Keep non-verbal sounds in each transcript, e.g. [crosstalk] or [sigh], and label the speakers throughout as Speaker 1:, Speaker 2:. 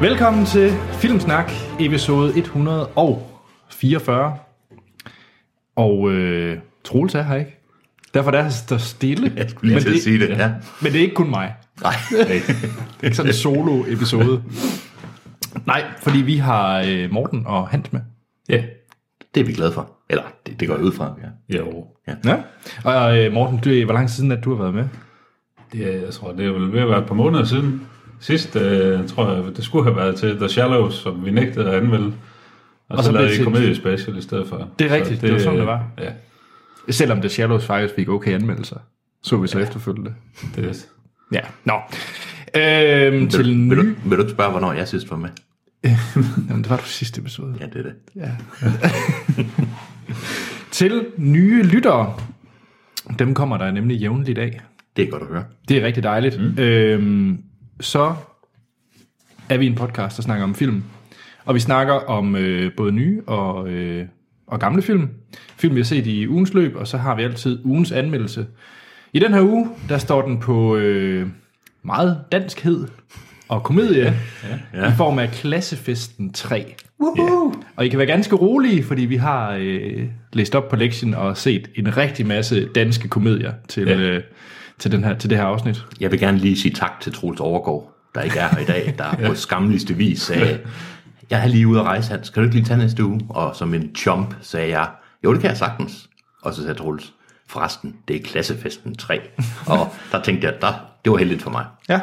Speaker 1: Velkommen til Filmsnak, episode 144. Og øh, Troels er her ikke. Derfor der er der stille.
Speaker 2: [laughs] Jeg skulle lige
Speaker 1: Men
Speaker 2: til at sige det, ja.
Speaker 1: Men det er ikke kun mig. [laughs]
Speaker 2: Nej,
Speaker 1: Det er ikke sådan en solo-episode. Nej, fordi vi har øh, Morten og Hans med.
Speaker 3: Ja,
Speaker 2: det er vi glade for. Eller, det, det går jeg ud fra, ja.
Speaker 3: jo.
Speaker 1: Ja. Og øh, Morten, du, hvor lang tid siden at du har været med?
Speaker 3: Det er, jeg tror, det er vel ved at være et par måneder siden. Sidst, øh, tror jeg, det skulle have været til The Shallows, som vi nægtede at anmelde. Og, og så,
Speaker 1: så
Speaker 3: så
Speaker 1: blev
Speaker 3: lavede
Speaker 1: det
Speaker 3: I
Speaker 1: til-
Speaker 3: komediespecial i stedet for.
Speaker 1: Det er rigtigt, det var sådan, det var.
Speaker 3: Ja,
Speaker 1: Selvom The Shallows faktisk fik okay anmeldelser, så vi så ja. efterfølgende.
Speaker 3: det,
Speaker 1: Ja, nå. Øhm, til
Speaker 2: Vil,
Speaker 1: ny...
Speaker 2: vil, du, vil du ikke spørge, hvornår jeg sidst var med?
Speaker 1: Jamen, det var du sidste episode.
Speaker 2: Ja, det er det.
Speaker 1: Ja. til nye lyttere. Dem kommer der nemlig jævnligt af.
Speaker 2: Det er godt at høre.
Speaker 1: Det er rigtig dejligt. Mm. Øhm, så er vi en podcast, der snakker om film. Og vi snakker om øh, både nye og, øh, og gamle film. Film, vi har set i ugens løb, og så har vi altid ugens anmeldelse. I den her uge, der står den på øh, meget danskhed og komedie ja, ja. i form af Klassefesten 3. Woohoo! Ja. Og I kan være ganske rolige, fordi vi har øh, læst op på lektien og set en rigtig masse danske komedier til, ja.
Speaker 3: Ja.
Speaker 1: øh, til, den her, til det her afsnit.
Speaker 2: Jeg vil gerne lige sige tak til Troels Overgaard, der ikke er her i dag, der på skamligste vis sagde, jeg er lige ude at rejse, Hans. Kan du ikke lige tage næste uge? Og som en chomp sagde jeg, jo, det kan jeg sagtens. Og så sagde Troels, forresten, det er klassefesten 3. Og der tænkte jeg, der, det var heldigt for mig.
Speaker 1: Ja.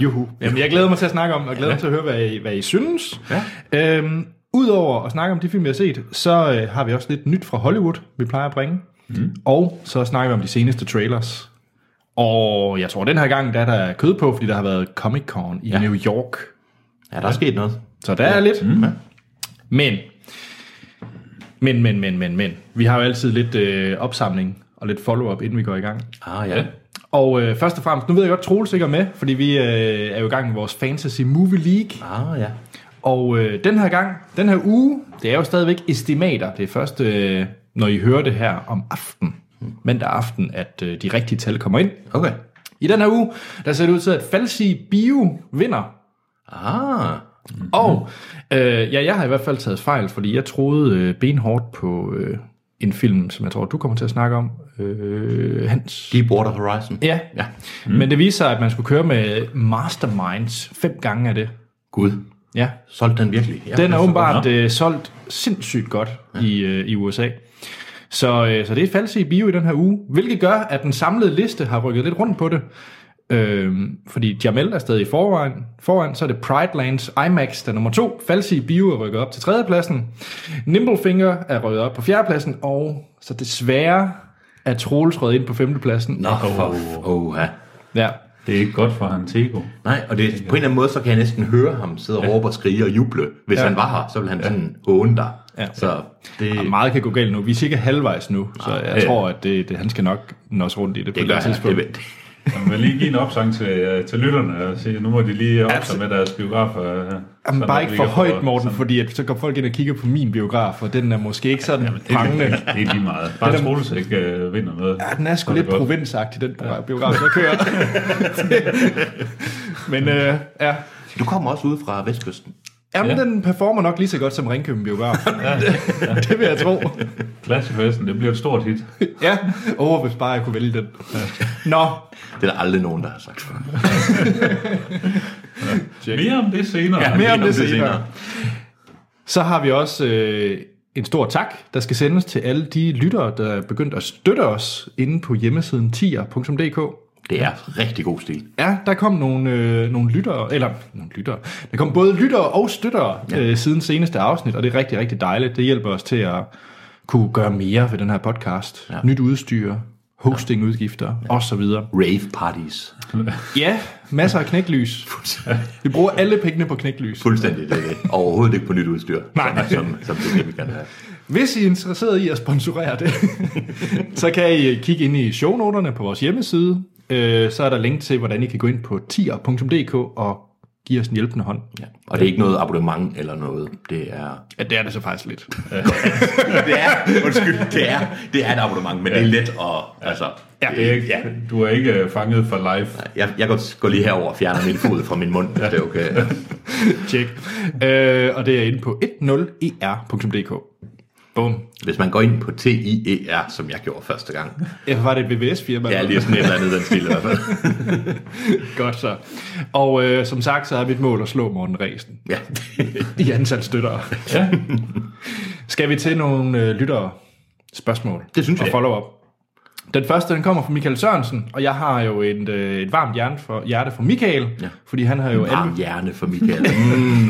Speaker 1: Juhu. Jamen, jeg glæder mig til at snakke om, og glæder mig til at høre, hvad I, hvad I synes. Ja. Øhm, Udover at snakke om de film, vi har set, så øh, har vi også lidt nyt fra Hollywood, vi plejer at bringe. Mm. Og så snakker vi om de seneste trailers. Og jeg tror, den her gang, der er der kød på, fordi der har været Comic-Con i ja. New York.
Speaker 2: Ja, der er sket noget.
Speaker 1: Så der ja. er lidt. Mm. Men, men, men, men, men, men. Vi har jo altid lidt øh, opsamling og lidt follow-up, inden vi går i gang.
Speaker 2: Ah, ja.
Speaker 1: Og øh, først og fremmest, nu ved jeg godt, Troels ikke er med, fordi vi øh, er jo i gang med vores Fantasy Movie League.
Speaker 2: Ah, ja.
Speaker 1: Og øh, den her gang, den her uge, det er jo stadigvæk estimater. Det er først, øh, når I hører det her om aften, mandag aften, at øh, de rigtige tal kommer ind.
Speaker 2: Okay.
Speaker 1: I den her uge, der ser det ud til, at Falsi Bio vinder.
Speaker 2: Ah,
Speaker 1: Og øh, ja, jeg har i hvert fald taget fejl, fordi jeg troede øh, benhårdt på øh, en film, som jeg tror, du kommer til at snakke om, øh, Hans.
Speaker 2: Deepwater Horizon.
Speaker 1: Ja, ja. Mm. men det viser sig, at man skulle køre med Masterminds fem gange af det.
Speaker 2: Gud,
Speaker 1: Ja,
Speaker 2: solgte den virkelig? Ja,
Speaker 1: den er
Speaker 2: altså,
Speaker 1: åbenbart øh, solgt sindssygt godt ja. i, øh, i USA. Så, øh, så det er falsk i bio i den her uge, hvilket gør, at den samlede liste har rykket lidt rundt på det. Øhm, fordi Jamel er stadig i forvejen. Foran så er det Pridelands IMAX, der er nummer to. Falsi Bio er rykket op til tredjepladsen. Nimblefinger er rykket op på fjerdepladsen. Og så desværre er Troels røget ind på femtepladsen.
Speaker 2: Nå, for oh, ja.
Speaker 1: Ja.
Speaker 3: det er ikke godt for Hantego.
Speaker 2: Nej, og det, på en eller anden måde, så kan jeg næsten høre ham sidde og råbe og skrige og juble. Hvis
Speaker 1: Ja.
Speaker 2: ja. han var her, så ville han sådan håne dig.
Speaker 1: Ja.
Speaker 2: Så det, Ah.
Speaker 1: Ja, Ah, meget kan gå galt nu. Vi er cirka halvvejs nu, så jeg
Speaker 3: ja.
Speaker 1: tror, at det, det, han skal nok nå os rundt i det, på
Speaker 2: det
Speaker 1: et eller
Speaker 2: gør
Speaker 1: andet
Speaker 2: han. Det,
Speaker 1: tidspunkt.
Speaker 2: ved-
Speaker 3: Man vil lige give en opsang til, øh, til lytterne og sige, nu må de lige op sig med deres biografer. øh,
Speaker 1: Jamen,
Speaker 3: sådan
Speaker 1: bare
Speaker 3: at
Speaker 1: ikke
Speaker 3: vi
Speaker 1: for
Speaker 3: kan få-
Speaker 1: højt, Morten, fordi at, så går folk ind og kigger på min biograf, og den er måske ikke sådan prangende.
Speaker 3: [laughs] Det er lige meget. Bare Troels ikke øh, vinder noget.
Speaker 1: Ja, den er sgu
Speaker 3: Så det
Speaker 1: lidt
Speaker 3: godt.
Speaker 1: provinsagtig, den biograf, jeg
Speaker 3: [laughs]
Speaker 1: kører. Men øh, ja,
Speaker 2: du kommer også ud fra Vestkysten.
Speaker 1: Jamen,
Speaker 3: Ja.
Speaker 1: den performer nok lige så godt som Ringkøbing Biograf. det, det vil jeg tro.
Speaker 3: Klassefesten, det bliver et stort hit.
Speaker 1: Ja, åh, oh, hvis bare jeg kunne vælge den. Nå,
Speaker 2: Det er der aldrig nogen, der har sagt før.
Speaker 3: Mere om det senere.
Speaker 2: Ja,
Speaker 1: mere om
Speaker 2: Om
Speaker 1: det
Speaker 2: det
Speaker 1: senere.
Speaker 2: senere.
Speaker 1: Så har vi også øh, en stor tak, der skal sendes til alle de lyttere, der er begyndt at støtte os inde på hjemmesiden tier.dk.
Speaker 2: Det er rigtig god stil.
Speaker 1: Ja, der kom nogle, øh, nogle lyttere, eller nogle lyttere, der kom både lyttere og støttere ja. øh, siden seneste afsnit, og det er rigtig, rigtig dejligt. Det hjælper os til at kunne gøre mere ved den her podcast. Ja.
Speaker 2: Ja.
Speaker 1: Nyt udstyr, hostingudgifter ja. osv.
Speaker 2: Rave parties.
Speaker 1: Ja, masser af knæklys. Vi bruger alle pengene på knæklys.
Speaker 2: Fuldstændig [laughs] det. er det. Overhovedet ikke på nyt udstyr.
Speaker 1: Nej.
Speaker 2: Som, som, som det er det, vi gerne have.
Speaker 1: Hvis I er interesseret i at sponsorere det, [laughs] så kan I kigge ind i Øh, shownoterne på vores hjemmeside. Øh, Så er der link til, hvordan I kan gå ind på tier.dk og give os en hjælpende hånd.
Speaker 2: Ja. Og det er ikke noget abonnement eller noget. Det er...
Speaker 1: Ja, det er det så faktisk lidt.
Speaker 2: det er, [laughs] undskyld, det er, det er et abonnement, men ja. det er let at... Altså,
Speaker 1: Ja.
Speaker 3: Det er ikke,
Speaker 2: ja.
Speaker 3: Du er ikke øh, fanget for life.
Speaker 2: Jeg, jeg går, går lige herover og fjerner min fod fra min mund, hvis det er okay.
Speaker 1: Tjek. Øh, og det er inde på 10er.dk. Bum.
Speaker 2: Hvis man går ind på TIER, som jeg gjorde første gang.
Speaker 1: Ja, var det et VVS-firma?
Speaker 2: Ja, lige sådan et eller andet i den stil i hvert fald.
Speaker 1: Godt så. Og øh, som sagt, så er mit mål at slå Morten Ræsen
Speaker 2: Ja.
Speaker 1: i antal støttere.
Speaker 3: Ja.
Speaker 1: Skal vi til nogle øh, lyttere spørgsmål?
Speaker 2: Det synes
Speaker 1: og
Speaker 2: jeg.
Speaker 1: follow-up. Den første, den kommer fra Michael Sørensen, og jeg har jo et, øh, et varmt hjerte for, hjerte for Michael, ja. fordi han har jo
Speaker 2: Varm hjerne for Michael. Mm.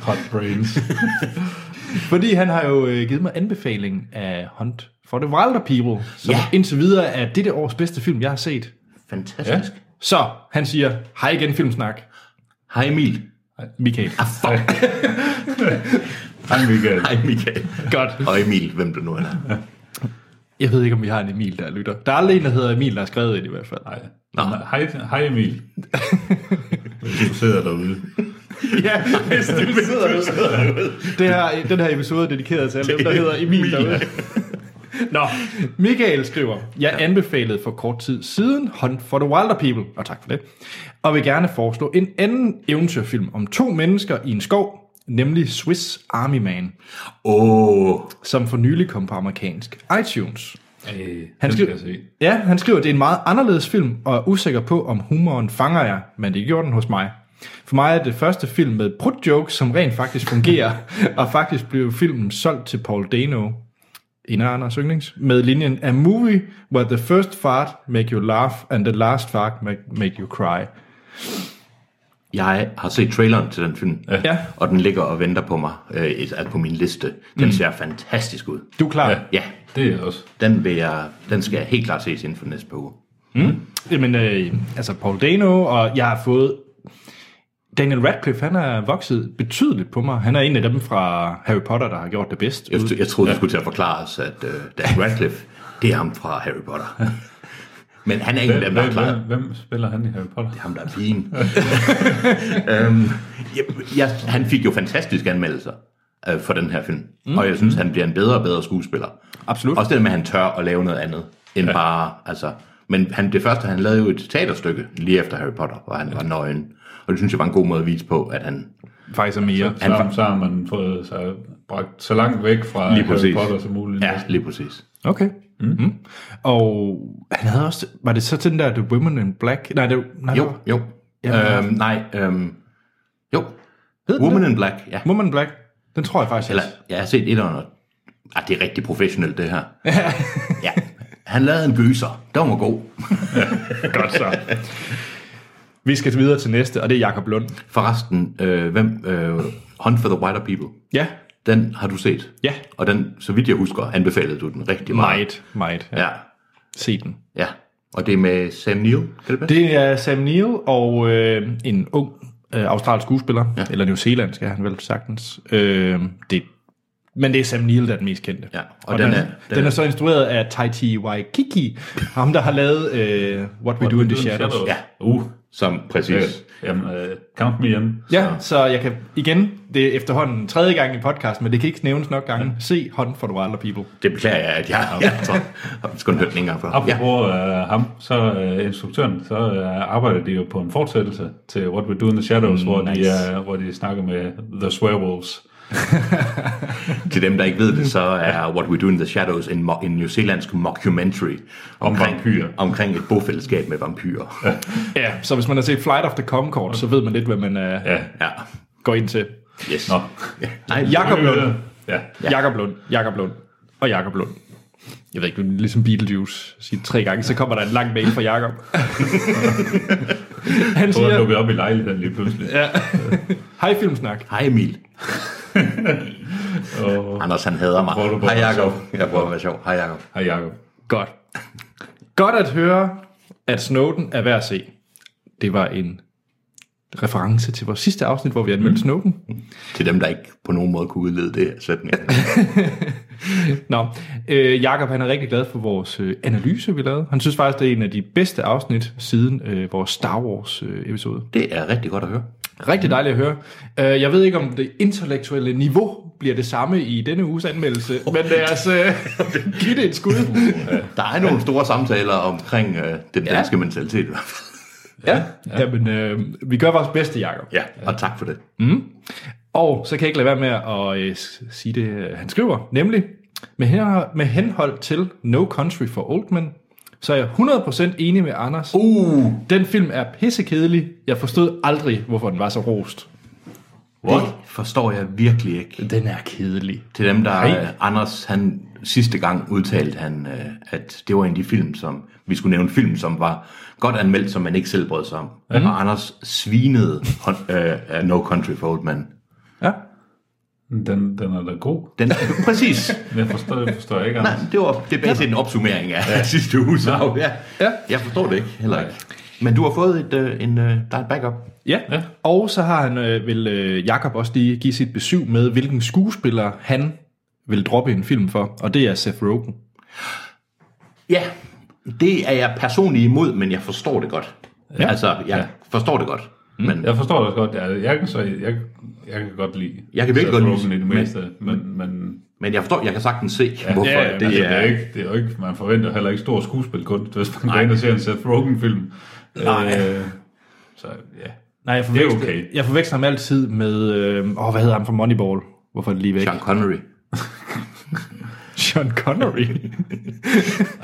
Speaker 3: Hot brains.
Speaker 1: Fordi han har jo øh, givet mig anbefaling af Hunt for the Wilder People, som ja.
Speaker 2: Ja.
Speaker 1: indtil videre er dette års bedste film, jeg har set.
Speaker 2: Fantastisk. Ja.
Speaker 1: Så han siger, hej igen Filmsnak,
Speaker 2: Hej Emil.
Speaker 1: Michael.
Speaker 2: Ah, fuck.
Speaker 3: Hej Michael.
Speaker 2: Hej Michael.
Speaker 1: Godt.
Speaker 2: Og Emil, hvem du nu end er.
Speaker 1: Jeg ved ikke, om vi har en Emil, der lytter. Der er aldrig en, der hedder Emil, der har skrevet det i hvert fald.
Speaker 3: Hej. Hej, hej Emil. Hvis du sidder derude.
Speaker 1: Ja, hvis du sidder du sidder Det her, den her episode er dedikeret til alle dem, der hedder Emil derude. Nå, Michael skriver, jeg anbefalede for kort tid siden Hunt for the Wilder People, og tak for det, og vil gerne foreslå en anden eventyrfilm om to mennesker i en skov, nemlig Swiss Army Man,
Speaker 2: Åh, oh,
Speaker 1: som for nylig kom på amerikansk iTunes.
Speaker 3: Øh,
Speaker 1: Han
Speaker 3: han
Speaker 1: skal-
Speaker 3: skal jeg se.
Speaker 1: Ja, han skriver, at det er en meget anderledes film, og er usikker på, om humoren fanger jer, men det gjorde den hos mig. For mig er det første film med prut jokes, som rent faktisk fungerer, [laughs] og faktisk blev filmen solgt til Paul Dano, en af Anders Yndlings, med linjen, A movie where the first fart make you laugh, and the last fart make, make you cry.
Speaker 2: jeg har set traileren til den film.
Speaker 1: Ja.
Speaker 2: Og den ligger og venter på mig, øh, altså på min liste. Den
Speaker 1: Mm.
Speaker 2: ser fantastisk ud.
Speaker 1: Du er klar? Ja.
Speaker 2: Ja,
Speaker 3: Det er jeg også.
Speaker 2: den, vil jeg, den skal jeg helt klart ses inden for næste par uger.
Speaker 1: Jamen, øh, altså Paul Dano, og jeg har fået... Daniel Radcliffe, han er vokset betydeligt på mig. Han er en af dem fra Harry Potter, der har gjort det bedst.
Speaker 2: Jeg, jeg troede, du skulle til at forklare os, at uh, Dan Radcliffe, det er ham fra Harry [laughs] Potter. Men han er en af dem,
Speaker 3: Hvem,
Speaker 2: der er
Speaker 3: hvem,
Speaker 2: klar.
Speaker 3: hvem, hvem spiller han i Harry Potter?
Speaker 2: Ham, der er pigen. [laughs] øhm, jeg, jeg, han fik jo fantastiske anmeldelser øh, for den her film. Mm. Og jeg synes, han bliver en bedre og bedre skuespiller.
Speaker 1: Absolut.
Speaker 2: Også det der med, at han tør at lave noget andet, end ja. bare, altså... Men han, det første, han lavede jo et teaterstykke lige efter Harry Potter, hvor han var nøgen. Og det synes jeg var en god måde at vise på, at han...
Speaker 1: Faktisk er mere.
Speaker 3: Så, har- så har man fået sig bragt så langt væk fra
Speaker 2: Lige
Speaker 3: Harry
Speaker 2: præcis.
Speaker 3: Potter som muligt.
Speaker 2: Ja, lige præcis.
Speaker 1: Okay. Mm-hmm. Og han havde også... Var det så til den der The Women in Black? Nej, det var... Nej, det
Speaker 2: Jo,
Speaker 1: var-
Speaker 2: jo.
Speaker 1: Ja.
Speaker 2: Øhm, nej, øhm, jo.
Speaker 1: Hed den
Speaker 2: Woman in Black, ja.
Speaker 1: Woman in Black. Den tror jeg faktisk
Speaker 2: Eller,
Speaker 1: også.
Speaker 2: jeg har set et og Ah, det er rigtig professionelt, det her. ja. Han lavede en gyser. Den var god.
Speaker 1: Godt
Speaker 2: [laughs]
Speaker 1: så. Vi skal videre til næste, og det er Jakob Lund.
Speaker 2: Forresten, øh, hvem, øh, Hunt for the Wilder People,
Speaker 1: Ja.
Speaker 2: den har du set.
Speaker 1: Ja.
Speaker 2: Og den, så vidt jeg husker, anbefalede du den rigtig meget.
Speaker 1: Meget, meget. Ja.
Speaker 2: Ja,
Speaker 1: Se den.
Speaker 2: ja. Og det er med Sam Neill, kan det passe?
Speaker 1: Det er Sam Neill og øh, en ung øh, australsk skuespiller, ja. eller New Zealand skal han vel sagtens. Øh, det, men det er Sam Neill, der er den mest kendte.
Speaker 2: Ja, og
Speaker 1: og den,
Speaker 2: den
Speaker 1: den,
Speaker 2: er-
Speaker 1: er, den, den er så instrueret af Taiti Waikiki, ham der har lavet øh, What, We Do in the Shadows.
Speaker 2: Ja.
Speaker 3: Uh,
Speaker 2: Som,
Speaker 3: øh,
Speaker 2: præcis.
Speaker 3: jamen, øh, count me in.
Speaker 1: Ja, så jeg kan igen, det er efterhånden tredje gang i podcast, men det kan ikke nævnes nok gange. Se Hunt for the Wilder People.
Speaker 2: Det beklager jeg, at jeg har ja. har sgu hørt den ikke engang fra. Ja.
Speaker 3: Apropos ja. øh, ham, så øh, instruktøren, så øh, arbejder de jo på en fortsættelse til What We Do in the Shadows, mm, hvor, nice.
Speaker 2: nice.
Speaker 3: de, øh, hvor de snakker med The Swearwolves.
Speaker 2: Til dem, der ikke ved det, så er What We Do in the Shadows en, mo- en newzealandsk mockumentary
Speaker 3: vampyrer.
Speaker 2: omkring et bofællesskab med vampyrer. Ja.
Speaker 1: Ja, så hvis man har set Flight of the Concord, så ved man lidt, hvad man uh, ja.
Speaker 3: Ja,
Speaker 2: ja.
Speaker 1: går ind til.
Speaker 2: Yes.
Speaker 3: nå.
Speaker 2: Nej,
Speaker 1: Jakob Lund,
Speaker 3: Ja,
Speaker 1: ja. Jakob Lund, Jakob Lund og Jakob Lund. Jeg ved ikke, ligesom Beetlejuice siger tre gange, så kommer der en lang mail fra [laughs] Jakob. Han
Speaker 3: så er
Speaker 1: siger,
Speaker 3: dukket op i lejligheden lige pludselig.
Speaker 1: ja. hej Filmsnak.
Speaker 2: Hej [laughs] Emil.
Speaker 3: Og,
Speaker 2: Anders, han hader mig.
Speaker 3: Prøver du på
Speaker 2: Hej
Speaker 3: at være
Speaker 2: Jakob.
Speaker 3: sjov?
Speaker 2: Jeg prøver at være sjov. Hej Jakob.
Speaker 3: hej Jacob.
Speaker 1: Godt. Godt at høre, at Snowden er værd at se. Det var en reference til vores sidste afsnit, hvor vi anmeldte mm. Snowden.
Speaker 2: Til dem, der ikke på nogen måde kunne udlede det her [laughs] sætning.
Speaker 1: Nå, øh, Jakob han er rigtig glad for vores øh, analyse, vi lavede. Han synes faktisk, det er en af de bedste afsnit siden øh, vores Star Wars øh, episode.
Speaker 2: Det er rigtig godt at høre.
Speaker 1: Rigtig dejligt at høre. Øh, Jeg ved ikke, om det intellektuelle niveau bliver det samme i denne uges anmeldelse, men lad os øh, [laughs] give det et skud.
Speaker 2: Der er nogle store samtaler omkring øh, den
Speaker 1: Ja.
Speaker 2: danske mentalitet i hvert fald.
Speaker 1: Ja, ja. Jamen, øh, vi gør vores bedste, Jacob.
Speaker 2: Ja, og tak for det.
Speaker 1: Og så kan jeg ikke lade være med at øh, s- sige det, øh, han skriver, nemlig, med, hen, med henhold til No Country for Old Men, så er jeg 100% enig med Anders.
Speaker 2: Uh,
Speaker 1: Den film er pissekedelig. Jeg forstod aldrig, hvorfor den var så rost.
Speaker 2: det forstår jeg virkelig ikke.
Speaker 1: Den er kedelig.
Speaker 2: Til dem, der...
Speaker 1: Nej.
Speaker 2: Øh, Anders, han sidste gang udtalte han, øh, at det var en af de film, som... Vi skulle nævne film, som var godt anmeldt, som man ikke selv brød sig om. Mm-hmm. Og Anders svinede hånd- øh, af No Country for Old Men.
Speaker 1: Ja.
Speaker 3: Den, den er da god.
Speaker 2: [laughs] Den, præcis.
Speaker 3: Men jeg forstår, jeg forstår ikke,
Speaker 2: Nej,
Speaker 3: [laughs] Anders.
Speaker 2: det var det er baseret en opsummering af ja. [laughs] sidste uges af. Ja.
Speaker 1: Ja.
Speaker 2: Jeg forstår det ikke, heller ikke. Men du har fået et, øh, en, øh, der er et backup.
Speaker 1: Ja. ja,
Speaker 3: Ja.
Speaker 1: og så har han, øh, vil øh, Jakob også lige give sit besøg med, hvilken skuespiller han vil droppe en film for, og det er Seth Rogen.
Speaker 2: Ja, det er jeg personligt imod, men jeg forstår det godt. Ja. Altså, jeg ja. forstår det godt. Mm. Men
Speaker 3: Jeg forstår det også godt. Altså, Jeg, jeg, kan, så, jeg, jeg kan godt lide
Speaker 2: Jeg kan virkelig
Speaker 3: Seth
Speaker 2: godt lide-
Speaker 3: Rogen i det
Speaker 2: men-
Speaker 3: meste, men, men
Speaker 2: Men jeg forstår, jeg kan sagtens se, ja, hvorfor
Speaker 3: Ja,
Speaker 2: ja,
Speaker 3: ja,
Speaker 2: det,
Speaker 3: det, altså,
Speaker 2: er...
Speaker 3: det, er ikke, det er jo ikke, man forventer heller ikke stor skuespilkunst, hvis man går ind og ser en Seth Rogen-film. Nej. Øh, så ja.
Speaker 1: Nej, jeg
Speaker 3: Det er
Speaker 1: forveksler,
Speaker 3: okay.
Speaker 1: jeg forveksler ham altid med, øh, åh, hvad hedder han fra Moneyball? Hvorfor er det lige væk?
Speaker 2: Sean Connery.
Speaker 1: Sean [laughs] Connery.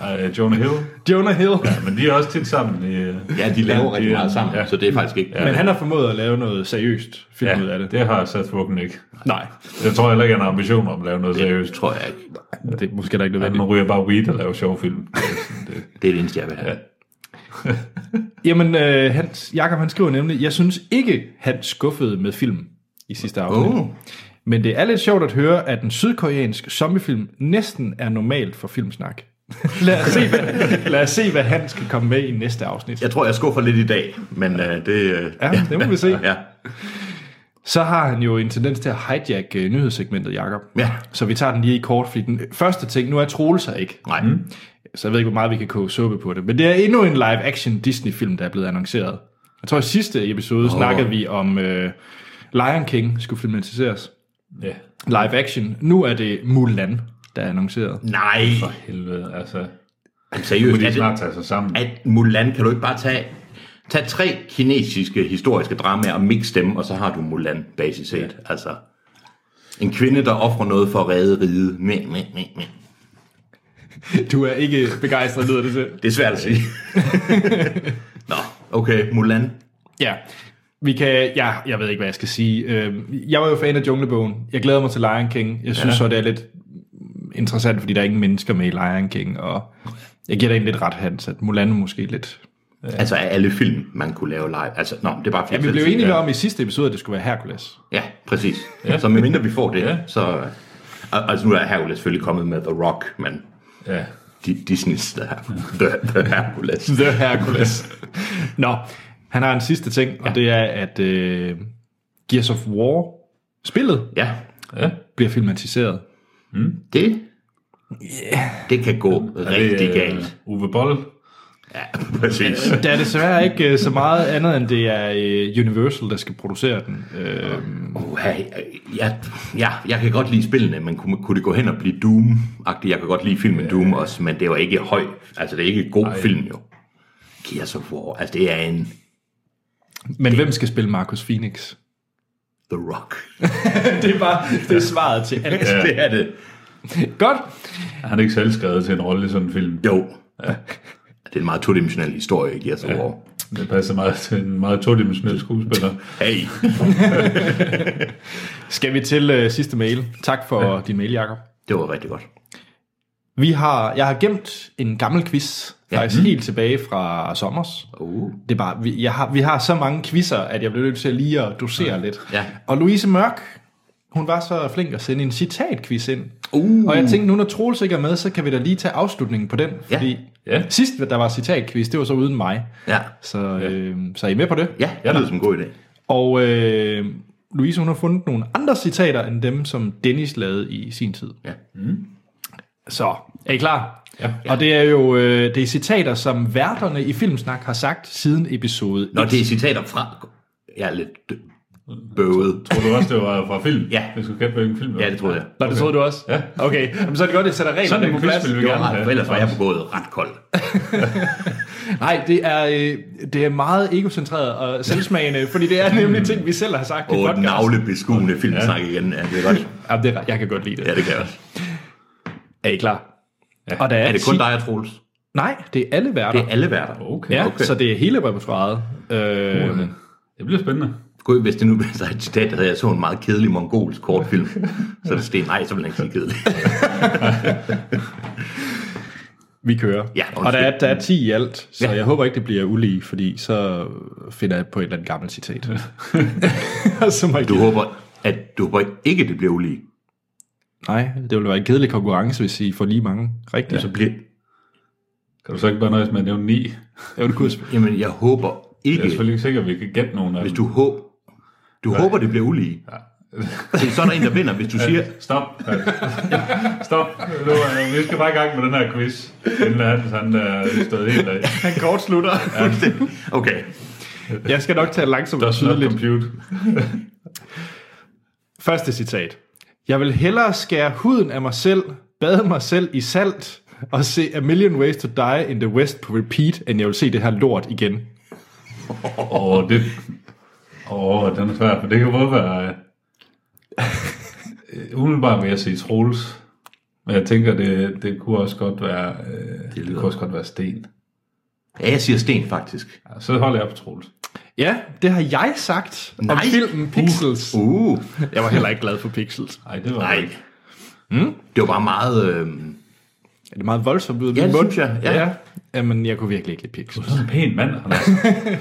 Speaker 3: Ej, Øh, Jonah Hill,
Speaker 1: Jonah Hill. Ja.
Speaker 3: men de er også tit sammen i... øh,
Speaker 2: Ja, de laver rigtig
Speaker 3: de-
Speaker 2: meget sammen, ja.
Speaker 3: ja.
Speaker 2: så det er faktisk ikke... Ja.
Speaker 1: Men han har formået at lave noget seriøst film ud af
Speaker 3: Ja,
Speaker 1: det.
Speaker 3: det har Seth Rogen ikke.
Speaker 1: Nej,
Speaker 3: Jeg tror heller ikke, han har ambitioner om at lave noget seriøst.
Speaker 2: Tror jeg ikke.
Speaker 1: det er måske da ikke nødvendigt.
Speaker 3: Han ryger bare weed og laver sjov film. Det er sådan, det-
Speaker 2: Det er det eneste, jeg vil have. Ja.
Speaker 1: Jamen, øh, Hans, Jakob han skriver nemlig, jeg synes ikke, han skuffede med filmen i sidste afsnit.
Speaker 2: Oh.
Speaker 1: Men det er lidt sjovt at høre, at en sydkoreansk zombiefilm næsten er normalt for filmsnak. [laughs] lad, os se, hvad, lad os se, hvad han skal komme med i næste afsnit.
Speaker 2: Jeg tror, jeg skuffer lidt i dag, men øh, det... Øh,
Speaker 1: Ja, det må vi se.
Speaker 2: Ja.
Speaker 1: Så har han jo en tendens til at hijack øh, nyhedssegmentet, Jakob.
Speaker 2: Ja.
Speaker 1: Så vi tager den lige i kort, fordi den første ting, nu er Troels her ikke.
Speaker 2: Nej. Mm.
Speaker 1: Så jeg ved ikke, hvor meget vi kan koge suppe på det. Men det er endnu en live-action Disney-film, der er blevet annonceret. Jeg tror, i sidste episode oh. snakkede vi om øh, Lion King skulle filmatiseres.
Speaker 3: Ja,
Speaker 1: Live-action. Nu er det Mulan, der er annonceret.
Speaker 2: Nej.
Speaker 3: for helvede, altså.
Speaker 2: Men
Speaker 3: Nu må
Speaker 2: seriøst, er
Speaker 3: de
Speaker 2: det,
Speaker 3: snart tage sig sammen.
Speaker 2: at Mulan kan du ikke bare tage... Tag tre kinesiske historiske dramaer og mix dem, og så har du Mulan, basis set. Ja. Altså, en kvinde, der offrer noget for at redde riget. Mæ, mæ, mæ, mæ.
Speaker 1: Du er ikke begejstret, lyder det til.
Speaker 2: Det er svært at [laughs] sige. Nå, okay, Mulan.
Speaker 1: Ja, vi kan, ja, jeg ved ikke, hvad jeg skal sige. Øh, Jeg var jo fan af Junglebogen. Jeg glæder mig til Lion King. Jeg synes ja. så, det er lidt interessant, fordi der er ingen mennesker med i Lion King, og jeg giver dig en lidt ret, Hans, at Mulan er måske lidt...
Speaker 2: Ja. Altså af alle film, man kunne lave live. Altså, nå, det er bare fordi,
Speaker 1: Ja, vi
Speaker 2: jeg
Speaker 1: blev
Speaker 2: selv siger-
Speaker 1: enige om i sidste episode, at det skulle være Hercules.
Speaker 2: Ja, præcis. Ja. Så medmindre vi får det, ja.
Speaker 3: Ja.
Speaker 2: så... al- Altså nu er Hercules selvfølgelig kommet med The Rock, men
Speaker 3: Ja.
Speaker 2: Di- Disney's The, the, the Hercules.
Speaker 1: [laughs] The Hercules. Nå, han har en sidste ting, og det er, at øh, Gears of War, spillet,
Speaker 2: Ja,
Speaker 3: ja.
Speaker 1: bliver filmatiseret.
Speaker 2: det... Det kan gå
Speaker 3: Er
Speaker 2: rigtig
Speaker 3: øh,
Speaker 2: galt.
Speaker 3: Uwe Boll.
Speaker 2: Ja, præcis.
Speaker 1: Der er desværre ikke øh, så meget andet, end det er øh, Universal, der skal producere den. Øh,
Speaker 2: Uha, ja, ja, jeg kan godt lide spillene, men kunne, kunne det gå hen og blive Doom-agtigt? Jeg kan godt lide filmen Doom også, men det var ikke høj. Altså, det er ikke en god Ej. film, jo. Gears of War, altså det er en
Speaker 1: men hvem skal spille Marcus Phoenix?
Speaker 2: The Rock.
Speaker 1: [laughs] det er bare det er svaret til alt.
Speaker 2: Ja. [laughs] det er det.
Speaker 1: Godt.
Speaker 3: Er han ikke selv skrevet til en rolle i sådan en film?
Speaker 2: Jo. Ja. Det er en meget todimensionel historie, Gears of War.
Speaker 3: Det passer meget til en meget todimensionel skuespiller.
Speaker 2: Hey,
Speaker 1: Skal vi til øh, sidste mail. Tak for ja. din mail, Jacob.
Speaker 2: det var rigtig godt.
Speaker 1: Vi har, jeg har gemt en gammel quiz,
Speaker 2: Ja.
Speaker 1: faktisk helt tilbage fra sommers.
Speaker 2: Uh.
Speaker 1: Det er bare, vi, jeg har, vi har så mange quizzer, at jeg bliver nødt til lige at dosere ja. lidt.
Speaker 2: Ja.
Speaker 1: Og Louise Mørk, hun var så flink at sende en citatquiz ind.
Speaker 2: Uh.
Speaker 1: Og jeg tænkte, nu når Troels ikke er med, så kan vi da lige tage afslutningen på den.
Speaker 2: Ja.
Speaker 1: Fordi
Speaker 3: Ja.
Speaker 1: sidst, der var citatquiz, det var så uden mig.
Speaker 2: Ja,
Speaker 1: Så, øh, så er I med på det?
Speaker 2: ja det lyder som en god idé.
Speaker 1: Og øh, Louise, hun har fundet nogle andre citater, end dem, som Dennis lavede i sin tid.
Speaker 2: Ja.
Speaker 1: Så, er I klar?
Speaker 3: Ja.
Speaker 1: Og det er jo øh, det er citater, som værterne i Filmsnak har sagt siden episode
Speaker 2: Nå,
Speaker 1: 1.
Speaker 2: det er citater fra... Jeg er lidt dø- bøvet.
Speaker 3: Tror du også, det var fra film?
Speaker 2: Ja.
Speaker 3: Jeg skulle gætte, hvilken film det var.
Speaker 2: Ja, det troede jeg.
Speaker 1: Nå, det troede du også?
Speaker 3: Ja.
Speaker 1: Okay, Jamen, så er det godt, at jeg sætter
Speaker 3: Sådan
Speaker 1: reglerne
Speaker 3: en
Speaker 1: på
Speaker 3: quiz
Speaker 1: plads.
Speaker 3: vil vi
Speaker 2: Det var
Speaker 3: gerne
Speaker 2: rart,
Speaker 3: have.
Speaker 2: for ellers var jeg på gået ret kold.
Speaker 1: Nej, det er, øh, det er meget egocentreret og selvsmagende, fordi det er nemlig ting, vi selv har sagt i
Speaker 2: Og
Speaker 1: podcast.
Speaker 2: navlebeskuende filmsnak igen. Ja, det er godt.
Speaker 1: Jamen, det er, jeg kan godt lide det.
Speaker 2: Ja, det kan jeg også.
Speaker 1: Er I klar? Ja. Og der er,
Speaker 2: Er det kun
Speaker 1: ti-
Speaker 2: dig og Troels? Oh.
Speaker 1: Nej, det er alle værter.
Speaker 2: Det er alle værter.
Speaker 3: Okay.
Speaker 1: Ja,
Speaker 2: okay.
Speaker 1: så det er hele repertoireet. Øh,
Speaker 3: Øh, Det bliver spændende.
Speaker 2: Gud, hvis det nu [laughs] blev sig et citat, der hedder, jeg så en meget kedelig mongolsk kortfilm. så er det sten, nej, så ville den ikke sige [laughs] kedelig.
Speaker 1: Vi kører.
Speaker 2: Ja,
Speaker 1: og der er, der er 10 i alt, så ja.
Speaker 2: Ja.
Speaker 1: jeg håber ikke, det bliver ulige, fordi så finder jeg på et eller andet gammelt citat. [laughs] Og så må jeg
Speaker 2: Du
Speaker 1: give-
Speaker 2: håber, at du håber ikke, det bliver ulige.
Speaker 1: Nej, det ville være en kedelig konkurrence, hvis I får lige mange. Rigtigt. Ja.
Speaker 2: Så bliver,
Speaker 3: Kan du så ikke bare nøjes med at nævne 9?
Speaker 1: Jo, det kunne
Speaker 2: jamen, jeg håber
Speaker 3: Jeg er
Speaker 2: ikke,
Speaker 3: selvfølgelig ikke sikker, at vi kan gætte nogen af
Speaker 2: hvis
Speaker 3: dem.
Speaker 2: du håber, du ja. håber, det bliver ulige. Ja. [laughs] så er der en, der vinder, hvis du siger,
Speaker 3: Stop. [laughs] Stop. Nu, øh, vi skal bare i gang med den her quiz. Inden Hans, han øh, er stået helt af.
Speaker 1: Han kortslutter.
Speaker 2: [laughs] okay,
Speaker 1: Jeg skal nok tage langsomt
Speaker 3: Der er
Speaker 1: og
Speaker 3: snart
Speaker 1: tydeligt.
Speaker 3: compute.
Speaker 1: Første citat. Jeg vil hellere skære huden af mig selv, bade mig selv i salt, og se A Million Ways to Die in the West på repeat, end jeg vil se det her lort igen.
Speaker 3: Åh, det... Åh, den er svær, for det kan både være... øh, Umiddelbart vil jeg sige Troels. Men jeg tænker, det, det kunne også godt være... Øh, det, det
Speaker 2: lyder-
Speaker 3: kunne også godt være Sten.
Speaker 2: ja, jeg siger sten faktisk.
Speaker 3: Ja, så holder jeg på Troels.
Speaker 1: Ja, det har jeg sagt om
Speaker 2: Nej.
Speaker 1: filmen Pixels.
Speaker 2: Uh,
Speaker 1: Jeg var heller ikke glad for Pixels.
Speaker 3: Nej, det var
Speaker 2: nej. Hmm?
Speaker 3: ikke.
Speaker 2: Det var bare meget, øh,
Speaker 1: Er det meget voldsomt ud af
Speaker 2: Ja,
Speaker 1: min
Speaker 2: det
Speaker 1: mund?
Speaker 2: synes jeg, ja.
Speaker 1: ja. Jamen, jeg kunne virkelig ikke lide Pixels.
Speaker 3: Sådan en pæn mand, han er.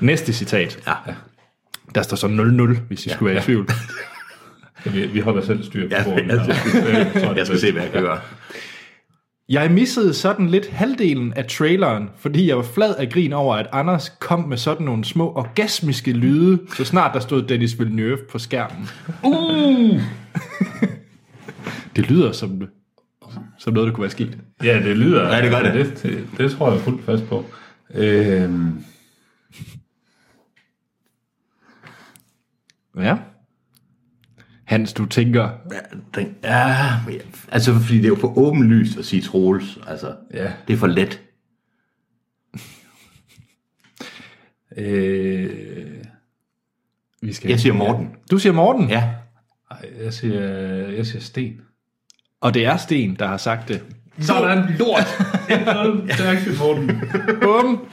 Speaker 1: Næste citat.
Speaker 2: ja,
Speaker 1: Der står så 0-0, hvis I ja, skulle være i tvivl.
Speaker 3: Kan Vi, vi holder selv styr på
Speaker 2: Ja,
Speaker 3: bordet.
Speaker 2: jeg
Speaker 3: her. Øh, tror, det
Speaker 2: jeg
Speaker 3: er
Speaker 2: skal
Speaker 3: bedst.
Speaker 2: se, hvad jeg kan gøre.
Speaker 1: Jeg missede sådan lidt halvdelen af traileren, fordi jeg var flad af grin over, at Anders kom med sådan nogle små orgasmiske lyde, så snart der stod Dennis Villeneuve på skærmen. Uh! det lyder som, som noget, der kunne være sket.
Speaker 3: Ja, det lyder.
Speaker 2: Ja, det gør det.
Speaker 3: Det, det, det tror jeg fuldt fast på. Øhm,
Speaker 1: Ja. Hans, du tænker...
Speaker 2: Den, ja, men jeg- altså fordi det er jo for åbenlyst at sige Troels. Altså,
Speaker 3: Ja.
Speaker 2: det er for let.
Speaker 3: øh,
Speaker 1: Vi skal...
Speaker 2: Jeg siger Morten.
Speaker 1: Du siger Morten,
Speaker 2: Ja,
Speaker 3: ej, jeg, siger, jeg siger Sten.
Speaker 1: og det er Sten, der har sagt det.
Speaker 3: Sådan, lort! det er ikke Morten.
Speaker 1: Bum.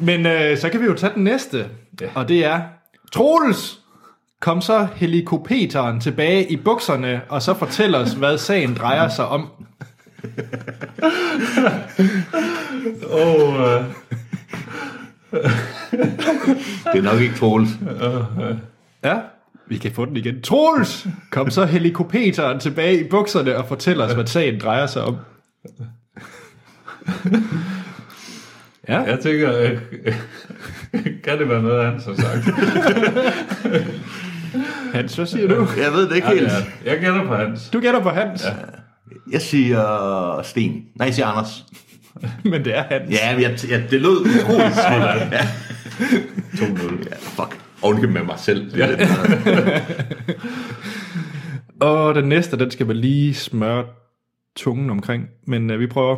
Speaker 1: Men øh, så kan vi jo tage den næste, ja.
Speaker 3: Ja.
Speaker 1: og det er Troels! Kom så helikopteren tilbage i bukserne, og så fortæl os, hvad sagen drejer sig om.
Speaker 3: Åh, øh,
Speaker 2: det er nok ikke Troels.
Speaker 1: Ja, vi kan få den igen. Troels! Kom så helikopteren tilbage i bukserne, og fortæl os, hvad sagen drejer sig om. Ja,
Speaker 3: jeg tænker, øh, [laughs] kan det være noget, han har sagt?
Speaker 1: Hans, hvad siger du?
Speaker 2: Jeg ved det ikke helt.
Speaker 3: Ja, jeg gætter på hans.
Speaker 1: Du gætter på Hans, ja.
Speaker 2: Jeg siger Sten. Nej, jeg siger Anders.
Speaker 1: men det er Hans.
Speaker 2: Ja, men jeg, jeg, det lød utroligt svært. ja. 2-0. [laughs] Ja, fuck. Ovenke med mig selv. Det er lidt bedre.
Speaker 1: Og den næste, den skal man lige smøre tungen omkring, men øh, vi prøver.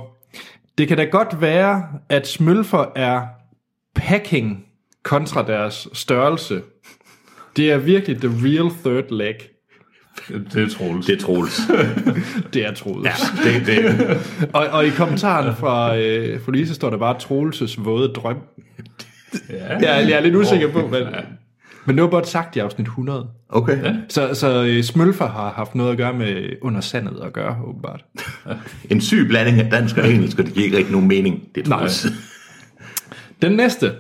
Speaker 1: Det kan da godt være, at smølfer er packing kontra deres størrelse. Det er virkelig the real third leg.
Speaker 3: Det det er Troels.
Speaker 2: det er Troels.
Speaker 1: Det er Troels. Ja.
Speaker 2: Det, det.
Speaker 1: Og, og i kommentaren fra, øh, fra Lise står der bare Troelses våde drøm.
Speaker 3: Ja.
Speaker 1: Jeg, er- jeg er lidt usikker på, men, men det var godt sagt i afsnit 100.
Speaker 2: Okay.
Speaker 1: Så, så øh, smølfer har haft noget at gøre med under sandet at gøre, åbenbart.
Speaker 2: En syg blanding af dansk og engelsk, og det giver ikke rigtig nogen mening. Det er
Speaker 1: Nej.
Speaker 2: Troels.
Speaker 1: Den næste.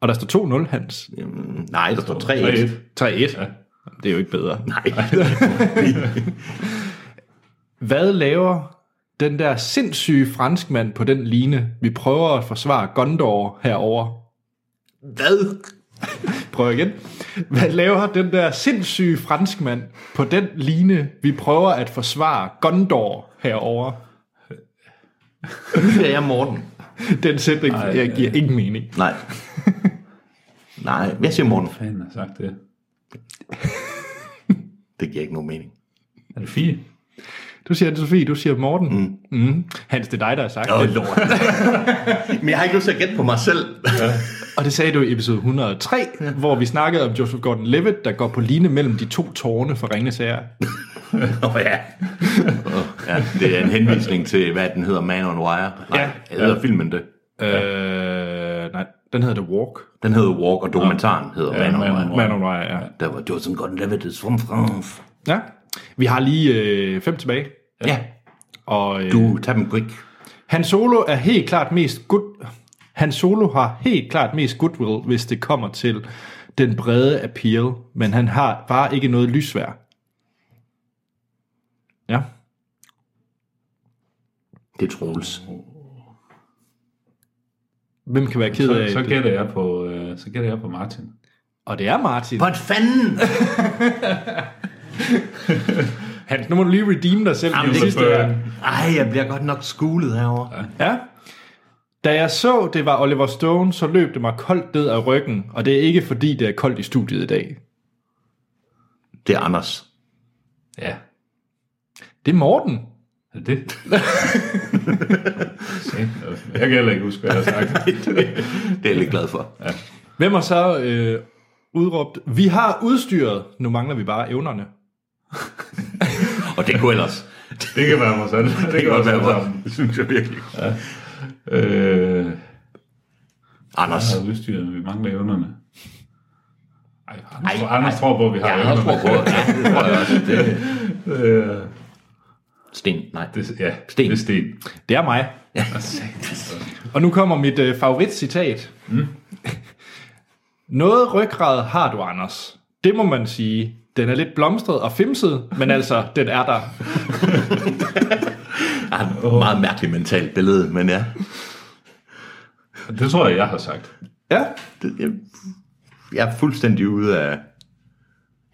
Speaker 1: Og der står 2-0, Hans.
Speaker 2: Jamen, Nej, der står 3-1.
Speaker 3: 3-1.
Speaker 1: 3-1. Ja. Det er jo ikke bedre.
Speaker 2: Nej.
Speaker 1: Hvad laver den der sindssyge franskmand på den line? Vi prøver at forsvare Gondor herover.
Speaker 2: Hvad?
Speaker 1: Prøv igen. Hvad laver den der sindssyge franskmand på den line? Vi prøver at forsvare Gondor herover.
Speaker 2: Nu siger jeg Morten.
Speaker 1: Den sætning Ej,
Speaker 3: Ej,
Speaker 1: jeg giver ingen mening.
Speaker 2: Nej. Nej, jeg siger Morten.
Speaker 3: Fanden har sagt det.
Speaker 2: Det giver ikke nogen mening.
Speaker 3: Er det fire?
Speaker 1: Du siger det, Sofie. Du siger Morten. Mm. Mm. Hans, det er dig, der har sagt
Speaker 2: Åh,
Speaker 1: det.
Speaker 2: oh, lort. Men jeg har ikke lyst til at gætte på mig selv.
Speaker 1: Og det sagde du i episode 103, ja. hvor vi snakkede om Joseph Gordon-Levitt, der går på line mellem de to tårne for Ringende Sager.
Speaker 2: Åh oh, ja. Oh, ja. Det er en henvisning til, hvad den hedder, Man on Wire. Nej,
Speaker 1: Ja.
Speaker 2: ja. hedder filmen det.
Speaker 1: Ja. Øh, nej, den hedder The Walk.
Speaker 2: Den hedder Walk, og dokumentaren hedder ja, Man on
Speaker 3: Man on
Speaker 2: Wire.
Speaker 3: Wire.
Speaker 1: Man on Wire, ja.
Speaker 2: Der var Joseph Gordon-Levitt is from France.
Speaker 1: ja. Vi har lige øh, fem tilbage.
Speaker 2: Ja,
Speaker 1: Og øh,
Speaker 2: du tager dem grik.
Speaker 1: Han Solo er helt klart mest good... Han Solo har helt klart mest goodwill, hvis det kommer til den brede appeal, men han har bare ikke noget lysvær. Ja.
Speaker 2: Det er Troels.
Speaker 1: Hvem kan være ked
Speaker 3: Så,
Speaker 1: af
Speaker 3: så
Speaker 1: det?
Speaker 3: gætter jeg på, øh, så gætter jeg på Martin.
Speaker 1: Og det er Martin.
Speaker 2: Hvad fanden?
Speaker 1: Hans, nu må du lige redeem dig selv. øh,
Speaker 2: Jamen,
Speaker 1: i
Speaker 2: det-
Speaker 1: sidste her.
Speaker 2: Ej, jeg bliver godt nok skulet herovre. Ja.
Speaker 1: Ja. Da jeg så, det var Oliver Stone, så løb det mig koldt ned af ryggen, og det er ikke fordi, det er koldt i studiet i dag.
Speaker 2: Det er Anders.
Speaker 3: Ja.
Speaker 1: Det er Morten.
Speaker 3: Er det [laughs] det? Sæt. jeg kan heller ikke huske, hvad jeg har sagt.
Speaker 2: Det er jeg lidt glad for. Ja.
Speaker 1: Hvem har så øh, udråbt, vi har udstyret, nu mangler vi bare evnerne.
Speaker 2: Og det kunne ellers.
Speaker 3: Det kan være mig selv. Det kan
Speaker 2: godt
Speaker 3: også
Speaker 2: være
Speaker 3: være
Speaker 2: mig.
Speaker 3: sammen.
Speaker 2: Det synes jeg virkelig.
Speaker 3: Øh,
Speaker 2: Anders.
Speaker 3: jeg har udstyret, vi mangler evnerne. Ej, Anders,
Speaker 2: Ej,
Speaker 3: ej, Anders
Speaker 2: ej.
Speaker 3: tror på, at vi har
Speaker 2: Ja, jeg
Speaker 3: evnerne.
Speaker 2: tror på det. Ja, det tror jeg også. Det-
Speaker 3: Øh,
Speaker 2: Sten, nej. Det
Speaker 3: [laughs] det, ja,
Speaker 2: Sten.
Speaker 3: det er sten.
Speaker 1: Det er mig. Og nu kommer mit øh, favoritcitat. Mm. [laughs] Noget ryggrad har du, Anders. Det må man sige. Den er lidt blomstret og fimset, men altså, den er der.
Speaker 2: er et meget mærkeligt mentalt billede, men ja.
Speaker 3: Det tror jeg, jeg har sagt.
Speaker 1: Ja,
Speaker 2: Det, jeg, jeg er fuldstændig ude af...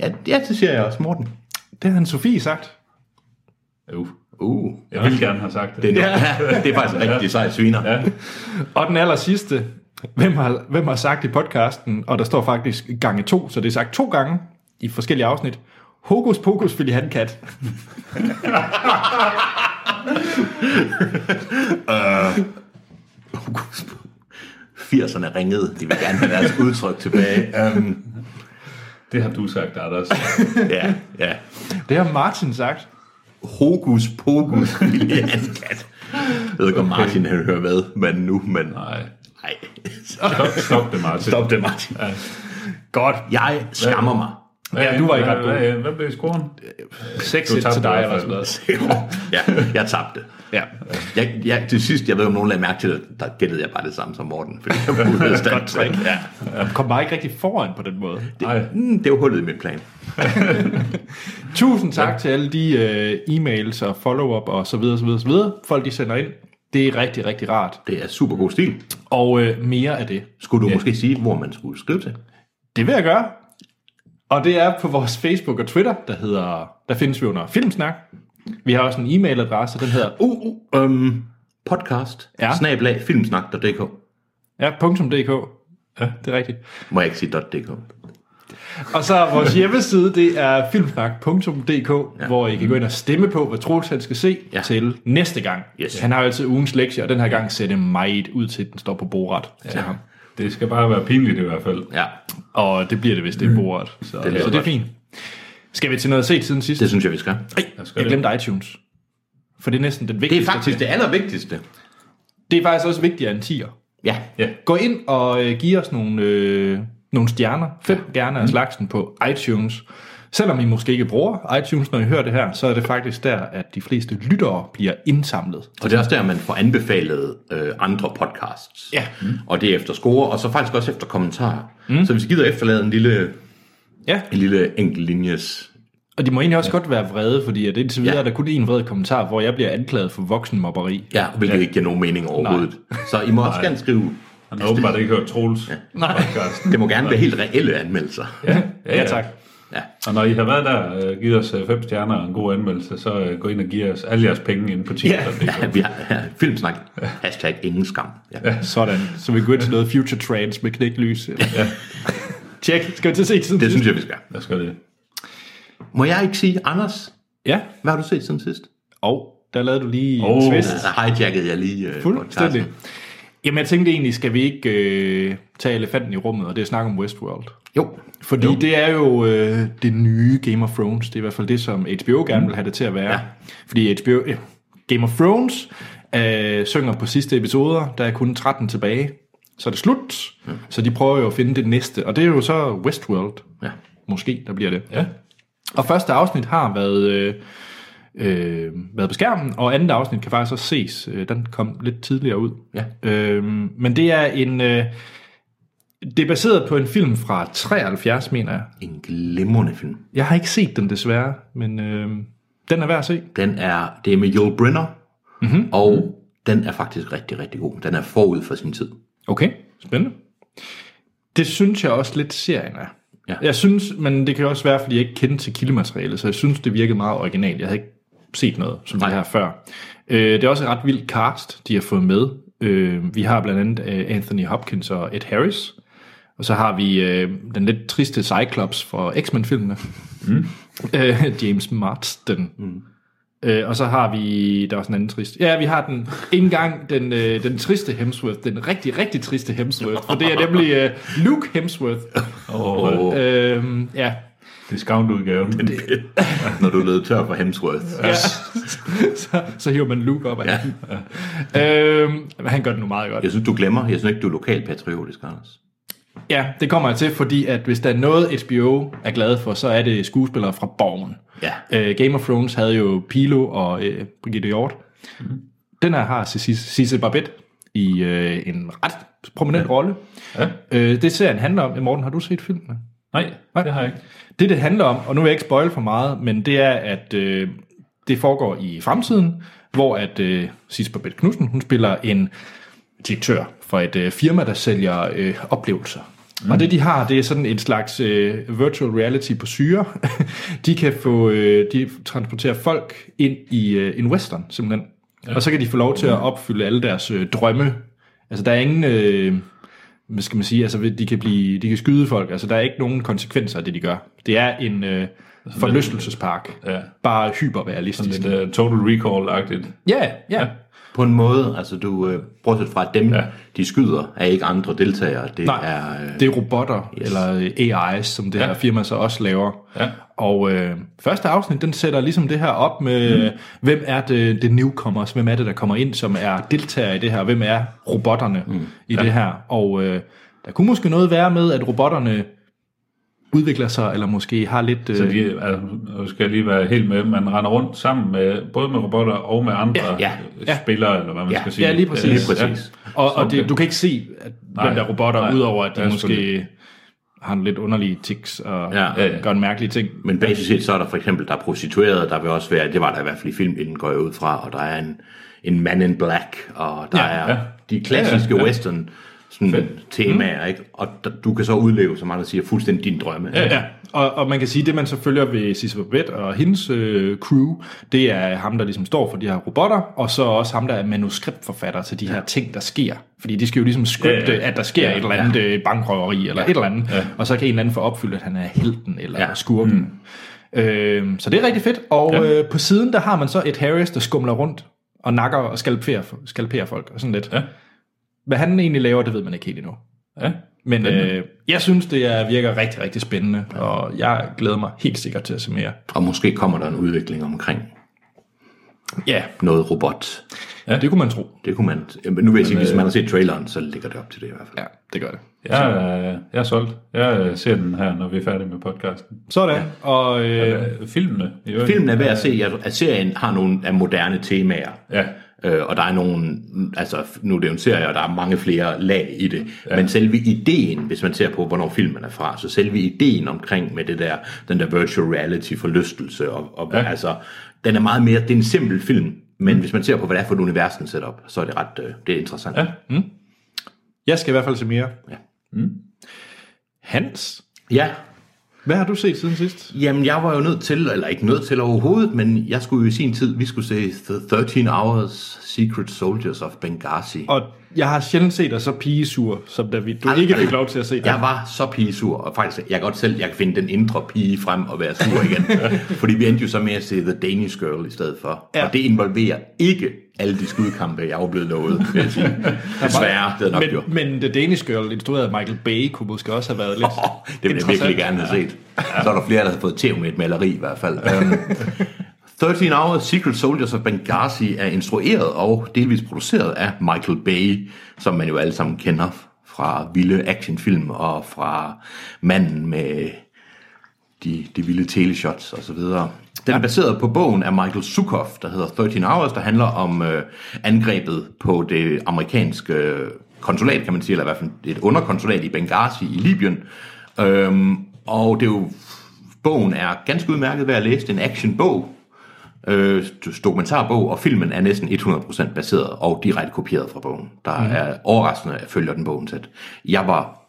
Speaker 2: Ja, ja, det siger jeg også, Morten.
Speaker 1: det har han Sofie sagt.
Speaker 3: Jo,
Speaker 2: Uh.
Speaker 3: jeg ville gerne have sagt det.
Speaker 2: Det er, ja. det er faktisk en rigtig sej sviner. Ja.
Speaker 1: Og den aller sidste, hvem har, hvem har sagt i podcasten, og der står faktisk gange to, så det er sagt to gange i forskellige afsnit, Hokus pokus filihantkat.
Speaker 2: Oh, Gud. 80'erne ringede. De vil gerne have deres udtryk tilbage. Um,
Speaker 3: Det har du sagt, Anders.
Speaker 2: ja, ja.
Speaker 1: Det har Martin sagt.
Speaker 2: Hokus pokus billiankat. Jeg ved ikke, om Martin han hører med, men nu, men
Speaker 3: Nej.
Speaker 2: nej.
Speaker 3: Stop, stop det, Martin.
Speaker 2: Stop det, Martin.
Speaker 1: Godt.
Speaker 2: Jeg skammer mig.
Speaker 3: Hvad,
Speaker 1: Ja, du var ikke ret god.
Speaker 3: hvad- Hvad, hvad blev scoren?
Speaker 1: 6
Speaker 3: Du
Speaker 1: til
Speaker 3: tabte i
Speaker 1: dig
Speaker 3: hvert
Speaker 1: eller
Speaker 3: fald.
Speaker 1: sådan noget.
Speaker 2: ja, jeg tabte.
Speaker 1: Ja.
Speaker 2: Jeg, jeg, til sidst, jeg ved, om nogen lagde mærke til det, der gættede jeg bare det samme som Morten. Fordi [laughs] jeg mulighed stand
Speaker 1: Godt trick.
Speaker 2: Ja.
Speaker 1: Kom bare ikke rigtig foran på den måde.
Speaker 3: Nej.
Speaker 2: Mm, det var hullet i min plan.
Speaker 1: Tusind tak ja. til alle de øh, e-mails og follow-up og så videre, så videre, så videre. Folk de sender ind. Det er rigtig, rigtig rart.
Speaker 2: Det er super god stil.
Speaker 1: Og øh, mere af det.
Speaker 2: Skulle du måske sige, hvor man skulle skrive til?
Speaker 1: Det vil jeg gøre. Og det er på vores Facebook og Twitter, der hedder, der findes vi under Filmsnak. Vi har også en e-mailadresse, den hedder
Speaker 2: Uh, uh, um, podcast.
Speaker 1: Ja.
Speaker 2: Ja. Snablag, filmsnak.dk.
Speaker 1: ja, .dk. Ja, det er rigtigt.
Speaker 2: Må jeg ikke sige .dk?
Speaker 1: Og så er [laughs] vores hjemmeside, det er filmsnak.dk, ja. hvor I kan gå ind og stemme på, hvad Troels han skal se ja.
Speaker 2: Ja.
Speaker 1: til næste gang.
Speaker 2: Yes.
Speaker 1: Han har jo altid ugens lektier, og den her gang ser det meget ud til, at den står på bordet ja. til ham.
Speaker 3: Det skal bare være pinligt i hvert fald.
Speaker 2: Ja,
Speaker 1: Og det bliver det, hvis det er bordet. Så Mm. det,
Speaker 2: lyder
Speaker 1: så det er
Speaker 2: godt.
Speaker 1: fint. Skal vi til noget set siden sidst?
Speaker 2: det synes jeg, vi skal.
Speaker 1: Ej,
Speaker 3: skal
Speaker 1: jeg
Speaker 3: det.
Speaker 1: glemte iTunes. For det er næsten den
Speaker 2: Det er
Speaker 1: vigtigste.
Speaker 2: faktisk det allervigtigste.
Speaker 1: det er faktisk også vigtigere end 10'er.
Speaker 2: Ja.
Speaker 3: Ja.
Speaker 1: Gå ind og øh, giv os nogle, øh, nogle stjerner, fem stjerner af slagsen på iTunes. Selvom I måske ikke bruger iTunes, når I hører det her, så er det faktisk der, at de fleste lyttere bliver indsamlet.
Speaker 2: Og det er også der, man får anbefalet øh, andre podcasts. Mm.
Speaker 1: Ja.
Speaker 2: Og det er efter score, og så faktisk også efter kommentarer. Mm. Så hvis I gider efterlade en lille,
Speaker 1: Ja,
Speaker 2: en lille enkelt linjes...
Speaker 1: og de må egentlig også godt være vrede, fordi at indtil videre
Speaker 2: Ja.
Speaker 1: er der kun en vred kommentar, hvor jeg bliver anklaget for voksenmobberi.
Speaker 2: Ja, hvilket ja. ikke giver nogen mening overhovedet. Så I må også gerne skrive... Altså,
Speaker 3: Han har åbenbart ikke hørt Troels. Ja.
Speaker 1: Nej.
Speaker 2: Det må gerne være helt reelle anmeldelser.
Speaker 3: Ja, ja,
Speaker 1: Ja, tak.
Speaker 2: Ja.
Speaker 3: Og når I har været der og givet os øh, fem stjerner og en god anmeldelse, så øh, gå ind og giv os alle jeres penge ind på
Speaker 2: Ja,
Speaker 3: Tinder.dk.
Speaker 2: ja, vi har ja, filmsnak. Hashtag ingen skam. Ja.
Speaker 1: Sådan. Så vi går ind til noget future trends med knæklys. Ja. [laughs] Tjek. Skal vi til at se siden
Speaker 2: Det synes jeg, vi skal.
Speaker 3: Lad os gøre det.
Speaker 2: Må jeg ikke sige, Anders,
Speaker 1: Ja.
Speaker 2: hvad har du set siden sidst?
Speaker 1: Og der lavede du lige oh, en
Speaker 3: Åh,
Speaker 1: twist.
Speaker 2: Altså, hijackede jeg lige øh,
Speaker 1: Fuldstændig.
Speaker 2: podcasten.
Speaker 1: Jamen jeg tænkte egentlig, skal vi ikke øh, tage elefanten i rummet, og det er snak om Westworld.
Speaker 2: Jo,
Speaker 1: Fordi jo. det er jo øh, det nye Game of Thrones. Det er i hvert fald det, som HBO gerne vil have det til at være. Mm. Ja.
Speaker 2: Ja.
Speaker 1: Fordi HBO, øh, Game of Thrones øh, synger på sidste episoder. Der er kun 13 tilbage. Så er det slut. Ja. Så de prøver jo at finde det næste. Og det er jo så Westworld.
Speaker 2: Ja.
Speaker 1: Måske, der bliver det.
Speaker 3: Ja.
Speaker 1: Og første afsnit har været, øh, øh, været på skærmen, og andet afsnit kan faktisk også ses. Øh, Den kom lidt tidligere ud.
Speaker 2: Ja.
Speaker 1: Øh, men det er en... Øh, det er baseret på en film fra 73, mener jeg.
Speaker 2: en glimrende film.
Speaker 1: Jeg har ikke set den desværre, men øh, den er værd at se.
Speaker 2: Den er, det er med Joel Brenner,
Speaker 1: Mhm.
Speaker 2: mm-hmm. og den er faktisk rigtig, rigtig god. Den er forud for sin tid.
Speaker 1: Okay, spændende. Det synes jeg også lidt serien er.
Speaker 2: Ja.
Speaker 1: Jeg synes, men det kan også være, fordi jeg ikke kendte til kildematerialet, så jeg synes, det virkede meget originalt. Jeg havde ikke set noget som det
Speaker 2: Nej.
Speaker 1: her før. Øh, det er også et ret vildt cast, de har fået med. Øh, vi har blandt andet øh, Anthony Hopkins og Ed Harris. Og så har vi øh, den lidt triste Cyclops fra X-Men-filmene. Mm. [laughs] Øh, James Marsden. Mm. Øh, og så har vi, der er også en anden trist. Ja, vi har den, ikke engang den, øh, den triste Hemsworth, den rigtig, rigtig triste Hemsworth, for det er nemlig øh, Luke Hemsworth.
Speaker 3: Og
Speaker 2: Åh,
Speaker 3: oh.
Speaker 2: oh,
Speaker 1: Øh, ja,
Speaker 3: discountudgaven.
Speaker 2: [laughs] når du er løbet tør for Hemsworth.
Speaker 1: ja. [laughs] så, så hiver man Luke op af ja. øhm, Han gør det nu meget godt.
Speaker 2: Jeg synes, du glemmer. Jeg synes ikke, du er lokalpatriotisk, Anders.
Speaker 1: Ja, det kommer jeg til, fordi at hvis der er noget, HBO er glad for, så er det skuespillere fra Borgen.
Speaker 2: Ja.
Speaker 1: Øh, Game of Thrones havde jo Pilo og øh, Brigitte Hjort. Mm.
Speaker 3: Mhm.
Speaker 1: Den her har Cisse Barbet i øh, en ret prominent rolle.
Speaker 3: Ja.
Speaker 1: Øh, det serien handler om, Morten, har du set filmene?
Speaker 3: Nej, det har jeg ikke.
Speaker 1: Det, det handler om, og nu vil jeg ikke spoil for meget, men det er, at øh, det foregår i fremtiden, hvor at øh, Sisper Bette Knudsen, hun spiller en direktør for et øh, firma, der sælger øh, oplevelser. Mm. Og det, de har, det er sådan en slags øh, virtual reality på syre. [laughs] de kan få, øh, de transporterer folk ind i øh, en western, simpelthen. Ja. Og så kan de få lov til at opfylde alle deres øh, drømme. Altså, der er ingen... Øh, hvad skal man sige, altså de kan, blive, de kan skyde folk, altså der er ikke nogen konsekvenser af det, de gør. Det er en øh, forlystelsespark,
Speaker 3: Ja.
Speaker 1: bare hyperrealistisk.
Speaker 3: Lidt uh, Total Recall-agtigt.
Speaker 1: Ja, øh. ja,
Speaker 2: På en måde, altså du, øh, bortset fra at dem, ja. de skyder, er ikke andre deltagere. Det
Speaker 1: Nej,
Speaker 2: er... Øh,
Speaker 1: det er robotter, yes. eller øh, AI's, som det ja. her firma så også laver.
Speaker 3: Ja.
Speaker 1: Og øh, første afsnit, den sætter ligesom det her op med, mm. hvem er det, det newcomers, hvem er det, der kommer ind, som er deltagere i det her, hvem er robotterne mm. i ja. det her. Og øh, der kunne måske noget være med, at robotterne udvikler sig, eller måske har lidt... Øh,
Speaker 3: Så de, altså, nu skal jeg lige være helt med, man render rundt sammen med, både med robotter og med andre
Speaker 1: Ja,
Speaker 2: ja,
Speaker 1: ja.
Speaker 3: spillere, eller hvad man
Speaker 2: Ja,
Speaker 3: skal sige.
Speaker 1: ja, lige præcis.
Speaker 3: Øh,
Speaker 2: Lige præcis.
Speaker 1: Og, og
Speaker 3: Okay.
Speaker 1: det, du kan ikke se, at
Speaker 3: Nej,
Speaker 1: hvem der er robotter,
Speaker 3: nej.
Speaker 1: udover at de
Speaker 3: Ja,
Speaker 1: måske har nogle lidt underlige tics og ja,
Speaker 2: Ja,
Speaker 1: ja,
Speaker 2: ja,
Speaker 1: ja.
Speaker 3: ja.
Speaker 1: gør en mærkelig ting.
Speaker 2: Men basis set, så er der for eksempel, der er prostituerede, der vil også være, det var der i hvert fald i filmen, går jeg ud fra, og der er en, en man in black, og der
Speaker 1: Ja,
Speaker 2: ja, er
Speaker 3: ja.
Speaker 2: ja. de klassiske ja, ja, ja. western sådan, temaer, ikke? og d- du kan så udleve, som andre siger, fuldstændig dine drømme. Ja,
Speaker 1: Ja, og, og man kan sige, at det man så følger ved Sisse Babette og hendes øh, crew, det er ham, der ligesom står for de her robotter, og så også ham, der er manuskriptforfatter til de her ting, der sker. Fordi de skal jo ligesom skripte,
Speaker 3: Ja, ja.
Speaker 1: at der sker
Speaker 2: Ja,
Speaker 1: et eller andet øh, bankrøveri eller et eller andet, og så kan en eller anden få opfyldt, at han er helten eller ja.
Speaker 2: Ja.
Speaker 1: skurken. Mm. Øh, så det er rigtig fedt, og ja. øh, på siden, der har man så et Harris, der skumler rundt og nakker og skalperer, skalperer folk og sådan lidt.
Speaker 3: Ja.
Speaker 1: Hvad han egentlig laver, det ved man ikke helt endnu.
Speaker 3: Ja.
Speaker 1: Men øh, jeg synes, det er, virker rigtig, rigtig spændende, og jeg glæder mig helt sikkert til at se mere.
Speaker 2: Og måske kommer der en udvikling omkring
Speaker 1: Ja,
Speaker 2: noget robot.
Speaker 1: ja. det kunne man tro.
Speaker 2: Det kunne man, jamen, nu vil jeg sige, hvis man har set traileren, så ligger det op til det i hvert fald.
Speaker 1: Ja, det gør det.
Speaker 3: Jeg, er- jeg er solgt. Jeg øh, ser den her, når vi er færdige med podcasten.
Speaker 1: Sådan, ja. og øh,
Speaker 3: Øh, filmene. i øvrigt.
Speaker 2: Filmen er værd at se, jeg- at serien har nogle af moderne temaer.
Speaker 3: Ja.
Speaker 2: Øh, og der er nogle, altså nu er det jo en serie, og der er mange flere lag i det. Ja. Men selve ideen, hvis man ser på, hvornår filmen er fra, så selve ideen omkring med det der, den der virtual reality forlystelse, og, og ja. altså, den er meget mere, det er en simpel film, men mm. hvis man ser på, hvad det er for et univers, den sætter op, så er det ret, øh, det er interessant. Ja.
Speaker 1: jeg skal i hvert fald se mere.
Speaker 2: Ja.
Speaker 1: Mm. Hans,
Speaker 2: ja.
Speaker 1: Hvad har du set siden sidst?
Speaker 2: Jamen, jeg var jo nødt til, eller ikke nødt til overhovedet, men jeg skulle jo i sin tid, vi skulle se The 13 Hours Secret Soldiers of Benghazi.
Speaker 1: Og jeg har sjældent set dig så pigesur, som da vi, du
Speaker 2: Aldrig.
Speaker 1: ikke fik lov til at se dig.
Speaker 2: Altså, Jeg var så pigesur, og faktisk, jeg kan godt selv, jeg kan finde den indre pige frem og være sur
Speaker 1: [laughs]
Speaker 2: igen. fordi vi endte jo så med at se The Danish Girl i stedet for.
Speaker 1: Ja.
Speaker 2: Ja. Og det involverer ikke alle de skudkampe, jeg var blevet lovet, vil jeg
Speaker 1: [laughs]
Speaker 2: sige. Desværre, det havde nok gjort.
Speaker 1: men, men The Danish Girl, instrueret af Michael Bay, kunne måske også have været lidt...
Speaker 2: Åh, det ville jeg virkelig gerne have set. Så er der flere, der har fået tv med et maleri i hvert fald. Øhm, 13 Hours Secret Soldiers of Benghazi er instrueret og delvis produceret af Michael Bay, som man jo alle sammen kender fra vilde actionfilm og fra manden med de, de vilde teleshots og så videre. Den er baseret på bogen af Michael Zukoff, der hedder 13 Hours, der handler om øh, angrebet på det amerikanske øh, konsulat, kan man sige, eller i hvert fald et underkonsulat i Benghazi i Libyen. Øhm, og det er jo, bogen er ganske udmærket ved at læse. Det er en actionbog, øh, dokumentarbog, og filmen er næsten 100% baseret og direkte kopieret fra bogen. Der
Speaker 1: Mhm.
Speaker 2: mm. er overraskende, at jeg følger den bogen tæt. Jeg var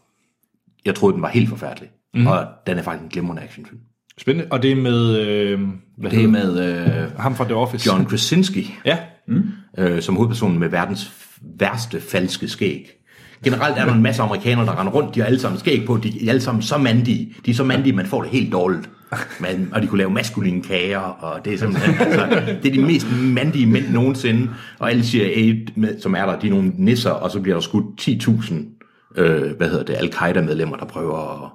Speaker 2: jeg troede, den var helt forfærdelig.
Speaker 1: Mhm.
Speaker 2: Mm. Og den er faktisk en glimrende actionfilm.
Speaker 1: Spændende. Og det er med... Øh, hvad
Speaker 2: Det er
Speaker 1: hedder
Speaker 2: med øh,
Speaker 1: ham fra The Office.
Speaker 2: John Krasinski,
Speaker 1: Ja.
Speaker 2: øh, som hovedpersonen med verdens f- værste falske skæg. Generelt er der en masse amerikanere, der render rundt, de har alle sammen skæg på, de er alle sammen så mandige. De er så mandige, man får det helt dårligt. Man, og de kunne lave maskuline kager, og det er simpelthen, altså, det er de mest mandige mænd nogensinde. Og alle siger, med, som er der, de er nogle nisser, og så bliver der skudt 10.000, øh, hvad hedder det, al-Qaida-medlemmer, der prøver at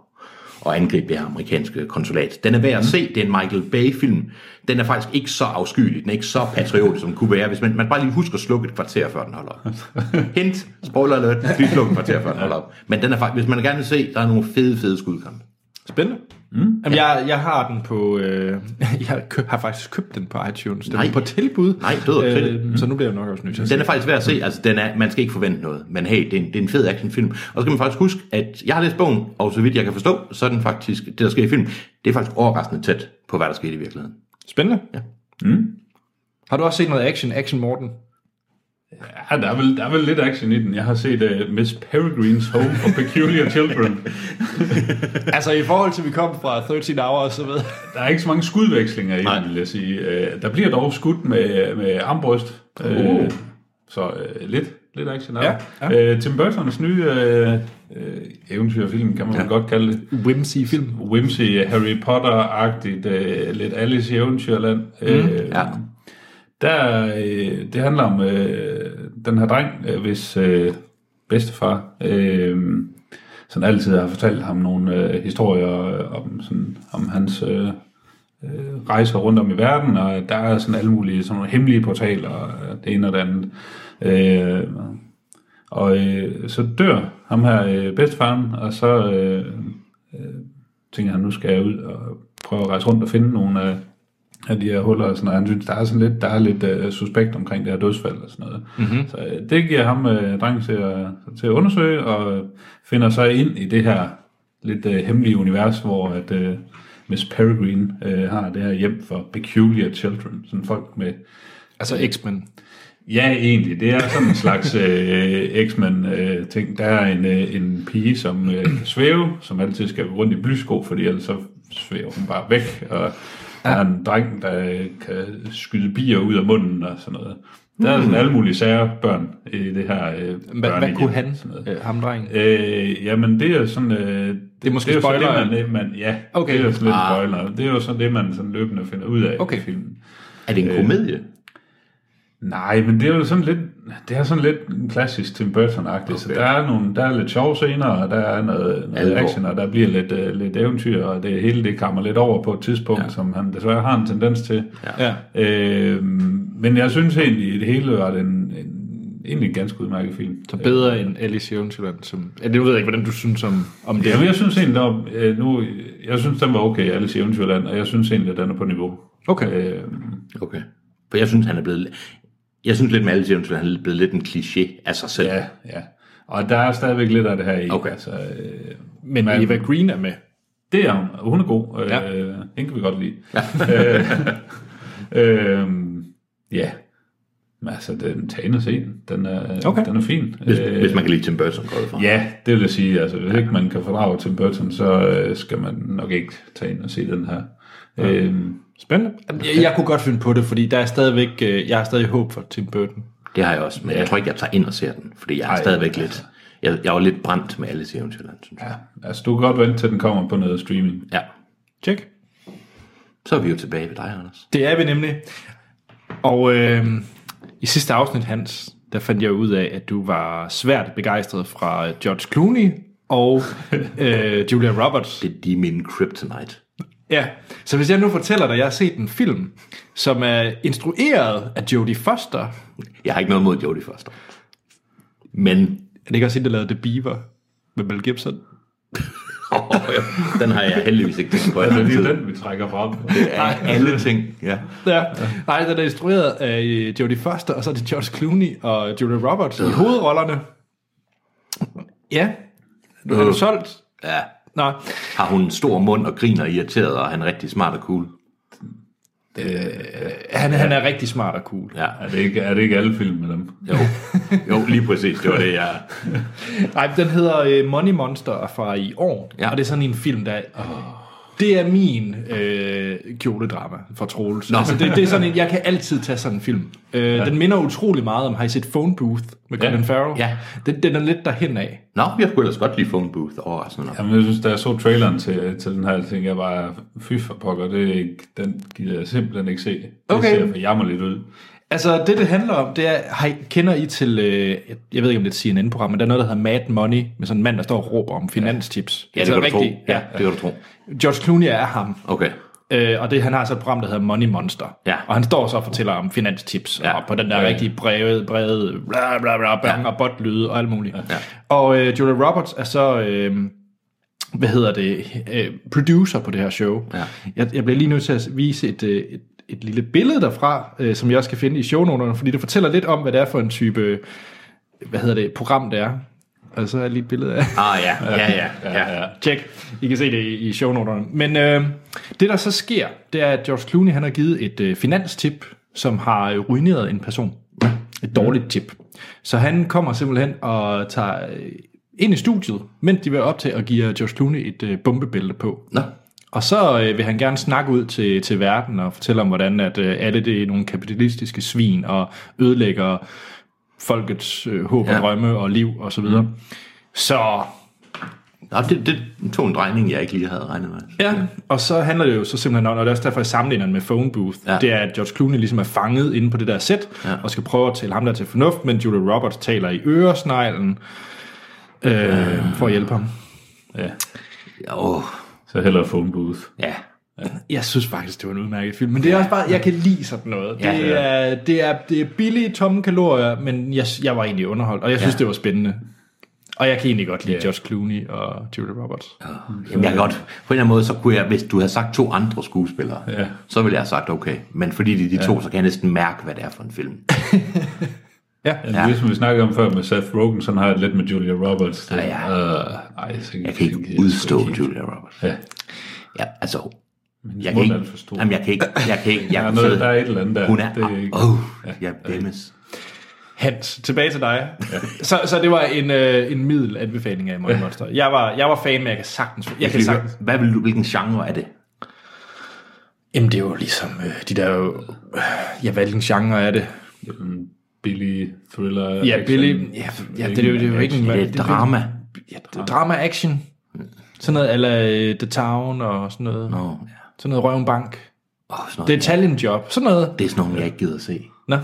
Speaker 2: og angribe det her amerikanske konsulat. Den er værd at se, det er en Michael Bay-film. Den er faktisk ikke så afskyelig, den er ikke så patriotisk, som den kunne være, hvis man, man bare lige husker at slukke et kvarter, før den holder op. Hint, spoiler alert, lige slukke et kvarter, før den holder op. Men den er faktisk, hvis man gerne vil se, der er nogle fede, fede skudkampe.
Speaker 1: Spændende. Mm. Jamen, jeg, jeg har den på... Øh, [laughs] jeg kø, har faktisk købt den på iTunes. Den er
Speaker 2: Nej.
Speaker 1: på tilbud. Øh,
Speaker 2: Nej, død og kredit.
Speaker 1: Så nu bliver jeg nok også nødt til at se.
Speaker 2: Den er faktisk værd at se, altså den er, man skal ikke forvente noget, men hey, det er, en, det er en fed actionfilm. Og så skal man faktisk huske, at jeg har læst bogen, og så vidt jeg kan forstå, så er den faktisk, det der sker i filmen, det er faktisk overraskende tæt på, hvad der skete i virkeligheden.
Speaker 1: Spændende. Ja. Mm. Har du også set noget action? Action Morten?
Speaker 3: Ja, der er, vel, der er vel lidt action i den. Jeg har set uh, Miss Peregrine's Home for Peculiar
Speaker 1: [laughs]
Speaker 3: Children.
Speaker 1: [laughs] altså, i forhold til, vi kom fra 13 Hours og så ved
Speaker 3: Der er ikke så mange skudvekslinger i
Speaker 2: Nej.
Speaker 3: den, vil jeg sige. Øh, der bliver dog skudt med, med armbryst.
Speaker 2: Uh.
Speaker 3: Øh, så øh, lidt, lidt action er
Speaker 1: Ja,
Speaker 3: der. Øh, Tim Burtons nye øh, øh, eventyrfilm, kan man ja. godt kalde det.
Speaker 1: Whimsy film.
Speaker 3: Whimsy, Harry Potter-agtigt, øh, lidt Alice i Eventyrland. Mm. Øh,
Speaker 2: Ja.
Speaker 3: Der, øh, det handler om øh, den her dreng, øh, hvis øh, bedstefar øh, sådan altid har fortalt ham nogle øh, historier øh, om, sådan, om hans øh, øh, rejser rundt om i verden, og der er sådan alle mulige sådan nogle hemmelige portaler, og det ene og det andet. Øh, og øh, så dør ham her øh, bedstefaren, og så øh, tænker han, nu skal jeg ud og prøve at rejse rundt og finde nogle af, af de her huller, og, sådan, og han synes, der er sådan lidt, der er lidt uh, suspekt omkring det her dødsfald og sådan noget. Mm-hmm. Så uh, det giver ham uh, drengen til at, til at undersøge, og finder sig ind i det her lidt uh, hemmelige univers, hvor at, uh, Miss Peregrine uh, har det her hjem for peculiar children, sådan folk med
Speaker 1: Altså X-Men.
Speaker 3: Ja, egentlig. Det er sådan en slags øh, X-Men-ting. der er en, øh, en pige, som øh, kan svæve, som altid skal gå rundt i blysko, fordi ellers så svæver hun bare væk. Og der er en dreng, der øh, kan skyde bier ud af munden og sådan noget. Der er sådan alle mulige sager børn i det her øh,
Speaker 1: Hvad, hvad
Speaker 3: børnehjem,
Speaker 1: Hmm. kunne han,
Speaker 3: Sådan noget.
Speaker 1: øh, ham drengen?
Speaker 3: Øh, jamen, det er jo sådan... Øh, det, det
Speaker 1: er måske
Speaker 3: det er jo så
Speaker 1: spoiler,
Speaker 3: Det, man, det, man, ja,
Speaker 1: Okay.
Speaker 3: det er jo sådan lidt
Speaker 2: Ah.
Speaker 3: spoiler. Det er jo sådan det, man sådan løbende finder ud af
Speaker 1: Okay.
Speaker 3: i filmen.
Speaker 2: Er det en komedie?
Speaker 3: Nej, men det er jo sådan lidt, det er sådan lidt en klassisk Tim Burton-agtigt, okay. så
Speaker 2: Okay.
Speaker 3: der er, nogle, der er lidt sjove scener, og der er noget, noget
Speaker 2: Alvor.
Speaker 3: action, og der bliver lidt, øh, lidt eventyr, og det hele det kommer lidt over på et tidspunkt, ja. som han desværre har en tendens til.
Speaker 1: Ja.
Speaker 3: Øh, men jeg synes egentlig, i det hele var det en, en, egentlig en ganske udmærket film.
Speaker 1: Så bedre end Alice i Eventyrland. Som, ja, det ved jeg ikke, hvordan du synes om, om det.
Speaker 3: Jamen, jeg synes egentlig, der, var- øh, nu, jeg synes, den var okay, Alice i Eventyrland, og jeg synes egentlig, at den er på niveau.
Speaker 1: Okay.
Speaker 3: Øh,
Speaker 2: Okay. For jeg synes, han er blevet... Jeg synes lidt med alle James, at han er blevet lidt en kliché af sig selv.
Speaker 3: ja, ja. Og der er stadigvæk lidt af det her i.
Speaker 2: Okay.
Speaker 3: Altså, øh,
Speaker 1: Men
Speaker 3: Man-
Speaker 1: Eva Green er med.
Speaker 3: Det er hun. og Hun er god.
Speaker 1: Ja.
Speaker 3: Ja. Øh, [laughs] hende kan vi godt lide. Øhm, Ja. øh, øh, ja. Men altså, den tagen og sen, den er,
Speaker 1: Okay.
Speaker 3: okay. den er fin.
Speaker 2: Hvis,
Speaker 3: Øh,
Speaker 2: øh, hvis man kan lide Tim Burton går jeg ud fra.
Speaker 3: Ja, det vil jeg sige. Altså, hvis ikke man kan fordrage Tim Burton, så øh, skal man nok ikke tage ind og se den her. Ja. Øhm,
Speaker 1: Spændende. Jeg, jeg kunne godt finde på det, fordi der er stadigvæk, øh, jeg har stadig håb for Tim Burton.
Speaker 2: Det har jeg også, men jeg tror ikke, jeg tager ind og ser den, fordi jeg er
Speaker 3: Ej,
Speaker 2: stadigvæk lidt... Jeg, jeg var lidt brændt med Alice i Eventyrland, synes jeg.
Speaker 3: ja, altså, du kan godt vente til den kommer på noget streaming.
Speaker 2: Ja.
Speaker 1: Tjek.
Speaker 2: Så er vi jo tilbage ved dig, Anders.
Speaker 1: Det er vi nemlig. Og øh, i sidste afsnit, Hans, der fandt jeg ud af, at du var svært begejstret fra George Clooney [laughs] og øh, Julia Roberts.
Speaker 2: Det er de min kryptonite.
Speaker 1: Ja, så hvis jeg nu fortæller dig, at jeg har set en film, som er instrueret af Jodie Foster.
Speaker 2: Jeg har ikke noget mod Jodie Foster. Men
Speaker 1: Er det ikke også hende, der lavede The Beaver med Mel Gibson?
Speaker 2: oh, den har jeg heldigvis ikke tænkt på. i [laughs]
Speaker 3: Det er
Speaker 2: lang tid.
Speaker 3: lige den, vi trækker frem.
Speaker 2: Det er alle ting. Ja.
Speaker 1: Ja. Nej, den er instrueret af øh, Jodie Foster, og så er det George Clooney og Julia Roberts i hovedrollerne. Ja, du har du solgt.
Speaker 2: ja.
Speaker 1: Nå,
Speaker 2: Har hun en stor mund og griner irriteret, og er han rigtig smart og cool?
Speaker 1: han, han er rigtig smart og cool.
Speaker 2: Ja.
Speaker 3: [laughs] Er det ikke, er det ikke alle film med dem?
Speaker 2: Jo. jo, lige præcis. Det var det, jeg...
Speaker 1: Nej, den hedder uh, Money Monster og er fra i år, ja.
Speaker 2: Ja.
Speaker 1: og det er sådan en film, der... Oh. Det er min øh, kjoledrama for Troels.
Speaker 2: Nå.
Speaker 1: Altså, det, det er sådan en, jeg kan altid tage sådan en film. Øh, ja. Den minder utrolig meget om, har I set Phone Booth med
Speaker 3: Ja.
Speaker 1: Colin Farrell?
Speaker 2: Ja.
Speaker 1: Den, den er lidt derhen af.
Speaker 2: Nå, jeg kunne ellers godt lide Phone Booth overraskende nok.
Speaker 3: Jamen, jeg synes, da jeg så traileren til, til den her, tænkte jeg bare, fy for pokker, det er ikke, den gider jeg simpelthen ikke se. Det
Speaker 1: Okay.
Speaker 3: ser for jammerligt ud.
Speaker 1: Altså, det det handler om, det er, har I, kender I til, øh, jeg- jeg ved ikke om det er et CNN-program, men der er noget, der hedder Mad Money, med sådan en mand, der står og råber om finanstips.
Speaker 2: Ja,
Speaker 3: Altså,
Speaker 2: det kan du tro.
Speaker 1: rigtigt,
Speaker 2: Ja, det kan du tro.
Speaker 1: George Clooney er ham,
Speaker 2: Okay.
Speaker 1: Øh, og det, han har så et program, der hedder Money Monster.
Speaker 2: Ja.
Speaker 1: Og han står så og fortæller om finanstips, ja.
Speaker 2: Ja.
Speaker 1: og på den der ja. rigtig brede, brede, bla bla bla, bang, ja. og botlyde og alt muligt.
Speaker 2: Ja.
Speaker 1: Og øh, Julia Roberts er så, øh, hvad hedder det, øh, producer på det her show.
Speaker 2: Ja.
Speaker 1: Jeg, jeg bliver lige nødt til at vise et, øh, et, et lille billede derfra, øh, som jeg også kan finde i shownoterne, fordi det fortæller lidt om, hvad det er for en type, øh, hvad hedder det, program det er. Og så er lige et billede af...
Speaker 2: Ah, ja. Ja, ja. ja, ja.
Speaker 1: Tjek. I kan se det i i shownoterne. Men øh, det, der så sker, det er, at George Clooney han har givet et øh, finanstip, som har øh, ruineret en person. Et dårligt tip. Så han kommer simpelthen og tager øh, ind i studiet, mens de vil op til at give George Clooney et øh, bombebælte på.
Speaker 2: Nå.
Speaker 1: Og så øh, vil han gerne snakke ud til, til verden og fortælle om, hvordan at, øh, alle det er nogle kapitalistiske svin og ødelægger folkets øh, håb ja. og
Speaker 2: Ja. Mm.
Speaker 1: drømme og liv osv. Og så, videre. så
Speaker 2: Nå, det, det tog en drejning, jeg ikke lige havde regnet med.
Speaker 1: Ja, og så handler det jo så simpelthen om, og det er også derfor, jeg sammenligner den med Phone Booth, ja.
Speaker 2: Ja.
Speaker 1: det er, at George Clooney ligesom er fanget inde på det der sæt, ja.
Speaker 2: Ja.
Speaker 1: og skal prøve at tale ham der til fornuft, men Julia Roberts taler i øresneglen øh, for at hjælpe ham.
Speaker 3: Ja.
Speaker 2: Ja, Åh,
Speaker 3: Så hellere phone booth.
Speaker 2: ja.
Speaker 1: Jeg synes faktisk, det var en udmærket film, men det er også bare, jeg kan lide sådan noget. Det,
Speaker 2: Ja,
Speaker 1: ja,
Speaker 2: det
Speaker 1: er, det, er, det er billige, tomme kalorier, men jeg, jeg var egentlig underholdt, og jeg synes, ja.
Speaker 2: Ja.
Speaker 1: det var spændende. Og jeg kan egentlig godt lide ja.
Speaker 3: Ja.
Speaker 1: George Clooney og Julia Roberts.
Speaker 2: Jamen, jeg kan godt. På en eller anden måde, så kunne jeg, hvis du havde sagt to andre skuespillere,
Speaker 3: Ja.
Speaker 2: så ville jeg have sagt okay. Men fordi det er de ja. to, så kan jeg næsten mærke, hvad det er for en film.
Speaker 3: Ja. Ligesom vi snakkede om før med Seth Rogen, sådan har jeg det lidt med Julia Roberts. Det,
Speaker 2: Ja, Ah, ja.
Speaker 3: Øh, ej, så
Speaker 2: Jeg kan ikke udstå Julia Roberts.
Speaker 3: Ja.
Speaker 2: Ja, altså, jeg kan
Speaker 3: mund er
Speaker 2: ikke,
Speaker 3: alt for stor.
Speaker 2: jamen, jeg kan ikke, jeg kan ikke, jeg
Speaker 3: Der er,
Speaker 2: kan
Speaker 3: noget, der er
Speaker 2: sidde,
Speaker 3: et eller andet der.
Speaker 2: hun er,
Speaker 3: det er ikke,
Speaker 2: åh, oh, jeg dæmmes.
Speaker 1: Hans, tilbage til dig. Ja. Så, så det var en, øh, en middel anbefaling af Money Monster. Jeg var, jeg var fan, men jeg kan sagtens... Jeg, kan
Speaker 2: Jeg kan lige høre,
Speaker 1: sagtens
Speaker 2: hvad vil du, hvilken genre er det?
Speaker 1: jamen, det er jo ligesom øh, de der... Øh, ja, hvilken genre er det?
Speaker 3: en billig thriller.
Speaker 1: Ja,
Speaker 3: action.
Speaker 1: Billy... Ja, ja det, er jo, det er jo ikke en...
Speaker 2: Det er et drama.
Speaker 1: Ja, det er drama action. Sådan noget eller The Town og sådan noget.
Speaker 2: Nå,
Speaker 1: No.
Speaker 2: ja.
Speaker 1: Sådan noget Røven Bank.
Speaker 2: Åh, sådan
Speaker 1: Det
Speaker 2: noget.
Speaker 1: er Talent Job. Sådan noget.
Speaker 2: Det er sådan noget, jeg ikke gider at se.
Speaker 1: Nå,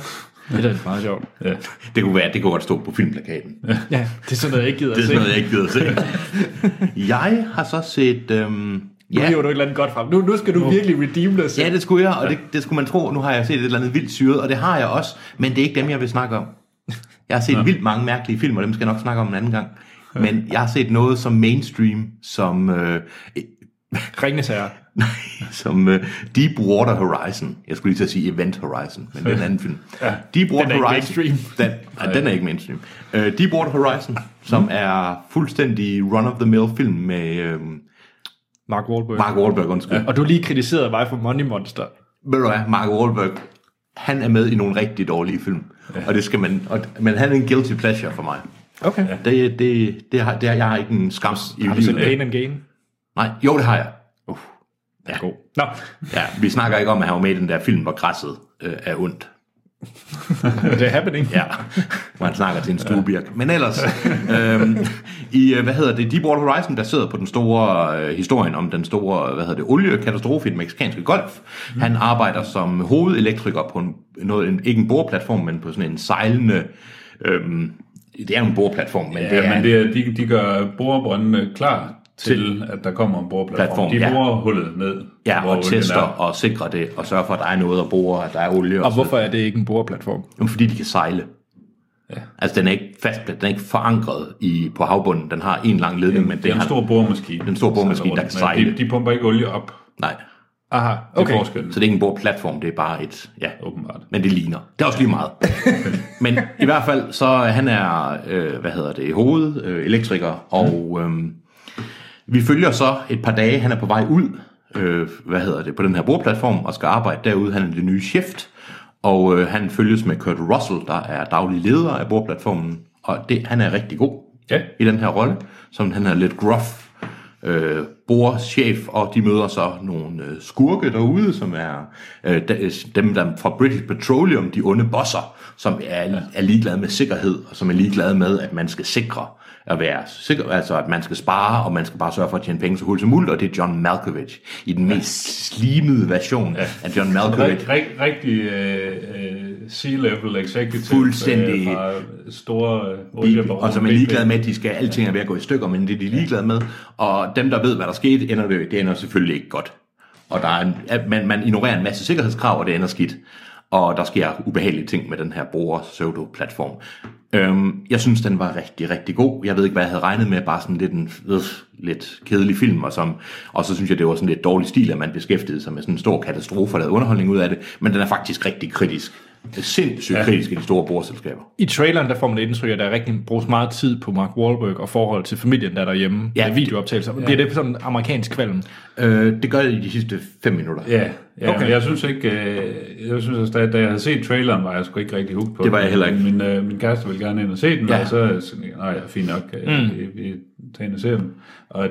Speaker 1: det er da meget sjovt.
Speaker 3: Ja.
Speaker 2: Det kunne være, det kunne godt stå på [laughs] filmplakaten.
Speaker 1: Ja, det er sådan noget, jeg ikke gider
Speaker 2: Det
Speaker 1: at
Speaker 2: er
Speaker 1: se.
Speaker 2: sådan noget, jeg ikke gider at se. [laughs] Jeg har så set... Øhm,
Speaker 1: Nu
Speaker 2: ja,
Speaker 1: hiver du et eller andet godt frem. Nu, nu skal du virkelig redeem dig selv.
Speaker 2: ja, det skulle jeg, og det, det skulle man tro. Nu har jeg set et eller andet vildt syret, og det har jeg også. Men det er ikke dem, jeg vil snakke om. [laughs] Jeg har set ja. vildt mange mærkelige film, og dem skal jeg nok snakke om en anden gang. Men jeg har set noget som mainstream, som, øh,
Speaker 1: Ringnes herre.
Speaker 2: [laughs] som øh, Deep Water Horizon. Jeg skulle lige til at sige Event Horizon, men det er en anden
Speaker 1: [laughs]
Speaker 2: film. ja, Deep Water
Speaker 1: den er ikke
Speaker 2: Horizon.
Speaker 1: mainstream.
Speaker 2: [laughs] Den, nej, den er ikke mainstream. Øh, Deep Water Horizon, som
Speaker 1: Mm.
Speaker 2: er fuldstændig run-of-the-mill film med... Øh,
Speaker 1: Mark Wahlberg.
Speaker 2: Mark Wahlberg, undskyld. Ja.
Speaker 1: Og du lige kritiserede mig for Money Monster.
Speaker 2: Ved du hvad, Mark Wahlberg han er med i nogle rigtig dårlige film. Ja. Og det skal man, og, men han er en guilty pleasure for mig.
Speaker 1: Okay. Ja.
Speaker 2: Det, det, det, har, det har, jeg har ikke en skam i
Speaker 1: Har du set
Speaker 2: livet.
Speaker 1: Pain and Gain?
Speaker 2: Nej, jo, det har jeg. Uh, ja.
Speaker 1: God. Nå, [laughs]
Speaker 2: ja, vi snakker ikke om, at han var med i den der film, hvor græsset øh, er ondt.
Speaker 1: det er happening.
Speaker 2: Ja, hvor han snakker til en stuebirk. Men ellers, øhm, i, øh, hvad hedder det, Deepwater Horizon, baseret på den store øh, historien om den store, hvad hedder det, oliekatastrofe i den meksikanske golf.
Speaker 3: Mm.
Speaker 2: Han arbejder som hovedelektriker på en, noget, en, ikke en boreplatform, men på sådan en sejlende, øhm, det er jo en boreplatform, men det
Speaker 3: Ja,
Speaker 2: er
Speaker 3: men det er, de, de gør borebrøndene klar til, at der kommer en boreplatform.
Speaker 2: Platform,
Speaker 3: De
Speaker 2: ja.
Speaker 3: borer hullet ned,
Speaker 2: Ja,
Speaker 3: hvor
Speaker 2: og
Speaker 3: olien
Speaker 2: tester
Speaker 3: er.
Speaker 2: og sikrer det, og sørger for, at der er noget at bore, at der er olie.
Speaker 1: Og
Speaker 2: Og
Speaker 1: hvorfor er det ikke en boreplatform?
Speaker 2: Jamen, fordi de kan sejle.
Speaker 3: Ja.
Speaker 2: Altså, den er ikke fast, den er ikke forankret i, på havbunden. Den har en lang ledning, men
Speaker 3: Det er en
Speaker 2: har-
Speaker 3: stor boremaskine.
Speaker 2: en stor boremaskine,
Speaker 3: Så er
Speaker 2: der
Speaker 3: rundt.
Speaker 2: kan
Speaker 3: Men
Speaker 2: sejle.
Speaker 3: De, de pumper ikke olie op.
Speaker 2: Nej,
Speaker 1: Aha,
Speaker 3: Det er
Speaker 1: okay.
Speaker 3: forskellen,
Speaker 2: så det er ikke en boreplatform, det er bare et... Ja,
Speaker 3: åbenbart.
Speaker 2: men det ligner. Det er også lige
Speaker 3: [laughs]
Speaker 2: meget. men i hvert fald, så han er, øh, hvad hedder det, hovedelektriker, øh, elektriker, og øh, vi følger så et par dage, han er på vej ud, øh, hvad hedder det, på den her boreplatform, og skal arbejde derude, han er det nye chef, og øh, han følges med Kurt Russell, der er daglig leder af boreplatformen, og det, han er rigtig god
Speaker 3: Ja.
Speaker 2: i den her rolle, som han er lidt gruff øh, borchef, og de møder så nogle øh, skurke derude, som er øh, de- dem der fra British Petroleum, de onde bosser, som er, er ligeglade med sikkerhed, og som er ligeglade med, at man skal sikre at være sikker, altså at man skal spare, og man skal bare sørge for at tjene penge så hurtigt som muligt, og det er John Malkovich i den mest slimede version af John Malkovich.
Speaker 3: Rig, rig, rigtig øh, øh, C-level executive.
Speaker 2: Fuldstændig.
Speaker 3: Øh, fra store øh,
Speaker 2: Bibel,
Speaker 3: oliebaroner.
Speaker 2: og som altså, er ligeglade med, at de skal, alting er ved at gå i stykker, men det er de ligeglade med. Og dem, der ved, hvad der skete, ender det, det ender selvfølgelig ikke godt. Og der er en, at man, man ignorerer en masse sikkerhedskrav, og det ender skidt. Og der sker ubehagelige ting med den her bruger pseudo platform øhm, Jeg synes, den var rigtig, rigtig god. Jeg ved ikke, hvad jeg havde regnet med. Bare sådan lidt en øh, lidt kedelig film. Og, som, og så synes jeg, det var sådan lidt dårlig stil, at man beskæftigede sig med sådan en stor katastrofe og lavede underholdning ud af det. Men den er faktisk rigtig kritisk. Sindssygt ja. kritisk i de store borselskaber.
Speaker 1: I traileren, der får man det indtryk, at der rigtig bruges meget tid på Mark Wahlberg og forhold til familien, der er derhjemme.
Speaker 2: Ja.
Speaker 1: Ja. Med videooptagelser. Ja. Bliver det sådan en amerikansk kvalm?
Speaker 2: Øh, det gør jeg i de sidste 5 minutter.
Speaker 3: Ja, ja
Speaker 1: Okay.
Speaker 3: okay. jeg synes ikke, øh, jeg synes, at da- da jeg havde set traileren, var jeg sgu ikke rigtig hooked på
Speaker 2: Det var jeg heller ikke.
Speaker 3: Min, øh, min kæreste ville gerne ind og se den,
Speaker 2: Ja.
Speaker 3: ja. og så sådan, nej, ja, fint nok, mm. vi, vi tager ind og ser den. Og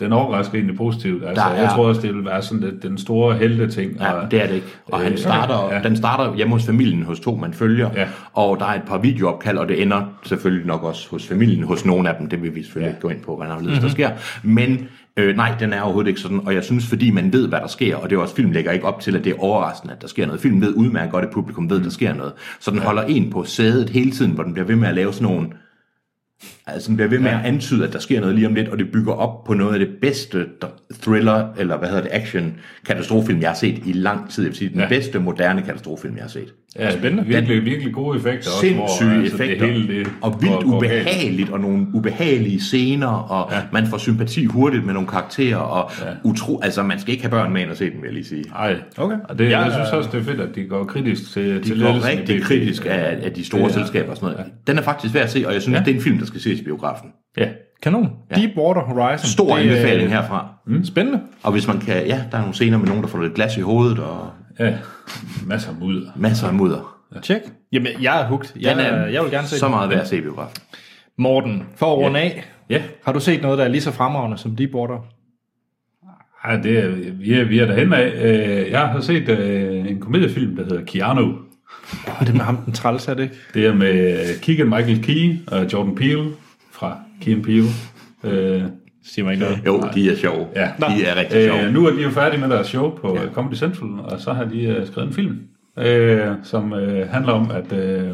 Speaker 3: den overrasker egentlig positivt. Altså,
Speaker 2: Der er-
Speaker 3: Jeg tror også, det vil være sådan lidt den store helte-ting.
Speaker 2: Ja,
Speaker 3: og,
Speaker 2: det er det ikke. Og han
Speaker 3: Øh,
Speaker 2: starter, ja.
Speaker 3: ja.
Speaker 2: den starter hjemme hos familien, hos to, man følger.
Speaker 3: Ja.
Speaker 2: Og der er et par videoopkald, og det ender selvfølgelig nok også hos familien, hos nogle af dem. Det vil vi selvfølgelig
Speaker 3: Ja.
Speaker 2: ikke gå ind på, hvordan mm-hmm. der sker. Men øh, nej, den er overhovedet ikke sådan. Og jeg synes, fordi man ved, hvad der sker, og det er også, film lægger ikke op til, at det er overraskende, at der sker noget. Film ved udmærket godt, at publikum ved, at der sker noget. Så den holder en på sædet hele tiden, hvor den bliver ved med at lave sådan nogle Altså, den bliver ved med at antyde, at der sker noget lige om lidt, og det bygger op på noget af det bedste dr- thriller, eller hvad hedder det, action katastrofefilm, jeg har set i lang tid. Jeg vil sige, den ja.
Speaker 3: Ja.
Speaker 2: bedste moderne katastrofefilm, jeg har set.
Speaker 3: ja,
Speaker 1: spændende.
Speaker 3: Virkelig, virkelig gode effekter. også, hvor,
Speaker 2: Sindssyge
Speaker 3: altså, det
Speaker 2: effekter,
Speaker 3: hele det
Speaker 2: og vildt
Speaker 3: går- går galt.
Speaker 2: ubehageligt, og nogle ubehagelige scener, og ja. man får sympati hurtigt med nogle karakterer, og ja. utro, altså man skal ikke have børn med ind og se den, vil jeg lige sige.
Speaker 3: Ej,
Speaker 1: Okay.
Speaker 3: Og det,
Speaker 1: Ja,
Speaker 3: ja, jeg synes også, det er fedt, at de går kritisk til, de
Speaker 2: De
Speaker 3: til
Speaker 2: er
Speaker 3: ledelsen. i
Speaker 2: rigtig
Speaker 3: BP.
Speaker 2: kritisk af, af de store
Speaker 3: Ja.
Speaker 2: selskaber og sådan noget. Den er faktisk værd at se, og jeg synes, ja. det er en film, der skal ses i biografen.
Speaker 3: Ja.
Speaker 1: Kanon. Ja. Deepwater Horizon.
Speaker 2: Stor
Speaker 1: Det er-
Speaker 2: anbefaling herfra.
Speaker 1: Mm. Spændende.
Speaker 2: Og hvis man kan, ja, der er nogle scener med nogen, der får lidt glas i hovedet, og
Speaker 3: ja. Masser af mudder.
Speaker 2: masser af mudder.
Speaker 1: øh, Tjek. Jamen, jeg er hooked. Jeg,
Speaker 2: Den er
Speaker 1: er, jeg vil gerne se
Speaker 2: så
Speaker 1: den.
Speaker 2: meget værd at se i biografen.
Speaker 1: Morten, for at runde af,
Speaker 3: Ja,
Speaker 1: har du set noget, der er lige så fremragende som Deepwater?
Speaker 3: Ej, det er, vi er, vi er derhen af. Øh, Jeg har set øh, en komediefilm, der hedder Keanu.
Speaker 1: Oh, det er med ham, den træls er det ikke?
Speaker 3: Det er med øh, Keegan Michael Key og Jordan Peele fra Key and Peele. Øh,
Speaker 1: Siger mig ikke noget.
Speaker 2: Jo, de er sjove.
Speaker 3: Ja.
Speaker 2: De er rigtig sjove.
Speaker 3: øh, nu er de jo færdige med deres show på ja. Comedy Central, og så har de øh, skrevet en film, øh, som øh, handler om, at øh,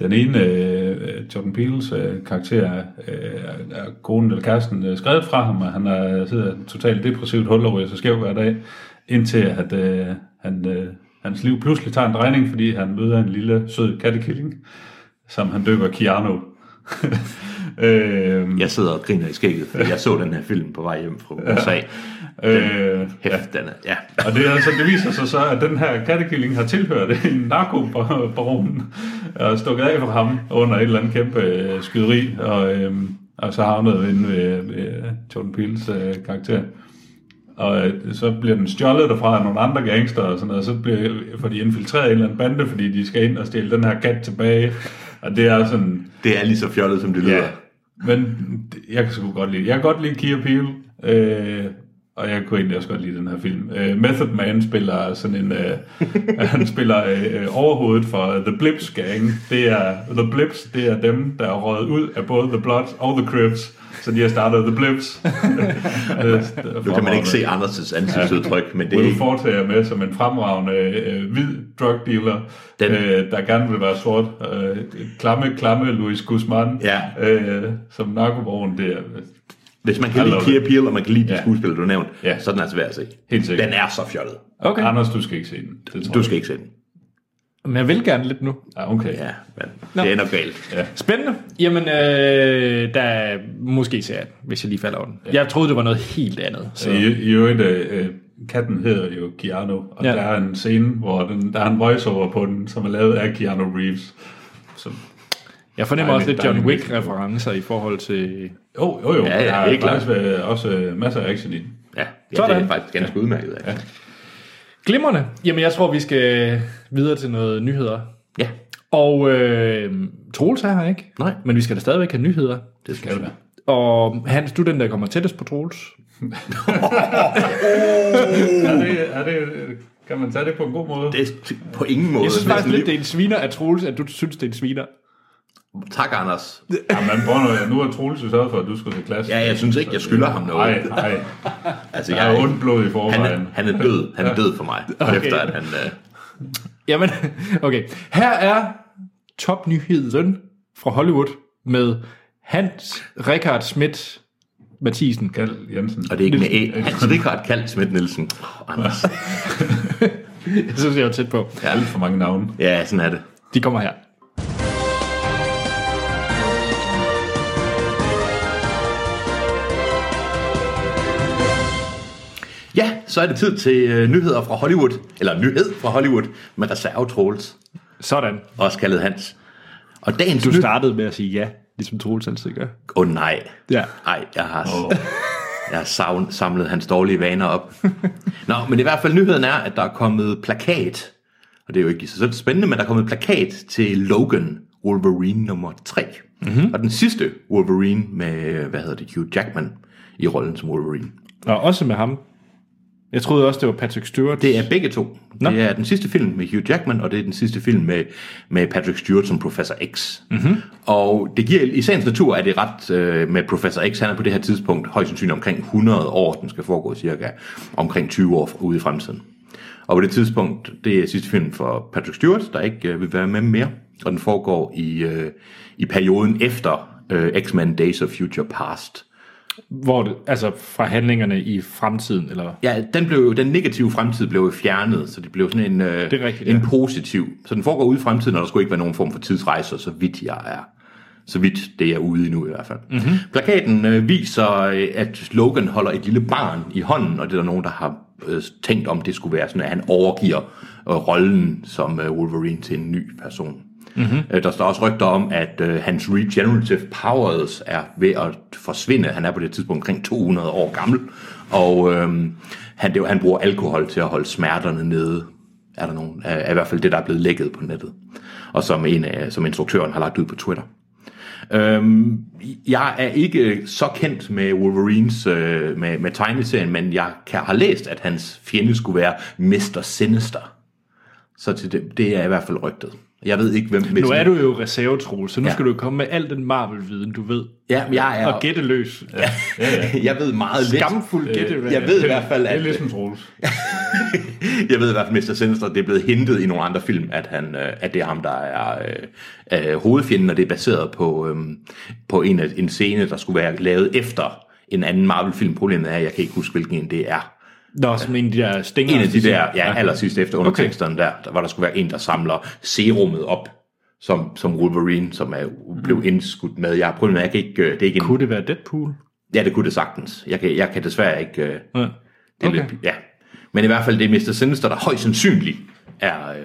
Speaker 3: den ene, øh, Jordan Peeles øh, karakter, øh, er- er konen eller kæresten øh, skrevet fra ham, og han er, sidder totalt depressivt hul over så skæv hver dag, indtil at øh, han, øh, hans liv pludselig tager en drejning, fordi han møder en lille sød kattekilling, som han døber Keanu. [laughs] øh,
Speaker 2: Jeg sidder og griner i skægget, fordi jeg så den her film på vej hjem fra USA.
Speaker 3: øh,
Speaker 2: Hæft, den er, ja.
Speaker 3: Og det, er altså, det viser sig så, at den her kattekilling har tilhørt en narkobaron og stukket af fra ham under et eller andet kæmpe øh, skyderi, øhm, og, øh, og så havnet inde ved, ved Jordan Peels øh, karakter. og øh, så bliver den stjålet derfra af nogle andre gangster og sådan noget, og så bliver, får de infiltreret i en eller anden bande, fordi de skal ind og stjæle den her kat tilbage, og det er sådan,
Speaker 2: Det er lige så fjollet, som det lyder.
Speaker 3: ja, men det- jeg kan sgu godt lide, jeg kan godt lide Key Peele, øh, og jeg kunne egentlig også godt lide den her film. Øh, Method Man spiller sådan en, øh, [laughs] han spiller øh, øh, overhovedet for The Blips Gang, det er, The Blips, det er dem, der er røget ud af både The Bloods og The Crips, så de har startet The Blips. [laughs]
Speaker 2: Nu kan man ikke se Anders' ansigtsudtryk, men det er
Speaker 3: Will
Speaker 2: ikke...
Speaker 3: Forte er med som en fremragende øh, hvid drug dealer,
Speaker 2: Den-
Speaker 3: øh, der gerne vil være sort. Øh, klamme, klamme Luis Guzman
Speaker 2: Ja.
Speaker 3: øh, som narkobaron. Det er
Speaker 2: Hvis man
Speaker 3: I
Speaker 2: kan lide
Speaker 3: love
Speaker 2: Key Peele, og man kan lide de
Speaker 3: Ja.
Speaker 2: skuespillere, du har nævnt,
Speaker 3: Ja.
Speaker 2: så er den altså værd at se.
Speaker 3: helt sikkert.
Speaker 2: Den er så fjollet.
Speaker 1: Okay.
Speaker 3: Anders, du skal ikke se den. Det tror
Speaker 2: Du skal ikke se den.
Speaker 1: Men jeg vil gerne lidt nu.
Speaker 3: Jeg. Ja, okay.
Speaker 2: Ja, men det ender galt.
Speaker 1: Spændende. Jamen, øh, der måske ser jeg den, hvis jeg lige falder over den. Jeg troede, det var noget helt andet. Så.
Speaker 3: I, I øvrigt, øh, øh, katten hedder jo Keanu, og
Speaker 1: Ja.
Speaker 3: ja. der er en scene, hvor den, der er en voiceover på den, som er lavet af Keanu Reeves. Så,
Speaker 1: Jeg fornemmer
Speaker 3: Dejligt,
Speaker 1: også lidt
Speaker 3: dejligt.
Speaker 1: John Wick-referencer i forhold til...
Speaker 3: jo, jo, jo.
Speaker 2: Ja, ja,
Speaker 3: der er
Speaker 2: helt klart.
Speaker 3: faktisk øh, også øh, masser af action i den.
Speaker 2: Ja, ja det
Speaker 1: Sådan.
Speaker 2: er faktisk ganske udmærket. altså. Ja.
Speaker 1: Glimrende. Jamen, jeg tror, vi skal videre til noget nyheder.
Speaker 2: ja,
Speaker 1: Og øh, Troels er her, ikke?
Speaker 2: Nej.
Speaker 1: Men vi skal da stadigvæk have nyheder.
Speaker 2: det skal du.
Speaker 1: Og Hans, du er den, der kommer tættest på Troels.
Speaker 3: Er det, er det, kan man tage det på en god måde?
Speaker 2: Det er på ingen måde.
Speaker 1: Jeg synes
Speaker 2: næsten
Speaker 1: faktisk lidt,
Speaker 2: lige-
Speaker 1: det er en sviner af Troels, at du synes, det er en sviner.
Speaker 2: Tak, Anders.
Speaker 3: Jamen, Bono, nu har Troels jo sørget for, at du skulle til klasse.
Speaker 2: Ja, jeg synes ikke, jeg skylder ham noget.
Speaker 3: Nej, nej.
Speaker 2: Altså,
Speaker 3: Der
Speaker 2: jeg er
Speaker 3: er
Speaker 2: ikke,
Speaker 3: ondt blod i
Speaker 2: han,
Speaker 3: forvejen.
Speaker 2: er- han er død. Han er død for
Speaker 1: [laughs]
Speaker 2: mig. Okay. Efter at han... Øh,
Speaker 1: Jamen, [laughs] okay. Her er topnyheden fra Hollywood med Hans Richard Schmidt Mathisen. [laughs]
Speaker 3: Kald Jensen.
Speaker 2: og det er ikke med æ. Han, så det er ikke ret kaldt, Smidt Nielsen. Oh, Anders.
Speaker 1: Jeg synes, jeg var tæt på.
Speaker 3: Der er alt for mange navne.
Speaker 2: [laughs] Ja, sådan er det.
Speaker 1: De kommer her.
Speaker 2: Ja, så er det tid til øh, nyheder fra Hollywood. Eller nyhed fra Hollywood med reservetråls.
Speaker 1: Sådan.
Speaker 2: Også kaldet Hans. Og dagens
Speaker 1: Du
Speaker 2: nyt-
Speaker 1: startede med at sige ja, ligesom Troels altid gør.
Speaker 2: Åh oh, nej.
Speaker 1: Ja.
Speaker 2: Nej, jeg har,
Speaker 3: Åh.
Speaker 2: [laughs] jeg har savn, samlet hans dårlige vaner op. Nå, men i hvert fald nyheden er, at der er kommet plakat. Og det er jo ikke i sig selv spændende, men der er kommet plakat til Logan, Wolverine nummer 3. Mm-hmm. Og den sidste Wolverine med, hvad hedder det, Hugh Jackman i rollen som Wolverine.
Speaker 1: Og også med ham. Jeg troede også, det var Patrick Stewart.
Speaker 2: Det er begge to.
Speaker 1: Nå.
Speaker 2: Nå. Det er den sidste film med Hugh Jackman, og det er den sidste film med, med Patrick Stewart som Professor X. Mm-hmm. Og det giver i sagens natur, at det er ret øh, med Professor X. Han er på det her tidspunkt højst sandsynligt omkring 100 år. Den skal foregå cirka omkring 20 år ude i fremtiden. Og på det tidspunkt, det er sidste film for Patrick Stewart, der ikke øh, vil være med mere. Og den foregår i, øh, i perioden efter øh, X-Men Days of Future Past.
Speaker 1: Hvor det, altså fra handlingerne i fremtiden, eller...
Speaker 2: Ja, den, blev, den negative fremtid blev jo fjernet, så det blev sådan en, øh,
Speaker 1: Det er rigtigt,
Speaker 2: en
Speaker 1: ja.
Speaker 2: positiv. Så den foregår ude i fremtiden, og der skulle ikke være nogen form for tidsrejser, så vidt jeg er. Så vidt det er ude i nu i hvert fald. Mm-hmm. Plakaten øh, viser, øh, at Logan holder et lille barn i hånden, og det er der nogen, der har øh, tænkt om, det skulle være sådan, at han overgiver øh, rollen som øh, Wolverine til en ny person. Mm-hmm. Øh, der står også rygter om, at øh, hans regenerative powers er ved at forsvinde. Han er på det tidspunkt omkring 200 år gammel, og øh, han, det, han bruger alkohol til at holde smerterne nede er der nogen, øh, er, er i hvert fald det, der er blevet lækket på nettet, og som, en af, som instruktøren har lagt ud på Twitter. Øhm, jeg er ikke så kendt med Wolverines, øh, med, med tegneserien, men jeg kan, har læst, at hans fjende skulle være Mr. Sinister. Så til det, det er i hvert fald rygtet. Jeg ved ikke, hvem...
Speaker 1: Nu er du jo reservetrol, så nu
Speaker 2: Ja.
Speaker 1: ja. skal du jo komme med al den Marvel-viden, du ved.
Speaker 2: Ja, men jeg er...
Speaker 1: Og gætte løs. Ja.
Speaker 2: [laughs] jeg ved meget lidt. Øh,
Speaker 1: Skamfuld gætte.
Speaker 2: Jeg ved i hvert fald,
Speaker 3: Det er
Speaker 2: at...
Speaker 3: ligesom Troels.
Speaker 2: Jeg ved i hvert fald, Mr. Sinister, det er blevet hentet i nogle andre film, at, han, øh, at det er ham, der er øh, øh, hovedfjenden, og det er baseret på, øh, på en, af- en scene, der skulle være lavet efter en anden Marvel-film. Problemet er, at jeg kan ikke huske, hvilken en det er.
Speaker 1: Nå, som en af de der stinger.
Speaker 2: En af de
Speaker 1: altså,
Speaker 2: der, ja, allersidst efter underteksterne der, der, hvor der skulle være en, der samler serummet op, som, som Wolverine, som er, blev indskudt med. Jeg har prøvet, jeg kan ikke, øh, det er ikke en,
Speaker 1: Kunne det være Deadpool?
Speaker 2: ja, det kunne det sagtens. Jeg kan, jeg kan desværre ikke, øh,
Speaker 1: Ja.
Speaker 2: det er
Speaker 1: Okay.
Speaker 2: okay. lidt, ja. Men i hvert fald, det er Mr. Sinister, der højst sandsynligt er, øh,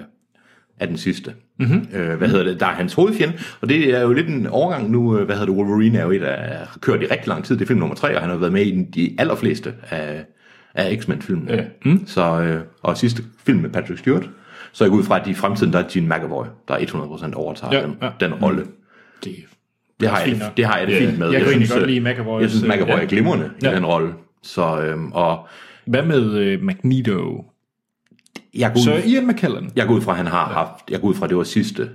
Speaker 2: er den sidste.
Speaker 1: Mhm.
Speaker 2: Mm-hmm. Øh, hvad hedder det? Der er hans hovedfjende, og det er jo lidt en overgang nu. øh, Hvad hedder det? Wolverine er jo et, der har kørt i rigtig lang tid. Det er film nummer tre, og han har været med i den- de allerfleste af, af X-Men-filmen.
Speaker 3: Ja.
Speaker 2: Mm. Så, øh, og sidste film med Patrick Stewart. Så jeg går ud fra, at i fremtiden, der er Gene McAvoy, der 100% overtager
Speaker 1: Ja,
Speaker 2: den,
Speaker 1: ja.
Speaker 2: den rolle.
Speaker 1: Det,
Speaker 2: Det har, jeg,
Speaker 1: fint
Speaker 2: det,
Speaker 1: nok.
Speaker 2: det har jeg det
Speaker 3: Ja.
Speaker 2: fint med.
Speaker 1: jeg, jeg kunne egentlig
Speaker 2: synes,
Speaker 1: godt
Speaker 2: øh,
Speaker 1: lide McAvoy.
Speaker 2: Jeg synes, McAvoy er glimrende ja.
Speaker 1: Ja.
Speaker 2: i den rolle. Så, øhm, og
Speaker 1: Hvad med øh, Magneto?
Speaker 2: jeg går,
Speaker 1: Så
Speaker 2: ud,
Speaker 1: Ian McKellen.
Speaker 2: jeg går ud fra, at han har haft... Jeg går ud fra, at det var sidste.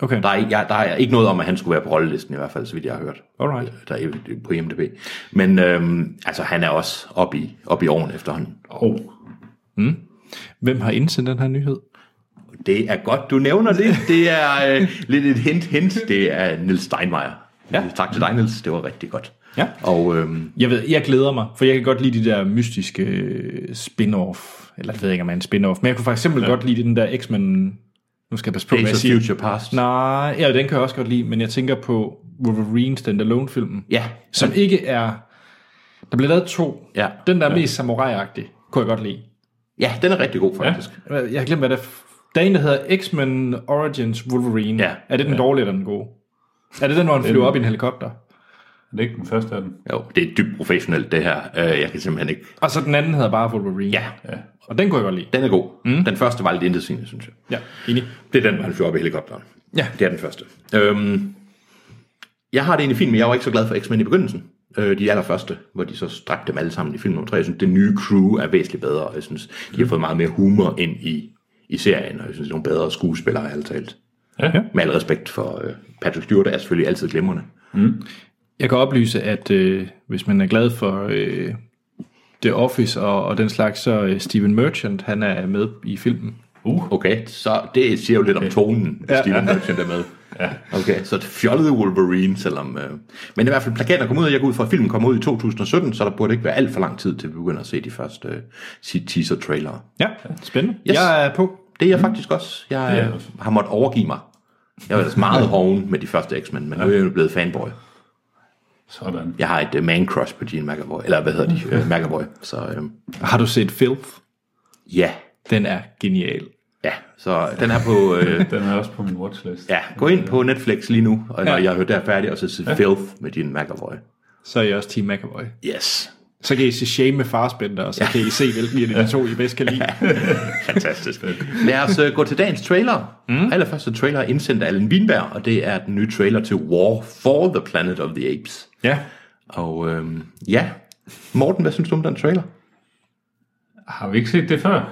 Speaker 1: Okay,
Speaker 2: Der er, ikke- jeg, der er ikke noget om, at han skulle være på rollelisten i hvert fald, så vidt jeg har hørt. Øh,
Speaker 1: alright.
Speaker 2: Der er på IMDb. Men øhm, altså, han er også oppe i, op i åren efterhånden.
Speaker 3: Oh.
Speaker 1: Hvem har indsendt den her nyhed?
Speaker 2: Det er godt, du nævner det. Det er øh,
Speaker 1: [laughs]
Speaker 2: lidt et hint, hint. Det er Nils Steinmeier. Ja. Tak til dig, Nils. Det var rigtig godt.
Speaker 1: Ja.
Speaker 2: Og øhm,
Speaker 1: Jeg ved, jeg glæder mig, for jeg kan godt lide de der mystiske øh, spin-off. Eller jeg ved ikke, om man er en spin-off, men jeg kunne for eksempel ja. godt lide den der X-Men... Nu skal jeg passe på, hvad jeg
Speaker 2: Days of
Speaker 1: siger.
Speaker 2: Future Past.
Speaker 1: Nej, ja, den kan jeg også godt lide, men jeg tænker på Wolverine Standalone-filmen,
Speaker 2: Ja.
Speaker 1: som ikke er... Der blev lavet to.
Speaker 2: Ja.
Speaker 1: Den, der er mest samurai-agtig, kunne jeg godt lide.
Speaker 2: ja, den er rigtig god faktisk. Ja.
Speaker 1: Hvad- Jeg har glemt, hvad det er. f- Der er en, der hedder X-Men Origins Wolverine.
Speaker 2: Ja.
Speaker 1: Er det den ja. dårlige eller den gode? Er det den, hvor han flyver op i en helikopter?
Speaker 3: Er det ikke den første af dem?
Speaker 2: Jo, det er dybt professionelt det her. Øh, jeg kan simpelthen ikke...
Speaker 1: Og så den anden hedder bare Wolverine.
Speaker 2: Ja,
Speaker 1: Og den kunne jeg godt lide.
Speaker 2: den er god. Mm. Den første var lidt intetsigende, synes jeg.
Speaker 1: Ja, enig.
Speaker 2: Det er den, hvor han flyver op i helikopteren.
Speaker 1: Ja.
Speaker 2: Det er den første. Øhm, jeg har det egentlig fint, men jeg var ikke så glad for X-Men i begyndelsen. Øh, de allerførste, hvor de så dræbte dem alle sammen i film nummer 3. Jeg synes, det nye crew er væsentligt bedre, og jeg synes, de har fået meget mere humor ind i, i serien, og jeg synes, det er nogle bedre skuespillere, alt talt.
Speaker 3: Ja. ja.
Speaker 2: Med al respekt for øh, Patrick Stewart, er selvfølgelig altid glimrende.
Speaker 1: Jeg kan oplyse, at øh, hvis man er glad for øh, The Office og, og den slags, så øh, Steven Merchant, han er med i filmen.
Speaker 3: Uh.
Speaker 2: Okay, så det siger jo lidt om tonen, ja. Steven Merchant er med. Ja. Okay, så det fjollede Wolverine, selvom... Øh, men i hvert fald plakaten kom ud, og jeg går ud fra, at filmen kommer ud i 2017, så der burde ikke være alt for lang tid, til vi begynder at se de første øh, teaser-trailere.
Speaker 1: Ja, spændende.
Speaker 2: Yes.
Speaker 1: Yes. Jeg er på.
Speaker 2: Det Mm. er jeg faktisk også. Jeg
Speaker 3: er
Speaker 2: øh, har måttet overgive mig. Jeg var ellers meget hoven med de første X-Men, men nu er jeg jo blevet fanboy.
Speaker 3: Sådan.
Speaker 2: Jeg har et øh, man-crush på Gene McAvoy, eller hvad hedder de? Øh, McAvoy. Så øh,
Speaker 1: Har du set Filth?
Speaker 2: ja,
Speaker 1: Den er genial.
Speaker 2: ja. Så den er på... Øh,
Speaker 3: Den er også på min watchlist.
Speaker 2: Ja, gå ind på Netflix lige nu, og når
Speaker 1: Ja.
Speaker 2: jeg har hørt der færdig, og så se Filth med din McAvoy.
Speaker 1: Så er jeg også Team McAvoy.
Speaker 2: Yes.
Speaker 1: Så kan I se Shame med Farsbender, og så kan I se, hvilken af de to, I bedst kan lide.
Speaker 2: Fantastisk. [laughs] Lad os uh, gå til dagens trailer. Mm. Allerførste trailer er indsendt af Allen Wienberg, og det er den nye trailer til War for the Planet of the Apes.
Speaker 1: [laughs] Ja.
Speaker 2: Og øhm, ja, Morten, hvad synes du om den trailer?
Speaker 3: Har vi ikke set det før?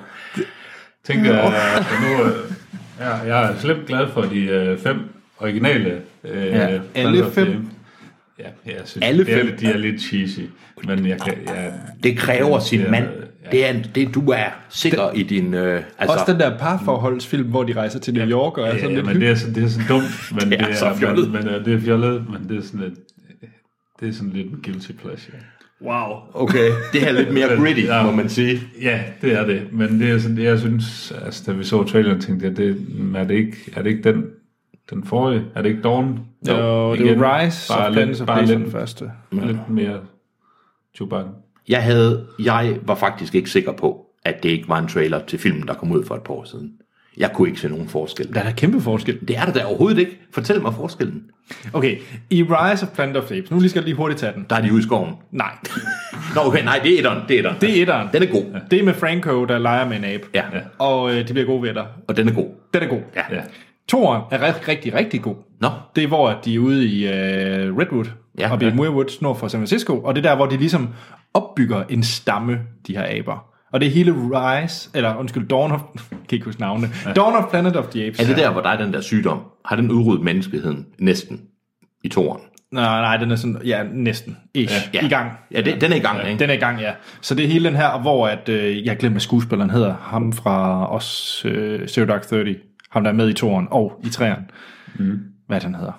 Speaker 3: Tænker jeg, at nu... øh, Ja, jeg er slemt glad for de øh, fem originale. Øh, ja,
Speaker 1: alle fem.
Speaker 3: Ja, jeg synes,
Speaker 2: Alle
Speaker 3: alle fem.
Speaker 2: fem.
Speaker 3: Det er, de er lidt cheesy, men jeg kan... Jeg,
Speaker 2: Det kræver sin
Speaker 3: Det er-
Speaker 2: mand.
Speaker 3: ja.
Speaker 2: Det er, en- det, du er sikker i din... Øh, altså,
Speaker 1: Også den der parforholdsfilm, hvor de rejser til New York og er sådan
Speaker 3: ja,
Speaker 1: lidt
Speaker 3: men det er, så, det er så dumt,
Speaker 2: [laughs]
Speaker 3: men det
Speaker 2: er
Speaker 3: er,
Speaker 2: så fjollet.
Speaker 3: Men, men, øh, det er fjollet, men det er sådan lidt... Det er sådan lidt en guilty pleasure.
Speaker 1: Wow.
Speaker 2: okay, det her er lidt mere gritty,
Speaker 3: Ja.
Speaker 2: må man sige.
Speaker 3: Ja, det er det. Men det er sådan, det, jeg synes, altså, da vi så traileren, tænkte jeg, det, mm, er, det ikke, er det ikke den, den forrige? Er det ikke Dawn?
Speaker 1: Jo, jo det
Speaker 3: igen,
Speaker 1: var Rise
Speaker 3: bare
Speaker 1: bare of Planets
Speaker 3: lidt,
Speaker 1: of
Speaker 3: bare
Speaker 1: Please var den
Speaker 3: lidt,
Speaker 1: første.
Speaker 3: lidt mere Chewbacca.
Speaker 2: Jeg, havde, jeg var faktisk ikke sikker på, at det ikke var en trailer til filmen, der kom ud for et par år siden. Jeg kunne ikke se nogen forskel.
Speaker 1: Der er da kæmpe forskel.
Speaker 2: Det er der da overhovedet ikke. Fortæl mig forskellen.
Speaker 1: Okay, i Rise of Planet of the Apes, nu lige skal jeg lige hurtigt tage den.
Speaker 2: Der er de ude i skoven.
Speaker 1: Nej,
Speaker 2: Nå, okay, nej, det er etteren. Det er etteren.
Speaker 1: det er etteren.
Speaker 2: Den er god.
Speaker 1: Det er med Franco, der leger med en abe.
Speaker 2: Ja. ja,
Speaker 3: Ja.
Speaker 1: Og øh, de bliver gode venner.
Speaker 2: og den er god.
Speaker 1: Den er god.
Speaker 2: Ja.
Speaker 3: Ja.
Speaker 1: Toren er rigtig, rigtig, rigtig god.
Speaker 2: Nå,
Speaker 1: Det er, hvor at de er ude i øh, Redwood,
Speaker 2: Ja.
Speaker 1: ja, og i ja. Muirwoods nord for San Francisco, og det er der, hvor de ligesom opbygger en stamme, de her aber. Og det er hele Rise, eller undskyld, Dawn of, [laughs] jeg kan ikke huske navnene, ja. Dawn of Planet of the Apes.
Speaker 2: er det der, hvor der er den der sygdom? Har den udryddet menneskeheden næsten i toren?
Speaker 1: Nej, nej, den er sådan, ja, næsten, ish, ja. i gang.
Speaker 2: Ja, det, den er i gang, ja. ikke?
Speaker 1: Den er i gang, ja. Så det er hele den her, hvor at, øh, jeg glemmer, hvad skuespilleren hedder, ham fra os, øh, Zero Dark Thirty, ham der er med i toren og i træeren. Mm. Hvad er det, han hedder?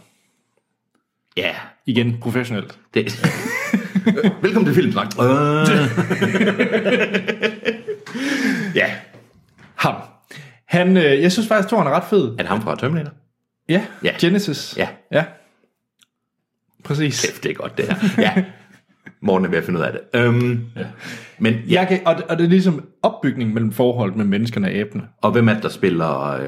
Speaker 2: Ja.
Speaker 1: Igen, professionelt.
Speaker 2: Det. [laughs] Velkommen til Filmsnak. Øh. [laughs] ja,
Speaker 1: Ham. Han, øh, jeg synes faktisk, toren er ret fed.
Speaker 2: er det ham fra Terminator?
Speaker 1: Ja,
Speaker 2: Ja.
Speaker 1: Genesis.
Speaker 2: Ja.
Speaker 1: ja. Præcis.
Speaker 2: Kæft, det er godt, det her. Ja. Morgen er ved at finde ud af det. Øhm, ja. Men ja,
Speaker 1: Jeg kan, og, og det er ligesom opbygningen mellem forholdet mellem menneskerne og æbene.
Speaker 2: og hvem er det, der spiller øh,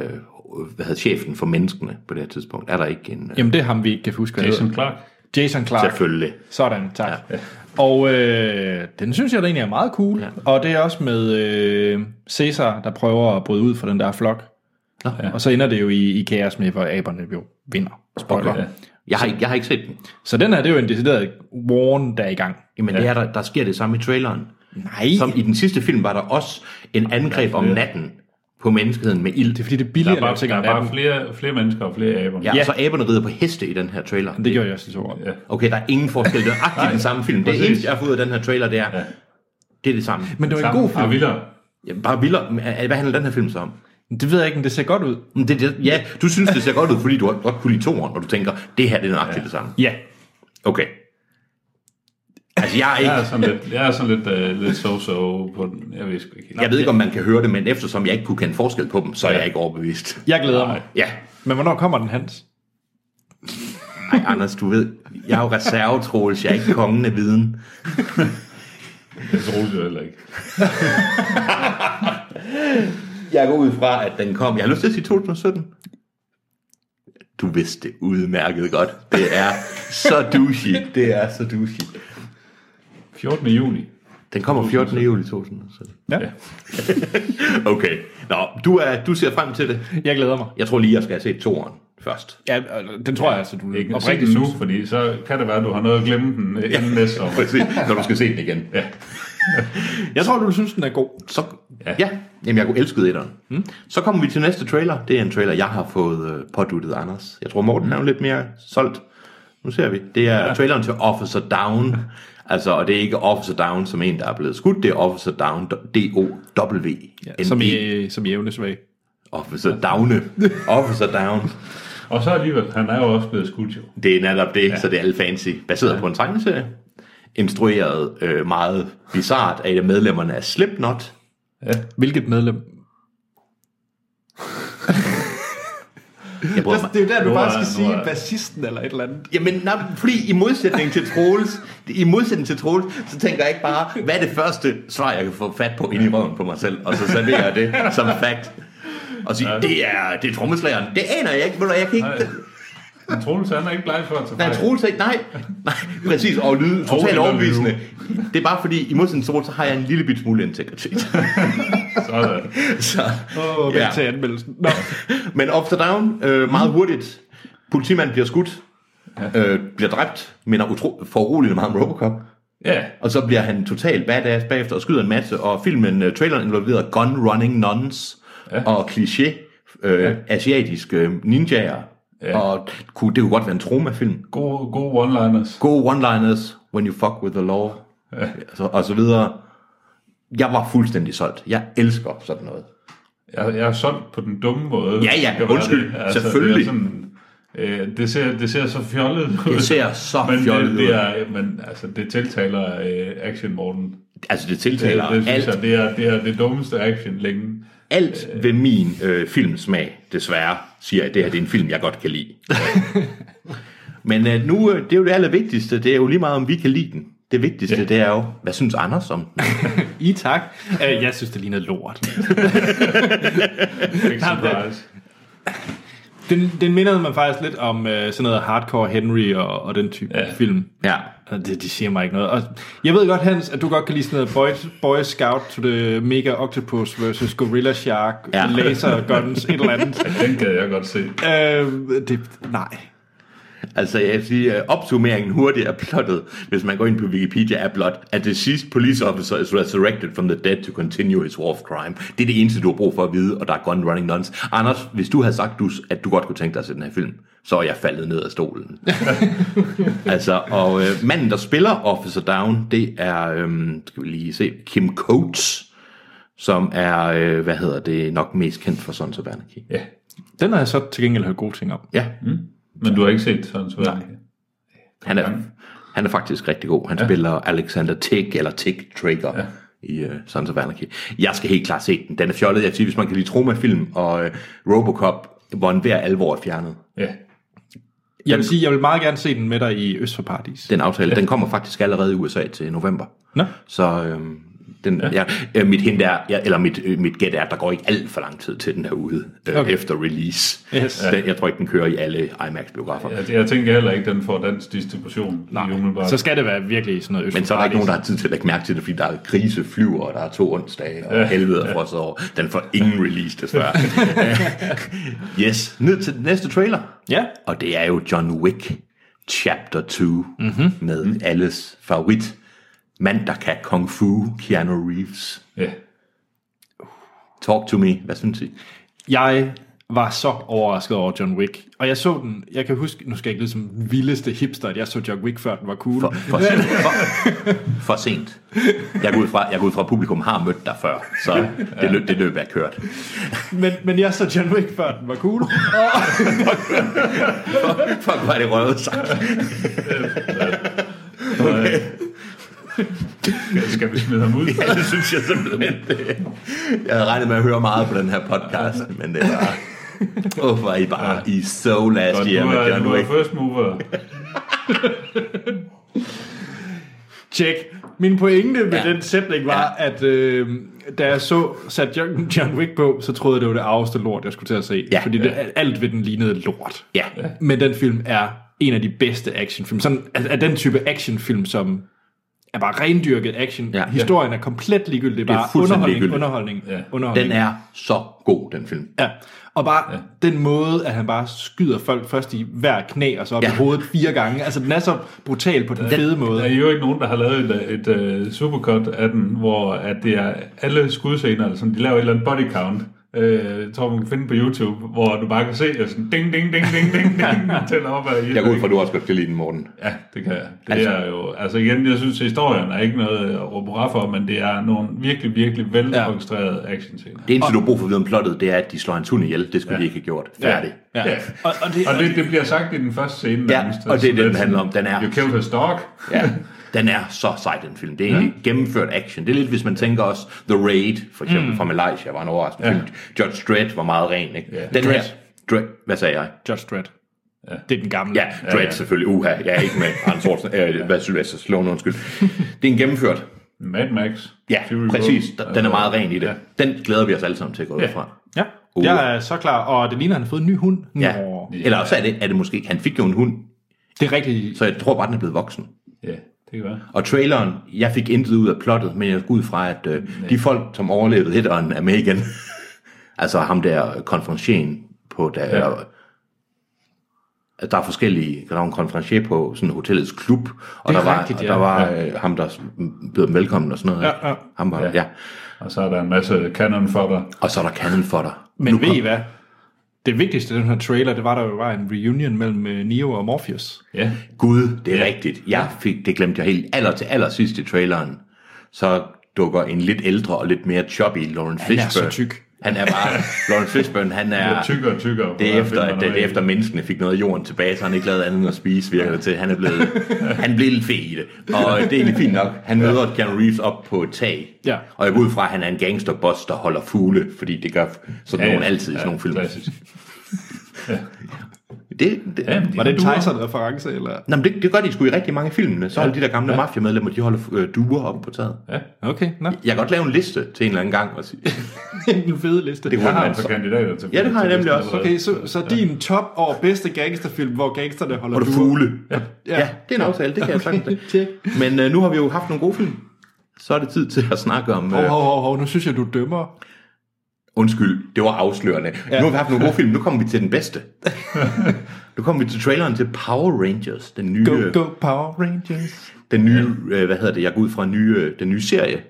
Speaker 2: hvad hedder chefen for menneskene på det her tidspunkt? Er der ikke en... Øh,
Speaker 1: Jamen, det er ham, vi ikke kan huske. hvad
Speaker 3: Jason
Speaker 1: hedder.
Speaker 3: Clark.
Speaker 1: Jason Clark.
Speaker 2: Selvfølgelig.
Speaker 1: Sådan, tak. Ja. Og øh, den synes jeg da egentlig er meget cool. Ja. Og det er også med øh, Cæsar, der prøver at bryde ud fra den der flok.
Speaker 2: Nå,
Speaker 1: ja. Og så ender det jo i, i kaos med, hvor aberne jo vinder. Spoiler. Okay,
Speaker 2: Ja.
Speaker 1: ja.
Speaker 2: Jeg har, ikke- jeg har ikke set den.
Speaker 1: Så den her, det er jo en decideret warn, der er i gang.
Speaker 2: Jamen, ja. det er, der, der sker det samme i traileren.
Speaker 1: Nej,
Speaker 2: Som i den sidste film var der også en angreb om natten på menneskeheden med ild.
Speaker 1: det er fordi, det er
Speaker 3: Der
Speaker 1: billigere,
Speaker 3: er
Speaker 1: når
Speaker 3: bare,
Speaker 1: du tænker
Speaker 3: der er
Speaker 1: om
Speaker 3: bare
Speaker 1: natten.
Speaker 3: flere, flere mennesker og flere aber.
Speaker 2: Ja,
Speaker 1: Ja.
Speaker 2: ja. så aberne rider på heste i den her trailer.
Speaker 1: Det gjorde jeg også i to år.
Speaker 3: Ja.
Speaker 2: Okay, der er ingen forskel. Det er agtigt den samme film. Det
Speaker 3: præcis.
Speaker 2: eneste, jeg har fået ud af den her trailer, det er, ja.
Speaker 3: Ja.
Speaker 2: det er det samme.
Speaker 1: Men det var en
Speaker 3: Sammen. Ah,
Speaker 1: god
Speaker 3: Og
Speaker 1: film.
Speaker 3: vildere.
Speaker 2: Ja, bare vildere. Men, øh, Hvad handler den her film så om?
Speaker 1: Det ved jeg ikke, men det ser godt ud.
Speaker 2: Men Det, det, ja, du synes, det ser godt ud, fordi du har godt kunne lide toeren, og du tænker, det her det er nøjagtigt ja. det samme.
Speaker 1: Ja.
Speaker 2: Okay. Altså, jeg er ikke...
Speaker 3: Jeg er sådan lidt, jeg er sådan lidt, uh, lidt so-so på den. Jeg ved sgu ikke helt.
Speaker 2: Jeg ved ikke, om man kan høre det, men eftersom jeg ikke kunne kende forskel på dem, så er jeg ikke overbevist.
Speaker 1: Jeg glæder mig.
Speaker 2: Ja,
Speaker 1: Men hvornår kommer den, Hans?
Speaker 2: Ej, Anders, du ved, jeg er jo reservetrols, jeg er ikke kongen af viden.
Speaker 3: Det troede jeg heller ikke.
Speaker 2: Jeg går ud fra, at den kom. Jeg har lyst til at sige 2017. Du vidste det udmærket godt. Det er så douchey. [laughs] Det er så douchey.
Speaker 3: 14. juni.
Speaker 2: Den kommer 14. juli 2017.
Speaker 1: Ja.
Speaker 2: Okay. Nå, du, er, du ser frem til det.
Speaker 1: Jeg glæder mig.
Speaker 2: Jeg tror lige, jeg skal have set toeren først.
Speaker 1: Ja, øh, den tror jeg altså, du
Speaker 3: Ikke se
Speaker 1: oprigtigt
Speaker 3: den nu,
Speaker 1: synes.
Speaker 3: fordi så kan det være, at du har noget at glemme den øh, inden næste sommer.
Speaker 2: Præcis, når du skal se den igen. Ja.
Speaker 1: Jeg tror, du synes, den er god.
Speaker 2: Så, ja. ja. Jamen, jeg kunne elske etteren. Mm. Så kommer vi til næste trailer. Det er en trailer, jeg har fået øh, påduttet, Anders. Jeg tror, Morten er jo lidt mere solgt. Nu ser vi. Det er ja. traileren til Officer [laughs] Down. Altså, og det er ikke Officer Down som en, der er blevet skudt. Det er Officer Down, D-O-W.
Speaker 1: Ja, som, i, som i evnesvag.
Speaker 2: E. Officer Downe. [laughs] Officer Down.
Speaker 3: Og så alligevel, han er jo også blevet skudt jo.
Speaker 2: Det er netop det, ja. så det er alt fancy. Baseret ja. på en tegneserie. Instrueret øh, meget bizart af et af medlemmerne af Slipknot.
Speaker 1: Hvilket medlem?
Speaker 2: Jeg bryder mig-
Speaker 1: er jo der,
Speaker 3: Nu er- nu er-
Speaker 1: bassisten eller et eller andet.
Speaker 2: Jamen, nej, fordi i modsætning til Troels, i modsætning til Troels, så tænker jeg ikke bare, hvad er det første svar, jeg kan få fat på ind i røven på mig selv, og så serverer jeg det som fact. Og sige, det er, det er trommeslageren. Det aner jeg ikke, men jeg kan ikke...
Speaker 3: Men Troels, han er ikke bleg for at tage
Speaker 2: Nej,
Speaker 3: fejl.
Speaker 2: Troels er ikke, nej, nej, præcis, og lyde totalt
Speaker 3: eller
Speaker 2: overbevisende. Det er bare fordi, i modsætning til Troels, så har jeg en lille bit smule integritet. [laughs]
Speaker 3: Sådan.
Speaker 2: Så,
Speaker 1: Åh, oh,
Speaker 2: Ja.
Speaker 1: ja. til anmeldelsen. Nå.
Speaker 2: men up to down, øh, meget hurtigt. Politimanden bliver skudt, øh, bliver dræbt, minder utro- foruroligende meget om Robocop.
Speaker 3: Ja,
Speaker 2: Og så bliver han totalt badass bagefter og skyder en masse, og filmen, uh, traileren involverer gun running nuns ja. og kliché øh, ja. asiatiske ninjaer. Ja. Og kunne, det kunne godt være en tromafilm.
Speaker 3: gode, gode one-liners.
Speaker 2: Go one-liners when you fuck with the law. Ja. Så, og så videre. Jeg var fuldstændig solgt. Jeg elsker sådan noget.
Speaker 3: Jeg, jeg er solgt på den dumme måde.
Speaker 2: Ja, ja,
Speaker 3: Det kan være
Speaker 2: undskyld,
Speaker 3: det.
Speaker 2: selvfølgelig.
Speaker 3: Det, er sådan, øh, det, ser, det ser så fjollet ud.
Speaker 2: Det ser så
Speaker 3: men
Speaker 2: fjollet
Speaker 3: det,
Speaker 2: ud.
Speaker 3: det er, Men altså, det tiltaler øh, Action Morten.
Speaker 2: Altså det
Speaker 3: Det,
Speaker 2: tiltaler
Speaker 3: det, synes
Speaker 2: alt,
Speaker 3: jeg, det er, det er det dummeste action
Speaker 2: [laughs]
Speaker 3: længe.
Speaker 2: alt ved min øh, filmsmag, desværre, siger jeg, at det her det er en film, jeg godt kan [laughs] lide. Men øh, nu, øh, det er jo det allervigtigste, det er jo lige meget, om vi kan lide den. Det vigtigste, ja. det er jo, hvad synes Anders om den?
Speaker 1: I tak. Øh, jeg synes, det ligner lort.
Speaker 3: Big
Speaker 1: Jamen, det-
Speaker 3: surprise.
Speaker 1: Den, den mindede mig faktisk lidt om øh, sådan noget hardcore Henry og, og den type ja. film.
Speaker 2: Ja.
Speaker 1: Og Det, de siger mig ikke noget. Og jeg ved godt, Hans, at du godt kan lide sådan noget Boy, boy Scout to the Mega Octopus versus Gorilla Shark,
Speaker 2: Ja.
Speaker 1: ja. Laser Guns, et eller [laughs] andet.
Speaker 3: Den gad jeg godt se.
Speaker 2: Øhm,
Speaker 1: Øh, det, nej.
Speaker 2: Altså jeg vil sige, øh, opsummeringen hurtigt er plottet, hvis man går ind på Wikipedia, er blot, at the deceased police officer is resurrected from the dead to continue his war of crime. Det er det eneste, du har brug for at vide, og der er gun running nuns. Anders, hvis du havde sagt, du, at du godt kunne tænke dig at se den her film, så er jeg faldet ned af stolen. Altså, og øh, manden, der spiller Officer Down, det er, øh, skal vi lige se, Kim Coates, som er, øh, hvad hedder det, nok mest kendt for Sons of Anarchy.
Speaker 3: Ja.
Speaker 1: Den har jeg så til gengæld hørt gode ting om.
Speaker 2: Ja,
Speaker 3: Men du har ikke set sådan så Nej.
Speaker 2: han er, han er faktisk rigtig god. Han ja. spiller Alexander Tick, eller Tick Trigger. Ja i uh, Sons of Anarchy. Jeg skal helt klart se den. Den er fjollet. Jeg siger, hvis man kan lide Troma-film og uh, Robocop, hvor enhver alvor er fjernet.
Speaker 3: Ja.
Speaker 1: Jeg vil sige, jeg vil meget gerne se den med dig i Øst for Paradis.
Speaker 2: Den aftale, ja. den kommer faktisk allerede i USA til november.
Speaker 1: Nå,
Speaker 2: Så øhm, Den, ja. Ja, mit hint er, ja, eller mit, øh, mit gæt er, at der går ikke alt for lang tid til den her ude øh, okay. efter release.
Speaker 1: Yes.
Speaker 2: Den, jeg tror ikke, den kører i alle IMAX-biografer.
Speaker 3: Jeg, jeg tænker heller ikke, den får dansk distribution. Nej. Umiddelbart.
Speaker 1: Så
Speaker 3: Så...
Speaker 1: skal det være virkelig sådan noget
Speaker 2: Men så er der ikke nogen,
Speaker 1: Østeuropa-
Speaker 2: der har tid til at lægge mærke til det, fordi der er kriseflyver, og der er to onsdage, og helvede er frosset over. Den får ingen release, desværre. [laughs] yes, ned til den næste trailer.
Speaker 1: Ja.
Speaker 2: Og det er jo John Wick Chapter 2, mm-hmm. med alles favorit, mand, der kan kung fu, Keanu Reeves.
Speaker 3: Ja.
Speaker 2: Talk to me, hvad synes I?
Speaker 1: Jeg var så overrasket over John Wick. Og jeg så den, jeg kan huske, nu skal jeg ikke lyde som den vildeste hipster, at jeg så John Wick før den var cool.
Speaker 2: For, for, sent, for, for sent. Jeg går ud fra, jeg går ud fra at publikum har mødt dig før, så det, løb, det løb er kørt.
Speaker 1: Men, men jeg så John Wick før den var
Speaker 2: [laughs]
Speaker 1: cool. Og,
Speaker 2: Fuck, hvor er det røvet sagt.
Speaker 3: Okay. Skal vi smide ham ud?
Speaker 2: [laughs] Ja, det synes jeg simpelthen. Jeg havde regnet med at høre meget på den her podcast, men det var... Åh, hvor er I bare i so last
Speaker 3: Godt,
Speaker 2: year
Speaker 3: nu
Speaker 2: med
Speaker 3: er, nu
Speaker 2: John
Speaker 3: er
Speaker 2: Wick.
Speaker 3: first
Speaker 2: [laughs]
Speaker 3: mover.
Speaker 1: Tjek. Min pointe med
Speaker 2: Ja.
Speaker 1: ja. den sætning var, ja. at øh, da jeg så sat John, John Wick på, så troede jeg, det var det arveste lort, jeg skulle til at se.
Speaker 2: Ja.
Speaker 1: Fordi det, alt ved den lignede lort.
Speaker 2: Ja,
Speaker 1: Men den film er en af de bedste actionfilm. Sådan, altså, af den type actionfilm, som er bare rendyrket action.
Speaker 2: Ja.
Speaker 1: Ja. Historien er komplet ligegyldig. Det er bare
Speaker 2: fuldstændig
Speaker 1: underholdning,
Speaker 2: ligegyldigt.
Speaker 1: underholdning,
Speaker 3: Ja.
Speaker 1: ja. underholdning.
Speaker 2: den er så god, den film.
Speaker 1: Ja. Og bare ja. den måde, at han bare skyder folk først i hver knæ, og så op
Speaker 2: Ja.
Speaker 1: ja. i hovedet fire gange. Altså, den er så brutal på den, fede måde.
Speaker 3: Der er jo ikke nogen, der har lavet et, et uh, supercut af den, hvor at det er alle skudscener, som de laver et eller andet body count. Øh, jeg tror, man kan finde på YouTube, hvor du bare kan se, at sådan ding, ding, ding, ding, ding, ding,
Speaker 2: [laughs]
Speaker 3: tæller op af
Speaker 2: Jeg går ud fra, at du også godt kan lide den, Morten.
Speaker 3: Ja, det kan jeg. Det
Speaker 2: Altså-
Speaker 3: altså, er jo, altså igen, jeg synes, historien er ikke noget at råbe hurra for, men det er nogle virkelig, virkelig velkonstruerede ja. actionscener.
Speaker 2: Det eneste, du har brug for at vide om plottet, det er, at de slår hans hund ihjel. Det skulle ja. de ikke have gjort. Færdig.
Speaker 1: Ja.
Speaker 3: Ja.
Speaker 1: Og, og, det,
Speaker 3: Og det, det bliver sagt i den første scene.
Speaker 2: Ja,
Speaker 3: nærmest. Altså,
Speaker 2: og det er det, den
Speaker 3: sådan,
Speaker 2: handler om. Den er-
Speaker 3: You killed his dog.
Speaker 2: Ja. Den er så sej, den film. Det er egentlig gennemført action. Det er lidt, hvis man tænker også The Raid, for eksempel mm. fra Malaysia, var en overraskende ja. film. Judge Dredd var meget ren, ikke? Ja. Den her,
Speaker 1: Dredd.
Speaker 2: Dredd, hvad sagde jeg?
Speaker 1: Judge Dredd. Ja. Det er den gamle.
Speaker 2: Ja, Dredd ja, ja. selvfølgelig. Uha, jeg er ikke med Arne Schwarzenegger. Øh, Hvad Sylvester Stallone, undskyld. Det er en gennemført.
Speaker 3: Mad Max.
Speaker 2: Ja,
Speaker 3: Fury
Speaker 2: præcis.
Speaker 3: Road.
Speaker 2: Den er meget ren i det. Den glæder vi os alle sammen til at gå ud fra.
Speaker 1: ja.
Speaker 2: Uh.
Speaker 1: Jeg er så klar. Og det ligner, at han har fået en ny hund.
Speaker 2: Ja.
Speaker 1: Nå.
Speaker 2: Eller også er det, er det måske ikke. Han fik jo en hund,
Speaker 1: Det er rigtig...
Speaker 2: så jeg tror bare, den er blevet voksen.
Speaker 3: Ja, det kan være.
Speaker 2: Og traileren, jeg fik intet ud af plottet, men jeg går ud fra, at øh, de folk, som overlevede hitteren, er med igen. [laughs] altså ham der konferencieren på der... Ja. Der er forskellige, der var en konferencier på sådan hotellets klub,
Speaker 1: Det
Speaker 2: og der
Speaker 1: er
Speaker 2: var,
Speaker 1: rigtigt,
Speaker 2: og
Speaker 1: ja.
Speaker 2: der var øh, ham, der s- bød dem velkommen og sådan noget.
Speaker 1: Ja, ja.
Speaker 2: Ham var, ja. ja.
Speaker 3: Og så er der en masse canon for dig.
Speaker 2: Og så er der kanden for dig.
Speaker 1: Men ved I hvad? Det vigtigste i den her trailer, det var, der jo var en reunion mellem øh, Neo og Morpheus.
Speaker 3: Ja.
Speaker 2: Gud, det er rigtigt. Jeg fik, det glemte jeg helt aller til aller sidst i traileren. Så dukker en lidt ældre og lidt mere choppy Lauren Fishburne.
Speaker 1: er så tyk.
Speaker 2: Han er bare, Lauren Fishburne, han er...
Speaker 3: Ja. Tykkere og tykkere.
Speaker 2: Det er efter,
Speaker 3: at
Speaker 2: at, det er efter menneskene fik noget af jorden tilbage, så han ikke lavede andet end at spise, virker det til. Han er blevet, han blev lidt fed i det. Og det er egentlig fint nok. Han møder Keanu Reeves op på et tag.
Speaker 1: Ja.
Speaker 2: Og jeg går ud fra, at han er en gangsterboss, der holder fugle, fordi det gør sådan ja, nogen altid i sådan nogle film. [laughs]
Speaker 3: Klassisk.
Speaker 2: Det, det, ja,
Speaker 1: Var det en Tyson-reference, eller?
Speaker 2: Nå, men det, det gør de sgu i rigtig mange filmene. Så holder de der gamle ja. mafiamedlemmer, de holder øh, duer op på taget.
Speaker 3: Ja,
Speaker 1: Okay, nå.
Speaker 2: Jeg kan godt lave en liste til en eller anden gang og sige,
Speaker 1: [laughs] en fede liste.
Speaker 2: det
Speaker 3: jeg
Speaker 2: kunne
Speaker 3: har
Speaker 2: man
Speaker 3: altså
Speaker 2: så.
Speaker 3: kandidater til.
Speaker 2: Ja, det har jeg nemlig også.
Speaker 1: [laughs] Okay, så, så din top over bedste gangsterfilm, hvor gangsterne holder
Speaker 2: Og du fugle. Ja.
Speaker 1: Ja.
Speaker 2: ja, det er en aftale, det kan jeg sagtens. Men øh, nu har vi jo haft nogle gode film. Så er det tid til at snakke om...
Speaker 1: Hov,
Speaker 2: Øh,
Speaker 1: hov, hov, hov, nu synes jeg, du dømmer.
Speaker 2: undskyld, det var afslørende. Ja. Nu har vi haft nogle gode film, nu kommer vi til den bedste. nu kommer vi til traileren til Power Rangers, den nye,
Speaker 1: Go, go, Power Rangers.
Speaker 2: den nye øh, hvad hedder det, jeg går ud fra en ny, øh, den nye serie.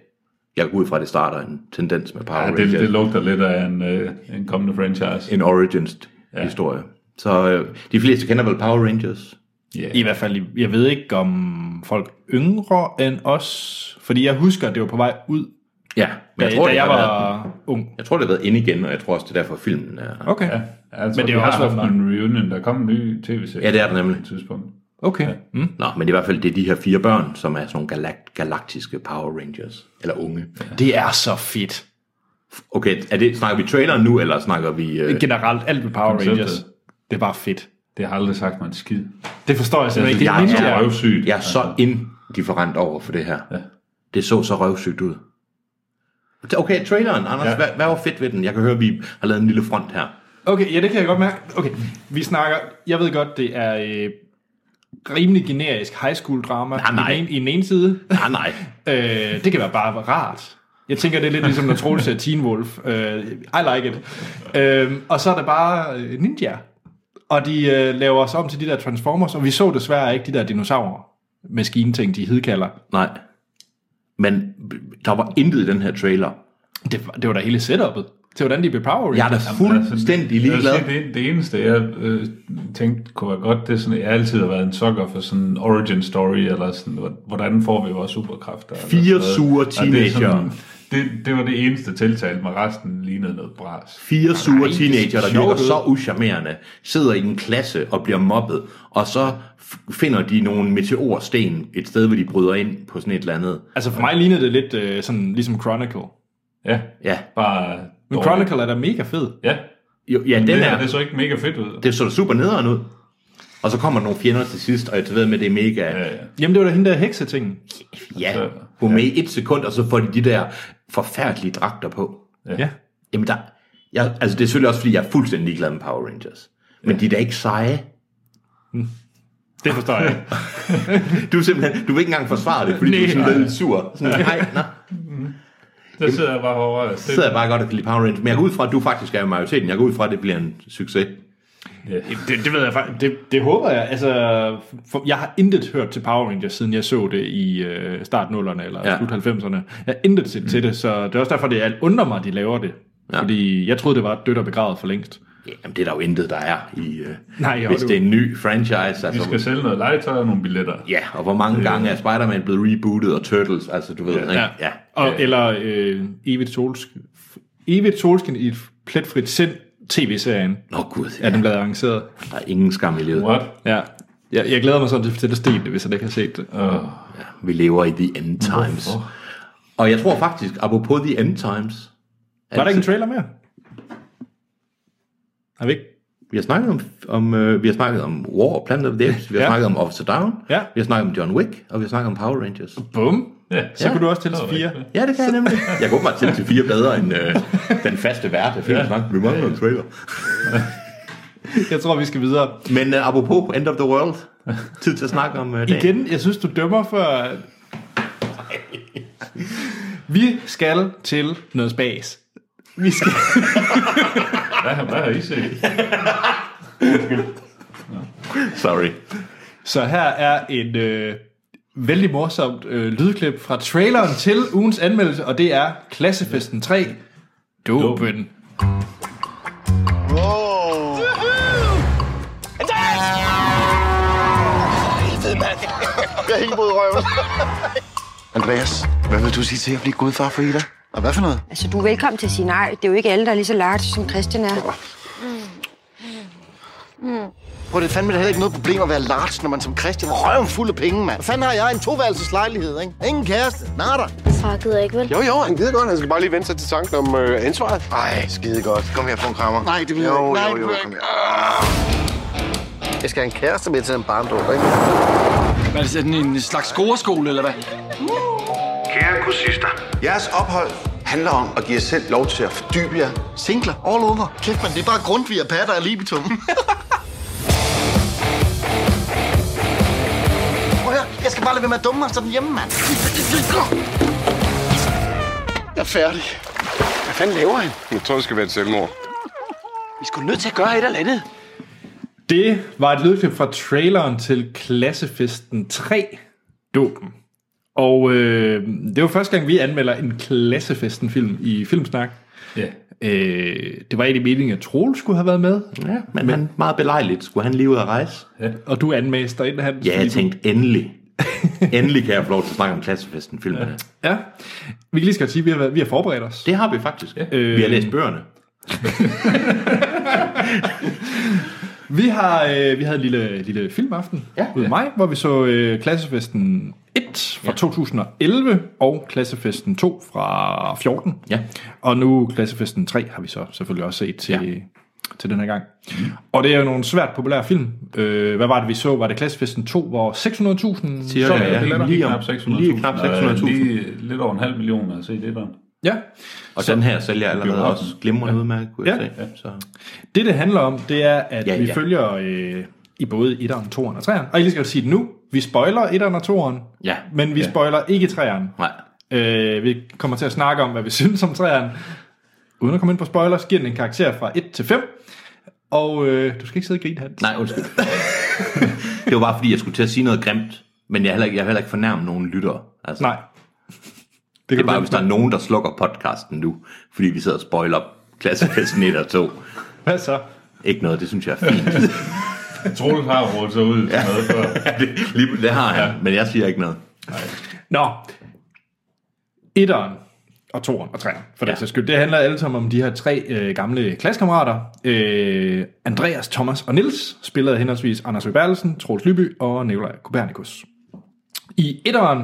Speaker 2: Jeg går ud fra, at det starter en tendens med Power
Speaker 3: Ja,
Speaker 2: Rangers.
Speaker 3: det, det lugter lidt af en, øh, en kommende franchise.
Speaker 2: en origins-historie. Så øh, de fleste kender vel Power Rangers?
Speaker 3: Ja.
Speaker 1: I hvert fald, i- jeg ved ikke om folk yngre end os, fordi jeg husker, at det var på vej ud,
Speaker 2: Ja, men
Speaker 1: da,
Speaker 2: jeg tror,
Speaker 1: da
Speaker 2: det
Speaker 1: jeg
Speaker 2: har været,
Speaker 1: var ung.
Speaker 2: jeg tror, det har været inde igen, og jeg tror også, det er derfor filmen er...
Speaker 1: Okay,
Speaker 3: Ja, altså,
Speaker 1: Men
Speaker 3: men
Speaker 1: det
Speaker 3: det
Speaker 1: har
Speaker 3: har
Speaker 1: også været
Speaker 3: haft en reunion, der kom en ny tv-serie.
Speaker 2: Ja, det er der nemlig.
Speaker 3: På et tidspunkt.
Speaker 1: okay. Mm.
Speaker 2: Nå, men i hvert fald, det er de her fire børn, som er sådan nogle galak- galaktiske Power Rangers. Eller unge.
Speaker 1: Det er så fedt.
Speaker 2: Okay, er det, snakker vi traileren nu, eller snakker vi... Øh,
Speaker 1: Generelt alt med Power
Speaker 3: Konceptet.
Speaker 1: Rangers, det er bare fedt.
Speaker 3: Det har aldrig sagt mig en skid.
Speaker 1: Det forstår jeg simpelthen ikke.
Speaker 3: det
Speaker 1: Det
Speaker 2: jeg
Speaker 1: er ninja.
Speaker 2: er så
Speaker 3: røvsygt.
Speaker 2: Jeg er så indifferent over for det her. Ja. Det så så røvsygt ud. Okay, traileren, Anders,
Speaker 3: Ja.
Speaker 2: ja. hvad, hvad var fedt ved den? Jeg kan høre, at vi har lavet en lille front her.
Speaker 1: Okay, ja, det kan jeg godt mærke. Okay, vi snakker, jeg ved godt, det er øh, rimelig generisk high school drama
Speaker 2: Nej, nej.
Speaker 1: I, den ene, i den ene side.
Speaker 2: Nej, Ah, nej.
Speaker 1: Øh, det kan være bare rart. Jeg tænker, det er lidt ligesom, når Troels ser Teen Wolf. Øh, I like it. Øh, og så er der bare øh, ninja. Og de øh, laver os om til de der Transformers, og vi så desværre ikke de der dinosaurer maskinting, de hedkalder.
Speaker 2: Nej. Men der var intet i den her trailer.
Speaker 1: Det, var- det var da hele setupet til, hvordan de blev Power
Speaker 2: Jeg er
Speaker 1: Rangers.
Speaker 2: da fuldstændig
Speaker 3: Jeg vil
Speaker 2: ligeglad.
Speaker 3: sige, altså, det, det eneste, jeg øh, tænkte kunne være godt, det er sådan, jeg altid har været en sucker for sådan en origin story, eller sådan, hvor- hvordan får vi vores superkræfter? eller
Speaker 2: Fire
Speaker 3: sådan noget.
Speaker 2: sure
Speaker 3: Og det er
Speaker 2: teenagere.
Speaker 3: det, det var det eneste tiltale, med resten lignede noget bras.
Speaker 2: Fire sure teenager, der
Speaker 1: sjovt
Speaker 2: virker
Speaker 1: ud.
Speaker 2: så uschammerende, sidder i en klasse og bliver mobbet, og så f- finder de nogle meteorsten et sted, hvor de bryder ind på sådan et eller andet.
Speaker 1: Altså for mig lignede det lidt øh, sådan, ligesom Chronicle.
Speaker 3: Ja,
Speaker 2: Ja,
Speaker 3: bare...
Speaker 1: Men
Speaker 3: dårligt.
Speaker 1: Chronicle er da mega fed.
Speaker 3: Ja,
Speaker 2: jo, ja den
Speaker 3: den det her,
Speaker 2: er,
Speaker 3: det så ikke mega fedt ud.
Speaker 2: det så da super nederen ud. Og så kommer der nogle fjender til sidst, og jeg ved med, det er mega...
Speaker 3: Ja, ja.
Speaker 1: Jamen, det var da hende der heksetingen.
Speaker 2: Ja, hun er med i et sekund, og så får de de der forfærdelige dragter på.
Speaker 1: Ja.
Speaker 2: Jamen, der, jeg, altså det er selvfølgelig også, fordi jeg er fuldstændig ligeglad med Power Rangers. Men de er da ikke seje.
Speaker 1: Det forstår [laughs] jeg ikke.
Speaker 2: Du, er simpelthen, du vil ikke engang forsvare det, fordi nej, du er sådan lidt sur. Sådan, nej, nej.
Speaker 3: Der sidder jeg bare over.
Speaker 2: Så sidder jeg bare godt og kan lide Power Rangers. Men jeg går ud fra, at du faktisk er i majoriteten. Jeg går ud fra, at det bliver en succes.
Speaker 1: Det, det ved jeg faktisk. Det, det håber jeg. Altså, for, jeg har intet hørt til Power Rangers, siden jeg så det i øh, start 0'erne eller
Speaker 2: Ja.
Speaker 1: ja. slut 90'erne. Jeg har intet set mm. til det, så det er også derfor, det alt undrer mig, at de laver det.
Speaker 2: Ja.
Speaker 1: Ja. Fordi jeg troede, det var dødt og begravet for længst.
Speaker 2: Jamen, det er der jo intet, der er i... Øh,
Speaker 1: Nej,
Speaker 2: hvis
Speaker 1: jo.
Speaker 2: det er en ny franchise.
Speaker 3: Vi
Speaker 2: Altså,
Speaker 3: skal sælge noget legetøj og nogle billetter.
Speaker 2: Ja, og hvor mange gange er Spider-Man blevet rebootet, og Turtles, altså du ved, ja, ikke?
Speaker 1: Ja.
Speaker 2: Ja.
Speaker 1: Og, Eller øh, evigt, solskin, evigt solskin i et pletfrit sind tv-serien
Speaker 2: Nå gud,
Speaker 1: er den blevet arrangeret.
Speaker 2: der er ingen skam i livet.
Speaker 3: What?
Speaker 1: Ja. Jeg, jeg glæder mig sådan til, til at stille det, hvis jeg ikke har set det.
Speaker 3: Uh,
Speaker 2: Vi lever i The End Times.
Speaker 3: Hvorfor?
Speaker 2: Og jeg tror faktisk, apropos The End Times... at-
Speaker 1: Var der ikke en trailer mere? Har vi ikke?
Speaker 2: Vi har snakket om, om øh, vi har snakket om War, Planet of the Apes, vi har
Speaker 1: Ja.
Speaker 2: snakket om Officer Down,
Speaker 1: Ja.
Speaker 2: vi har snakket om John Wick, og vi har snakket om Power Rangers.
Speaker 1: Bum.
Speaker 3: ja.
Speaker 1: Så
Speaker 2: Ja.
Speaker 1: ja. kunne du også tælle til
Speaker 3: Det var
Speaker 1: fire.
Speaker 3: rigtigt.
Speaker 2: Ja, det kan jeg nemlig. [laughs] Jeg kunne bare til til fire bedre end øh, den faste værte. Ja. Vi mangler en trailer.
Speaker 1: Jeg tror, vi skal videre.
Speaker 2: Men øh, apropos End of the World, tid til at snakke om øh, dagen.
Speaker 1: Igen, jeg synes, du dømmer for... Vi skal til noget spas. Vi skal...
Speaker 3: Hvad, har- hvad har I set?
Speaker 2: Sorry.
Speaker 1: Så her er en øh, vældig morsomt øh, lydklip fra traileren til ugens anmeldelse, og det er Klassefesten 3. Dopen.
Speaker 4: Andreas, hvad vil du sige til at blive gudfar for Ida? Og hvad for noget?
Speaker 5: Altså, du er velkommen til at sige nej. Det er jo ikke alle, der er lige så large, som Christian er.
Speaker 4: Prøv, det er fandme da heller ikke noget problem at være large, når man som Christian er røven fuld af penge, mand. Hvad fanden har jeg? En toværelseslejlighed, ikke? Ingen kæreste. Nader.
Speaker 6: Far gider ikke, vel?
Speaker 4: Jo, jo, han gider godt.
Speaker 7: Han skal bare lige vende sig til tanken om øh, ansvaret.
Speaker 4: Ej, skide godt. Kom her, få en krammer. Nej, det Ah. vil jeg ikke. Nej, jo, jo, kom her. Jeg skal have en kæreste med til en barndom, ikke?
Speaker 8: Hvad er det, sådan en slags scoreskole, eller hvad?
Speaker 9: Kære kursister, jeres ophold handler om at give jer selv lov til at fordybe jer.
Speaker 4: Singler all over. Kæft, man, det er bare Grundtvig og patter og libitum. [laughs] Prøv at høre, jeg skal bare lade være med at dumme mig sådan hjemme, mand. Jeg er færdig. Hvad fanden laver han?
Speaker 7: Jeg tror, det skal være et selvmord.
Speaker 8: Vi skulle nødt til at gøre et eller andet.
Speaker 1: Det var et lydklip fra traileren til Klassefesten 3. Dopen. Og øh, det var første gang, vi anmelder en Klassefesten-film i Filmsnak.
Speaker 3: Ja.
Speaker 1: Øh, det var egentlig meningen, at Troel skulle have været med,
Speaker 2: Ja, men, men han, meget belejligt. Skulle han lige ud at rejse?
Speaker 1: og du anmæster inden han... fordi
Speaker 2: Ja, jeg
Speaker 1: du-
Speaker 2: tænkte [laughs] endelig. endelig kan jeg få lov til at snakke om klassefesten filmene. Ja.
Speaker 1: Ja. Vi kan lige skal godt sige, at vi har, været- vi har forberedt os.
Speaker 2: Det har vi faktisk. Ja. Vi har læst bøgerne.
Speaker 1: Vi, har, øh, vi havde en lille, lille filmaften
Speaker 2: Ja.
Speaker 1: ja. ude i maj, hvor vi så øh, Klassefesten 1 fra ja. 2011 og Klassefesten 2 fra 14.
Speaker 2: Ja.
Speaker 1: Og nu Klassefesten 3 har vi så selvfølgelig også set til,
Speaker 2: Ja.
Speaker 1: ja. til den her gang. Og det er jo nogle svært populære film. Øh, hvad var det, vi så? Var det Klassefesten 2, hvor 600.000
Speaker 2: Cirka,
Speaker 1: solgte
Speaker 2: ja.
Speaker 1: billetter?
Speaker 2: Lige om-
Speaker 3: knap 600.000.
Speaker 2: lige knap
Speaker 3: og
Speaker 2: 600.000.
Speaker 3: Lige lidt over en halv million at se det der.
Speaker 1: Ja.
Speaker 2: Og så, den her sælger allerede også glimrende ja. udmærket, kunne jeg
Speaker 1: Ja.
Speaker 2: ja. se. Så.
Speaker 1: Det, det handler om, det er, at ja,
Speaker 2: Ja,
Speaker 1: vi
Speaker 2: ja.
Speaker 1: følger øh, i både 1'eren, 2'eren og 3'eren. Og jeg lige skal sige det nu. Vi spoiler 1'eren og 2'eren,
Speaker 2: Ja.
Speaker 1: men vi ja. spoiler ikke 3'eren.
Speaker 2: Nej.
Speaker 1: Øh, vi kommer til at snakke om, hvad vi [laughs] synes om 3'eren. Uden at komme ind på spoilers, giver den en karakter fra 1 til 5. Og øh, du skal ikke sidde og grine, Hans.
Speaker 2: Nej, undskyld. [laughs] det var bare fordi, jeg skulle til at sige noget grimt, men jeg har heller ikke, jeg har heller ikke fornærmet nogen lyttere. Altså,
Speaker 1: Nej.
Speaker 2: det,
Speaker 1: kan
Speaker 2: det
Speaker 1: du
Speaker 2: er bare,
Speaker 1: glemme.
Speaker 2: hvis der er nogen, der slukker podcasten nu, fordi vi sidder og spoiler klassefesten 1 og 2.
Speaker 1: Hvad så?
Speaker 2: Ikke noget, det synes jeg er [laughs] fint.
Speaker 3: Troels har rådet sig ud til noget før.
Speaker 2: Ja, det, lige, det har han, ja. men jeg siger ikke noget.
Speaker 1: Nå. 1'eren og 2'eren og 3'eren, for ja.
Speaker 2: Ja.
Speaker 1: den sags skyld. Det handler alle sammen om de her tre øh, gamle klassekammerater. Øh, Andreas, Thomas og Nils spillede af henholdsvis Anders Høgh Berlesen, Troels Lyby og Nikolaj Kopernikus. I 1'eren,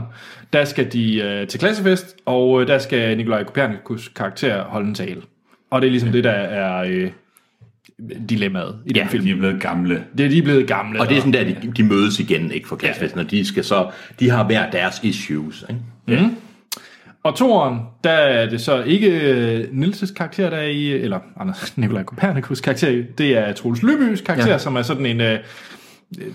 Speaker 1: der skal de øh, til klassefest, og øh, der skal Nikolaj Kopernikus karakter holde en tale. Og det er ligesom ja. det, der er øh, dilemmaet i den
Speaker 2: Ja.
Speaker 1: film.
Speaker 3: De er blevet gamle.
Speaker 1: Det er de blevet gamle.
Speaker 2: Og det er sådan der, de, de mødes igen, ikke for klassefesten, og de, skal så, de har hver deres issues, ikke?
Speaker 1: Og toeren, der er det så ikke øh, Nilses karakter, der er i, eller Anders [laughs] Nikolaj Kopernikus karakter i, det er Troels Lybys karakter, ja.
Speaker 2: Ja.
Speaker 1: som er sådan en øh,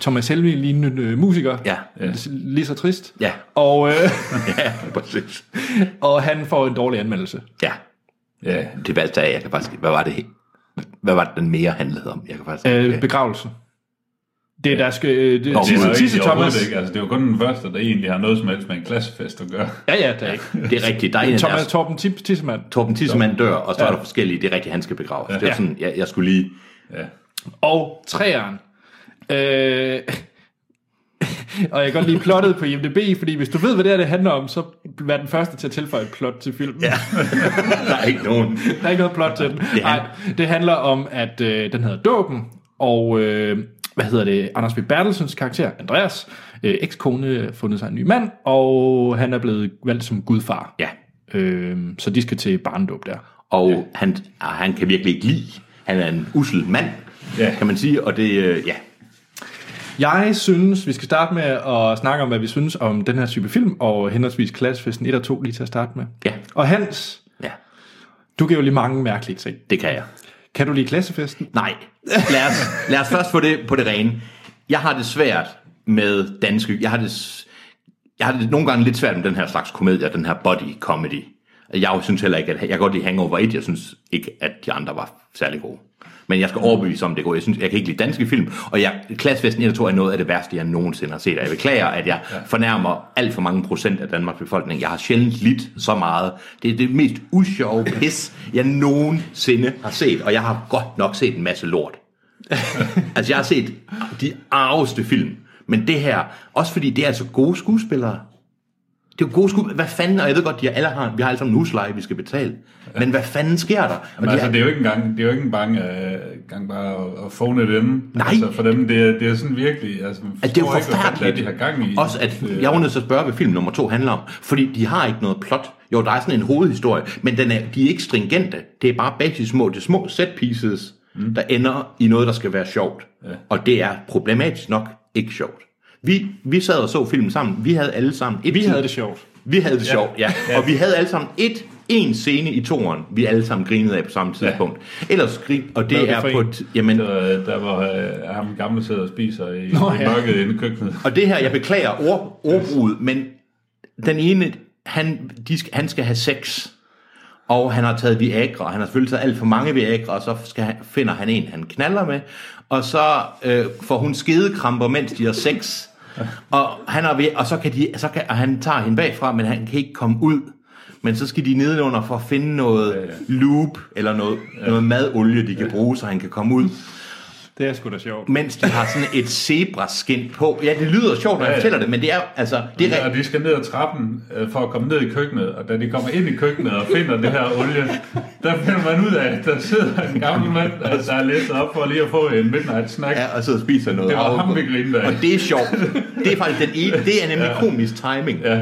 Speaker 1: Thomas Helmi-lignende øh, musiker.
Speaker 2: Ja.
Speaker 1: ja. Lige så trist.
Speaker 2: Ja. [laughs]
Speaker 1: Og, øh, [laughs]
Speaker 2: Ja, præcis.
Speaker 1: og han får en dårlig anmeldelse.
Speaker 2: Ja,
Speaker 3: Ja,
Speaker 2: det værste er, jeg kan faktisk... Hvad var det hvad var det, den mere handlede om? Jeg kan faktisk...
Speaker 1: Øh,
Speaker 2: Øh,
Speaker 1: Begravelse. Det er der skal... Øh, det,
Speaker 2: Nå,
Speaker 3: Det
Speaker 1: tisse,
Speaker 3: er jo
Speaker 1: tisse
Speaker 3: ikke,
Speaker 1: Thomas.
Speaker 3: overhovedet ikke. Altså, det er jo kun den første, der egentlig har noget som helst med en klassefest at gøre.
Speaker 1: Ja, ja, der er ikke.
Speaker 2: det er rigtigt. Der er en af
Speaker 1: Thomas
Speaker 2: deres-
Speaker 1: Torben Tip, Tissemand.
Speaker 2: Torben Tissemann dør, og så
Speaker 1: Ja.
Speaker 2: er der forskellige. Det er rigtigt, han skal begraves. Det
Speaker 1: Ja.
Speaker 2: er sådan, jeg, jeg skulle lige...
Speaker 3: Ja.
Speaker 1: Og træeren. Øh, [laughs] og jeg kan godt lide plottet på IMDb, fordi hvis du ved, hvad det her det handler om, så vær den første til at tilføje et plot til filmen. Ja.
Speaker 2: der er ikke nogen...
Speaker 1: Der er ikke noget plot til den.
Speaker 2: Det er-
Speaker 1: Nej, det handler om, at øh, den hedder Dåben, og øh, hvad hedder det, Anders B. Bertelsens karakter, Andreas, øh, ekskone, øh, fundet sig en ny mand, og han er blevet valgt som gudfar.
Speaker 2: Ja,
Speaker 1: Øh, så de skal til barndåb der.
Speaker 2: og ja. Han, ah, han kan virkelig ikke lide. Han er en usel mand,
Speaker 3: Ja.
Speaker 2: ja. kan man sige, og det... øh, Ja,
Speaker 1: Jeg synes, vi skal starte med at snakke om, hvad vi synes om den her type film, og henholdsvis klassefesten 1 og 2 lige til at starte med.
Speaker 2: Ja.
Speaker 1: Og Hans,
Speaker 2: ja,
Speaker 1: du kan jo lige mange mærkelige ting.
Speaker 2: det kan jeg.
Speaker 1: Kan du lide klassefesten?
Speaker 2: Nej, lad os, lad os først få det på det rene. Jeg har det svært med danske... Jeg har det, s- jeg har det nogle gange lidt svært med den her slags komedier, den her body comedy. Jeg synes heller ikke, at jeg kan godt lide Hangover 1, jeg synes ikke, at de andre var særlig gode. Men jeg skal overbevise om, det går. Jeg, synes, jeg kan ikke lide danske film, og jeg, Klassefesten 1 og 2 er noget af det værste, jeg nogensinde har set. Og jeg beklager, at jeg fornærmer alt for mange procent af Danmarks befolkning. Jeg har sjældent lidt så meget. Det er det mest usjove pis, jeg nogensinde har set. Og jeg har godt nok set en masse lort. Altså, jeg har set de arveste film. Men det her, også fordi det er altså gode skuespillere. Det er jo gode skuespillere. Hvad fanden, og jeg ved godt, de alle har, vi har alle sammen en husleje, vi skal betale. Men hvad fanden sker der? Og
Speaker 3: Men
Speaker 2: de
Speaker 3: altså,
Speaker 2: er-
Speaker 3: det er jo ikke engang, det er jo ikke engang, øh, engang bare at, at phone it in.
Speaker 2: Nej.
Speaker 3: Altså, for dem, det er, det er sådan virkelig... Altså, man
Speaker 2: Altså, det er
Speaker 3: forstår
Speaker 2: jo
Speaker 3: ikke, hvad fanden
Speaker 2: forfærdeligt.
Speaker 3: de har gang i.
Speaker 2: Også at,
Speaker 3: Øh,
Speaker 2: jeg var nødt til at spørge, hvad film nummer to handler om. Fordi de har ikke noget plot. Jo, der er sådan en hovedhistorie, men den er, de er ikke stringente. Det er bare basis små, det er små set pieces, mm. der ender i noget, der skal være sjovt. Ja. Og det er problematisk nok ikke sjovt. Vi, vi sad og så filmen sammen. Vi havde alle sammen et
Speaker 1: Vi havde det sjovt.
Speaker 2: Vi havde det ja. sjovt, ja. Og vi havde alle sammen et en scene i toeren, vi alle sammen grinede af på samme tidspunkt. Ja. Ellers grin, og
Speaker 1: Hvad
Speaker 2: det
Speaker 1: var det
Speaker 2: er
Speaker 1: for
Speaker 2: på
Speaker 1: en?
Speaker 2: et, jamen,
Speaker 3: Der, der hvor øh, ham gamle sidder og spiser i,
Speaker 1: Nå,
Speaker 3: Nå, i
Speaker 1: ja.
Speaker 3: mørket inde i køkkenet.
Speaker 2: Og det her, jeg beklager ord, ordbruget, men den ene, han, de skal, han skal have sex, og han har taget Viagra, og han har selvfølgelig taget alt for mange Viagra, og så skal han, finder han en, han knaller med, og så øh, får hun skidekramper, mens de har sex, og, han er ved, og så kan de, så kan, og han tager hende bagfra, men han kan ikke komme ud. Men så skal de nedenunder for at finde noget ja, ja. loop, eller noget, ja. noget madolie, de kan ja. bruge, så han kan komme ud
Speaker 1: Det er sgu da sjovt.
Speaker 2: mens de har sådan et zebraskin på. Ja, det lyder sjovt, når jeg
Speaker 3: Ja, ja.
Speaker 2: fortæller det, men det er altså... Det er,
Speaker 3: Ja,
Speaker 2: re-
Speaker 3: og de skal ned ad trappen øh, for at komme ned i køkkenet, og da de kommer ind i køkkenet og finder det her olie, der finder man ud af, at der sidder en gammel mand, altså, der er læst op for lige at få en midnight snack. Ja.
Speaker 2: ja, og sidder og spiser noget.
Speaker 3: Det var
Speaker 2: havregrød.
Speaker 3: ham, vi grinede af.
Speaker 2: Og det er sjovt. Det er faktisk den ene. Det er nemlig ja. komisk timing. Ja.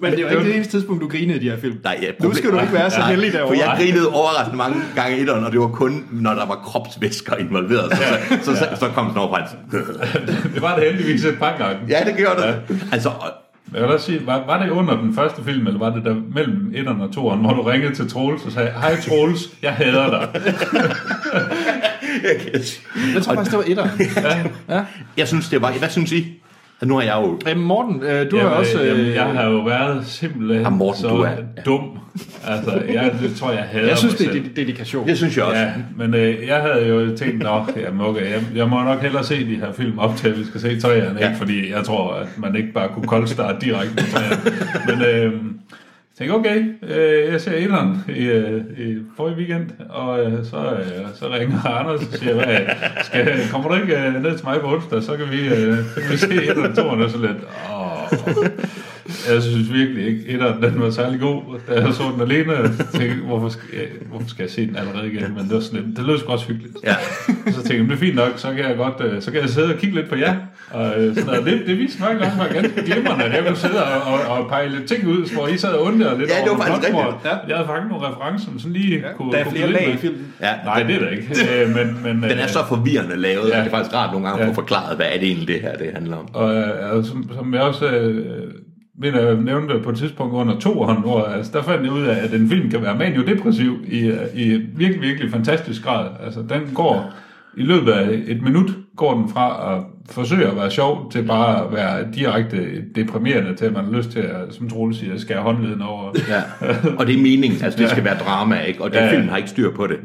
Speaker 1: Men det er jo ikke det eneste tidspunkt, du grinede i de her film.
Speaker 2: Nej, ja,
Speaker 1: nu skal du ikke være så
Speaker 2: Nej,
Speaker 1: heldig derovre.
Speaker 2: For jeg grinede overraskende mange gange i etteren, og det var kun, når der var kropsvæsker involveret. Så, så, så, så, så kom sådan over på hans.
Speaker 3: Det var det heldigvis et par gange.
Speaker 2: Ja, det gjorde det. Altså, og
Speaker 3: Jeg vil også sige, var, var det under den første film, eller var det der mellem etteren og toeren, hvor du ringede til Troels og sagde, hej Troels, jeg hader
Speaker 1: [laughs]
Speaker 3: dig.
Speaker 1: Jeg tror faktisk, det var etter.
Speaker 2: Jeg synes, det var... Hvad synes I? Nu har jeg jo...
Speaker 1: Æ, Morten, øh, du har
Speaker 3: Jamen,
Speaker 1: også...
Speaker 3: jamen,
Speaker 1: Øh,
Speaker 3: jeg har jo været simpelthen
Speaker 2: Ah, Morten,
Speaker 3: så
Speaker 2: du er-
Speaker 3: dum. Altså, jeg det tror, jeg øh, hader
Speaker 1: jeg synes,
Speaker 3: mig
Speaker 1: det er
Speaker 3: selv.
Speaker 1: ded- dedikation.
Speaker 2: Det synes jeg også.
Speaker 3: Ja, men øh, jeg havde jo tænkt, nok, jamen, okay, jeg, jeg må nok hellere se de her film op til, at vi skal se træerne, ja.
Speaker 2: Ja.
Speaker 3: fordi jeg tror, at man ikke bare kunne koldstarte direkte med træerne. Men øh, jeg tænkte, okay, øh, jeg ser etteren i, øh, i forrige weekend, og øh, så, øh, så ringer Anders og siger, hvad, skal, kommer du ikke øh, ned til mig på onsdag, så kan vi, øh, så kan vi se etteren og toeren, og så lidt, åh, jeg synes virkelig ikke, etteren den var særlig god. Da jeg så den alene, tænkte jeg, hvorfor skal, jeg, hvorfor skal jeg se den allerede igen? Men det var sådan lidt, det lød sgu også hyggeligt.
Speaker 2: Ja.
Speaker 3: Og [laughs] Så tænkte jeg, "Men det er fint nok, så kan jeg godt, øh, så kan jeg sidde og kigge lidt på jer. Og øh, sådan noget. Det, det viste nok nok var ganske glimrende, at jeg kunne sidde og, og, og pege lidt ting ud, hvor I sad og undrede lidt
Speaker 2: Ja, det var
Speaker 3: over,
Speaker 2: faktisk
Speaker 3: hvor-
Speaker 2: rigtigt.
Speaker 3: hvor Jeg havde fanget nogle referencer, som lige ja, kunne...
Speaker 1: Der er
Speaker 3: kunne
Speaker 1: flere
Speaker 3: blive
Speaker 1: lag i
Speaker 3: med.
Speaker 1: filmen.
Speaker 2: Ja,
Speaker 3: Nej, det er der ikke. Øh, men, men,
Speaker 2: Den er så forvirrende lavet, ja.
Speaker 3: Ja.
Speaker 2: at det er faktisk rart nogle gange at
Speaker 3: Ja.
Speaker 2: få forklaret, hvad er det egentlig det her, det handler om.
Speaker 3: Og øh, som, som jeg også øh, mener, jeg nævnte på et tidspunkt under toeren, hvor altså, der fandt jeg ud af, at en film kan være maniodepressiv i, øh, i virkelig, virkelig fantastisk grad. Altså, den går i løbet af et minut, går den fra at forsøge at være sjov, til bare at være direkte deprimerende, til at man har lyst til, at, som Troels siger, skære håndleden over.
Speaker 2: Ja. [laughs] Og det er meningen, altså det skal være drama, ikke? Og det
Speaker 3: Ja,
Speaker 2: ja.
Speaker 3: ja.
Speaker 2: film har ikke styr på det.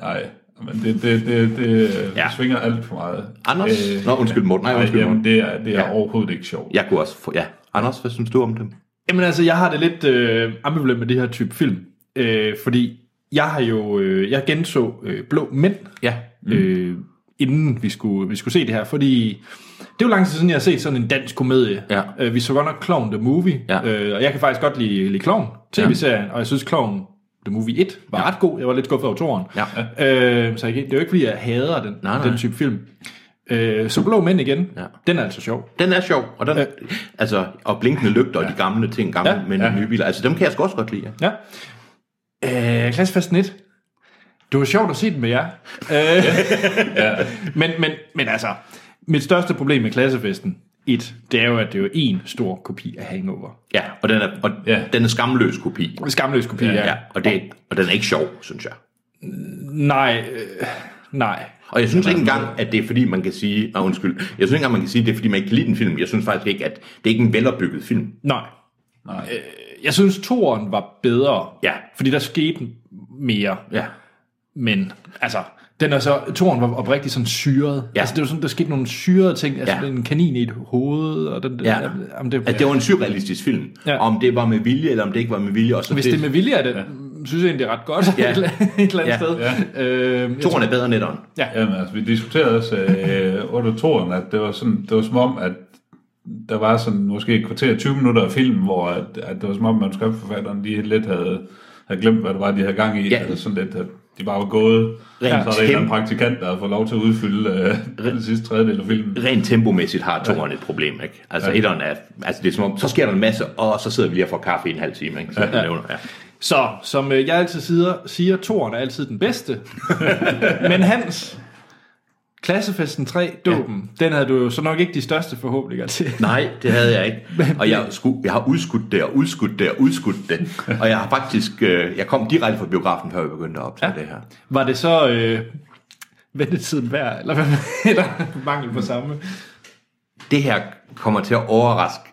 Speaker 3: Nej, men det, det, det, det
Speaker 2: Ja.
Speaker 3: ja. svinger alt for meget.
Speaker 2: Anders? Øh, Nå, undskyld Morten. Nej,
Speaker 3: nej,
Speaker 2: undskyld
Speaker 3: jamen,
Speaker 2: Morten.
Speaker 3: det er, det er
Speaker 2: Ja.
Speaker 3: ja. overhovedet ikke sjovt.
Speaker 2: Jeg kunne også få... Ja. Anders, hvad synes du om dem?
Speaker 1: Jamen altså, jeg har det lidt øh, ambivalent med det her type film, øh, fordi jeg har jo, øh, jeg genså øh, Blå Mænd,
Speaker 2: Ja.
Speaker 1: øh, inden vi skulle, vi skulle se det her, fordi det er jo lang tid siden, jeg har set sådan en dansk komedie.
Speaker 2: Ja.
Speaker 1: Øh, vi så godt nok Clown the Movie,
Speaker 2: Ja.
Speaker 1: øh, og jeg kan faktisk godt lide, lide Clown, tv-serien, og jeg synes Clown the Movie 1 var ret god. Jeg var lidt skuffet over toren.
Speaker 2: Ja.
Speaker 1: Øh, så jeg, det er jo ikke, fordi jeg hader den,
Speaker 2: Nej, nej.
Speaker 1: den type film. Øh, så Blå Mænd igen,
Speaker 2: Ja.
Speaker 1: den er altså sjov.
Speaker 2: Den er sjov, og, den, altså, og blinkende lygter og de gamle ting, gamle ja,
Speaker 1: Ja,
Speaker 2: men ja. nye biler, altså dem kan jeg sgu også godt lide. ja.
Speaker 1: Ja. Øh, klassefesten 1. Det var sjovt at se den med jer. Øh, ja. men, men, men altså, mit største problem med klassefesten 1, det er jo, at det er jo en stor kopi af Hangover.
Speaker 2: Ja, og den er, og ja.
Speaker 3: Ja.
Speaker 2: den er skamløs kopi.
Speaker 1: En skamløs kopi, ja.
Speaker 2: Ja, og, det, og den er ikke sjov, synes jeg.
Speaker 1: Nej, øh, nej.
Speaker 2: Og jeg synes ikke engang, at det er fordi, man kan sige... Ah, undskyld. Jeg synes ikke engang, man kan sige, at det er fordi, man ikke kan lide den film. Jeg synes faktisk ikke, at det er ikke en velopbygget film.
Speaker 1: Nej. nej. Øh, jeg synes, toeren var bedre.
Speaker 2: Ja.
Speaker 1: Fordi der skete mere.
Speaker 2: Ja.
Speaker 1: Men altså, den er så, toren var oprigtigt sådan syret.
Speaker 2: Ja.
Speaker 1: Altså, det var sådan, der skete nogle syrede ting. Altså,
Speaker 2: Ja.
Speaker 1: ja. en kanin i et hoved, og den,
Speaker 2: Ja.
Speaker 1: jamen, det,
Speaker 2: At det var en surrealistisk film.
Speaker 1: Ja.
Speaker 2: Ja. Om det var med vilje, eller om det ikke var med vilje. Og så
Speaker 1: Hvis det er med vilje, er det, ja. synes jeg egentlig, det er ret godt
Speaker 2: Ja.
Speaker 1: ja. [laughs] et, eller- et eller andet
Speaker 2: Ja.
Speaker 1: sted. Ja. Øh, jeg tror,
Speaker 2: Toren er bedre end etteren.
Speaker 3: Jamen, altså, vi diskuterede også øh, under toren, at det var, sådan, det var som om, at der var sådan måske et kvarter 20 minutter af filmen, hvor at, at det var som om, manuskriptforfatteren lige lidt havde, havde glemt, hvad det var, de havde gang i.
Speaker 2: Ja.
Speaker 3: Ja. Altså sådan lidt, at de bare var gået.
Speaker 2: Rent
Speaker 3: Ja. Så er der en eller anden
Speaker 2: kæmpe-
Speaker 3: praktikant, der har fået lov til at udfylde øh, den sidste tredjedel af filmen.
Speaker 2: Rent tempomæssigt har toren et problem, ikke? Altså, ja. etteren er... Altså, det er som om, så sker der en masse, og så sidder vi lige og får kaffe i en halv time, ikke? Så ja. Nævner, ja.
Speaker 1: Så, som øh, jeg altid siger, siger toren er altid den [laughs] bedste. Men Hans, klassefesten 3, dåben, ja. den havde du jo så nok ikke de største forhåbninger til.
Speaker 2: Nej, det havde jeg ikke. Og jeg, skulle, jeg har udskudt det, og udskudt det, og udskudt [laughs] det. Og jeg har faktisk... Øh, jeg kom direkte fra biografen, før vi begyndte at optage ja. det her.
Speaker 1: Var det så øh, ventetiden værd, eller, hvad, [laughs] eller mangel på samme?
Speaker 2: Det her kommer til at overraske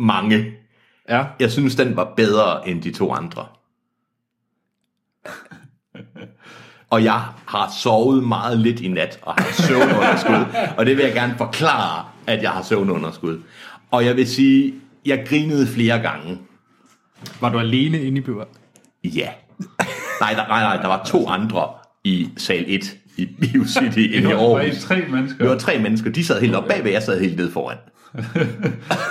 Speaker 2: mange.
Speaker 1: Ja.
Speaker 2: Jeg synes, den var bedre end de to andre. Og jeg har sovet meget lidt i nat og har søvnunderskud. og det vil jeg gerne forklare, at jeg har søvnunderskud. Og jeg vil sige, jeg grinede flere gange.
Speaker 1: Var du alene inde i bøger?
Speaker 2: Ja. Nej, der, nej, nej, der var to andre i sal 1 i Bio City inde i
Speaker 3: Det var I
Speaker 2: Aarhus.
Speaker 3: tre mennesker.
Speaker 2: Vi var tre mennesker, de sad helt oppe bagved, jeg sad helt nede foran.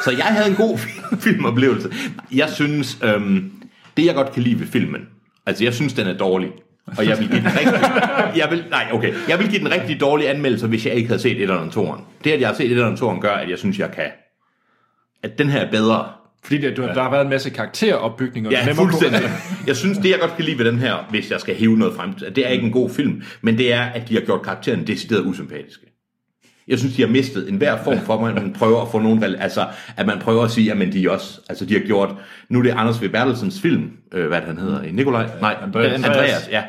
Speaker 2: Så jeg havde en god film- filmoplevelse. Jeg synes, øhm, det jeg godt kan lide ved filmen, altså jeg synes, den er dårlig. Og jeg vil give den rigtig, jeg vil, nej, okay. Jeg vil give den rigtig dårlige anmeldelse, hvis jeg ikke havde set et eller andet toren. Det, at jeg har set et eller andet toren, gør, at jeg synes, jeg kan. At den her er bedre.
Speaker 1: Fordi det, du, ja. der har været en masse karakteropbygninger.
Speaker 2: Ja,
Speaker 1: Hvem er-
Speaker 2: fuldstændig. Jeg synes, det jeg godt kan lide ved den her, hvis jeg skal hive noget frem, det er ikke en god film, men det er, at de har gjort karakteren decideret usympatiske. Jeg synes, de har mistet enhver form for, at man prøver at få nogen, rel- altså, at man prøver at sige, at de er også, altså de har gjort, nu er det Anders V. Bertelsens film, øh, hvad er det, han hedder, Nikolaj? Nej,
Speaker 3: Andreas.
Speaker 2: Andreas, Andreas ja.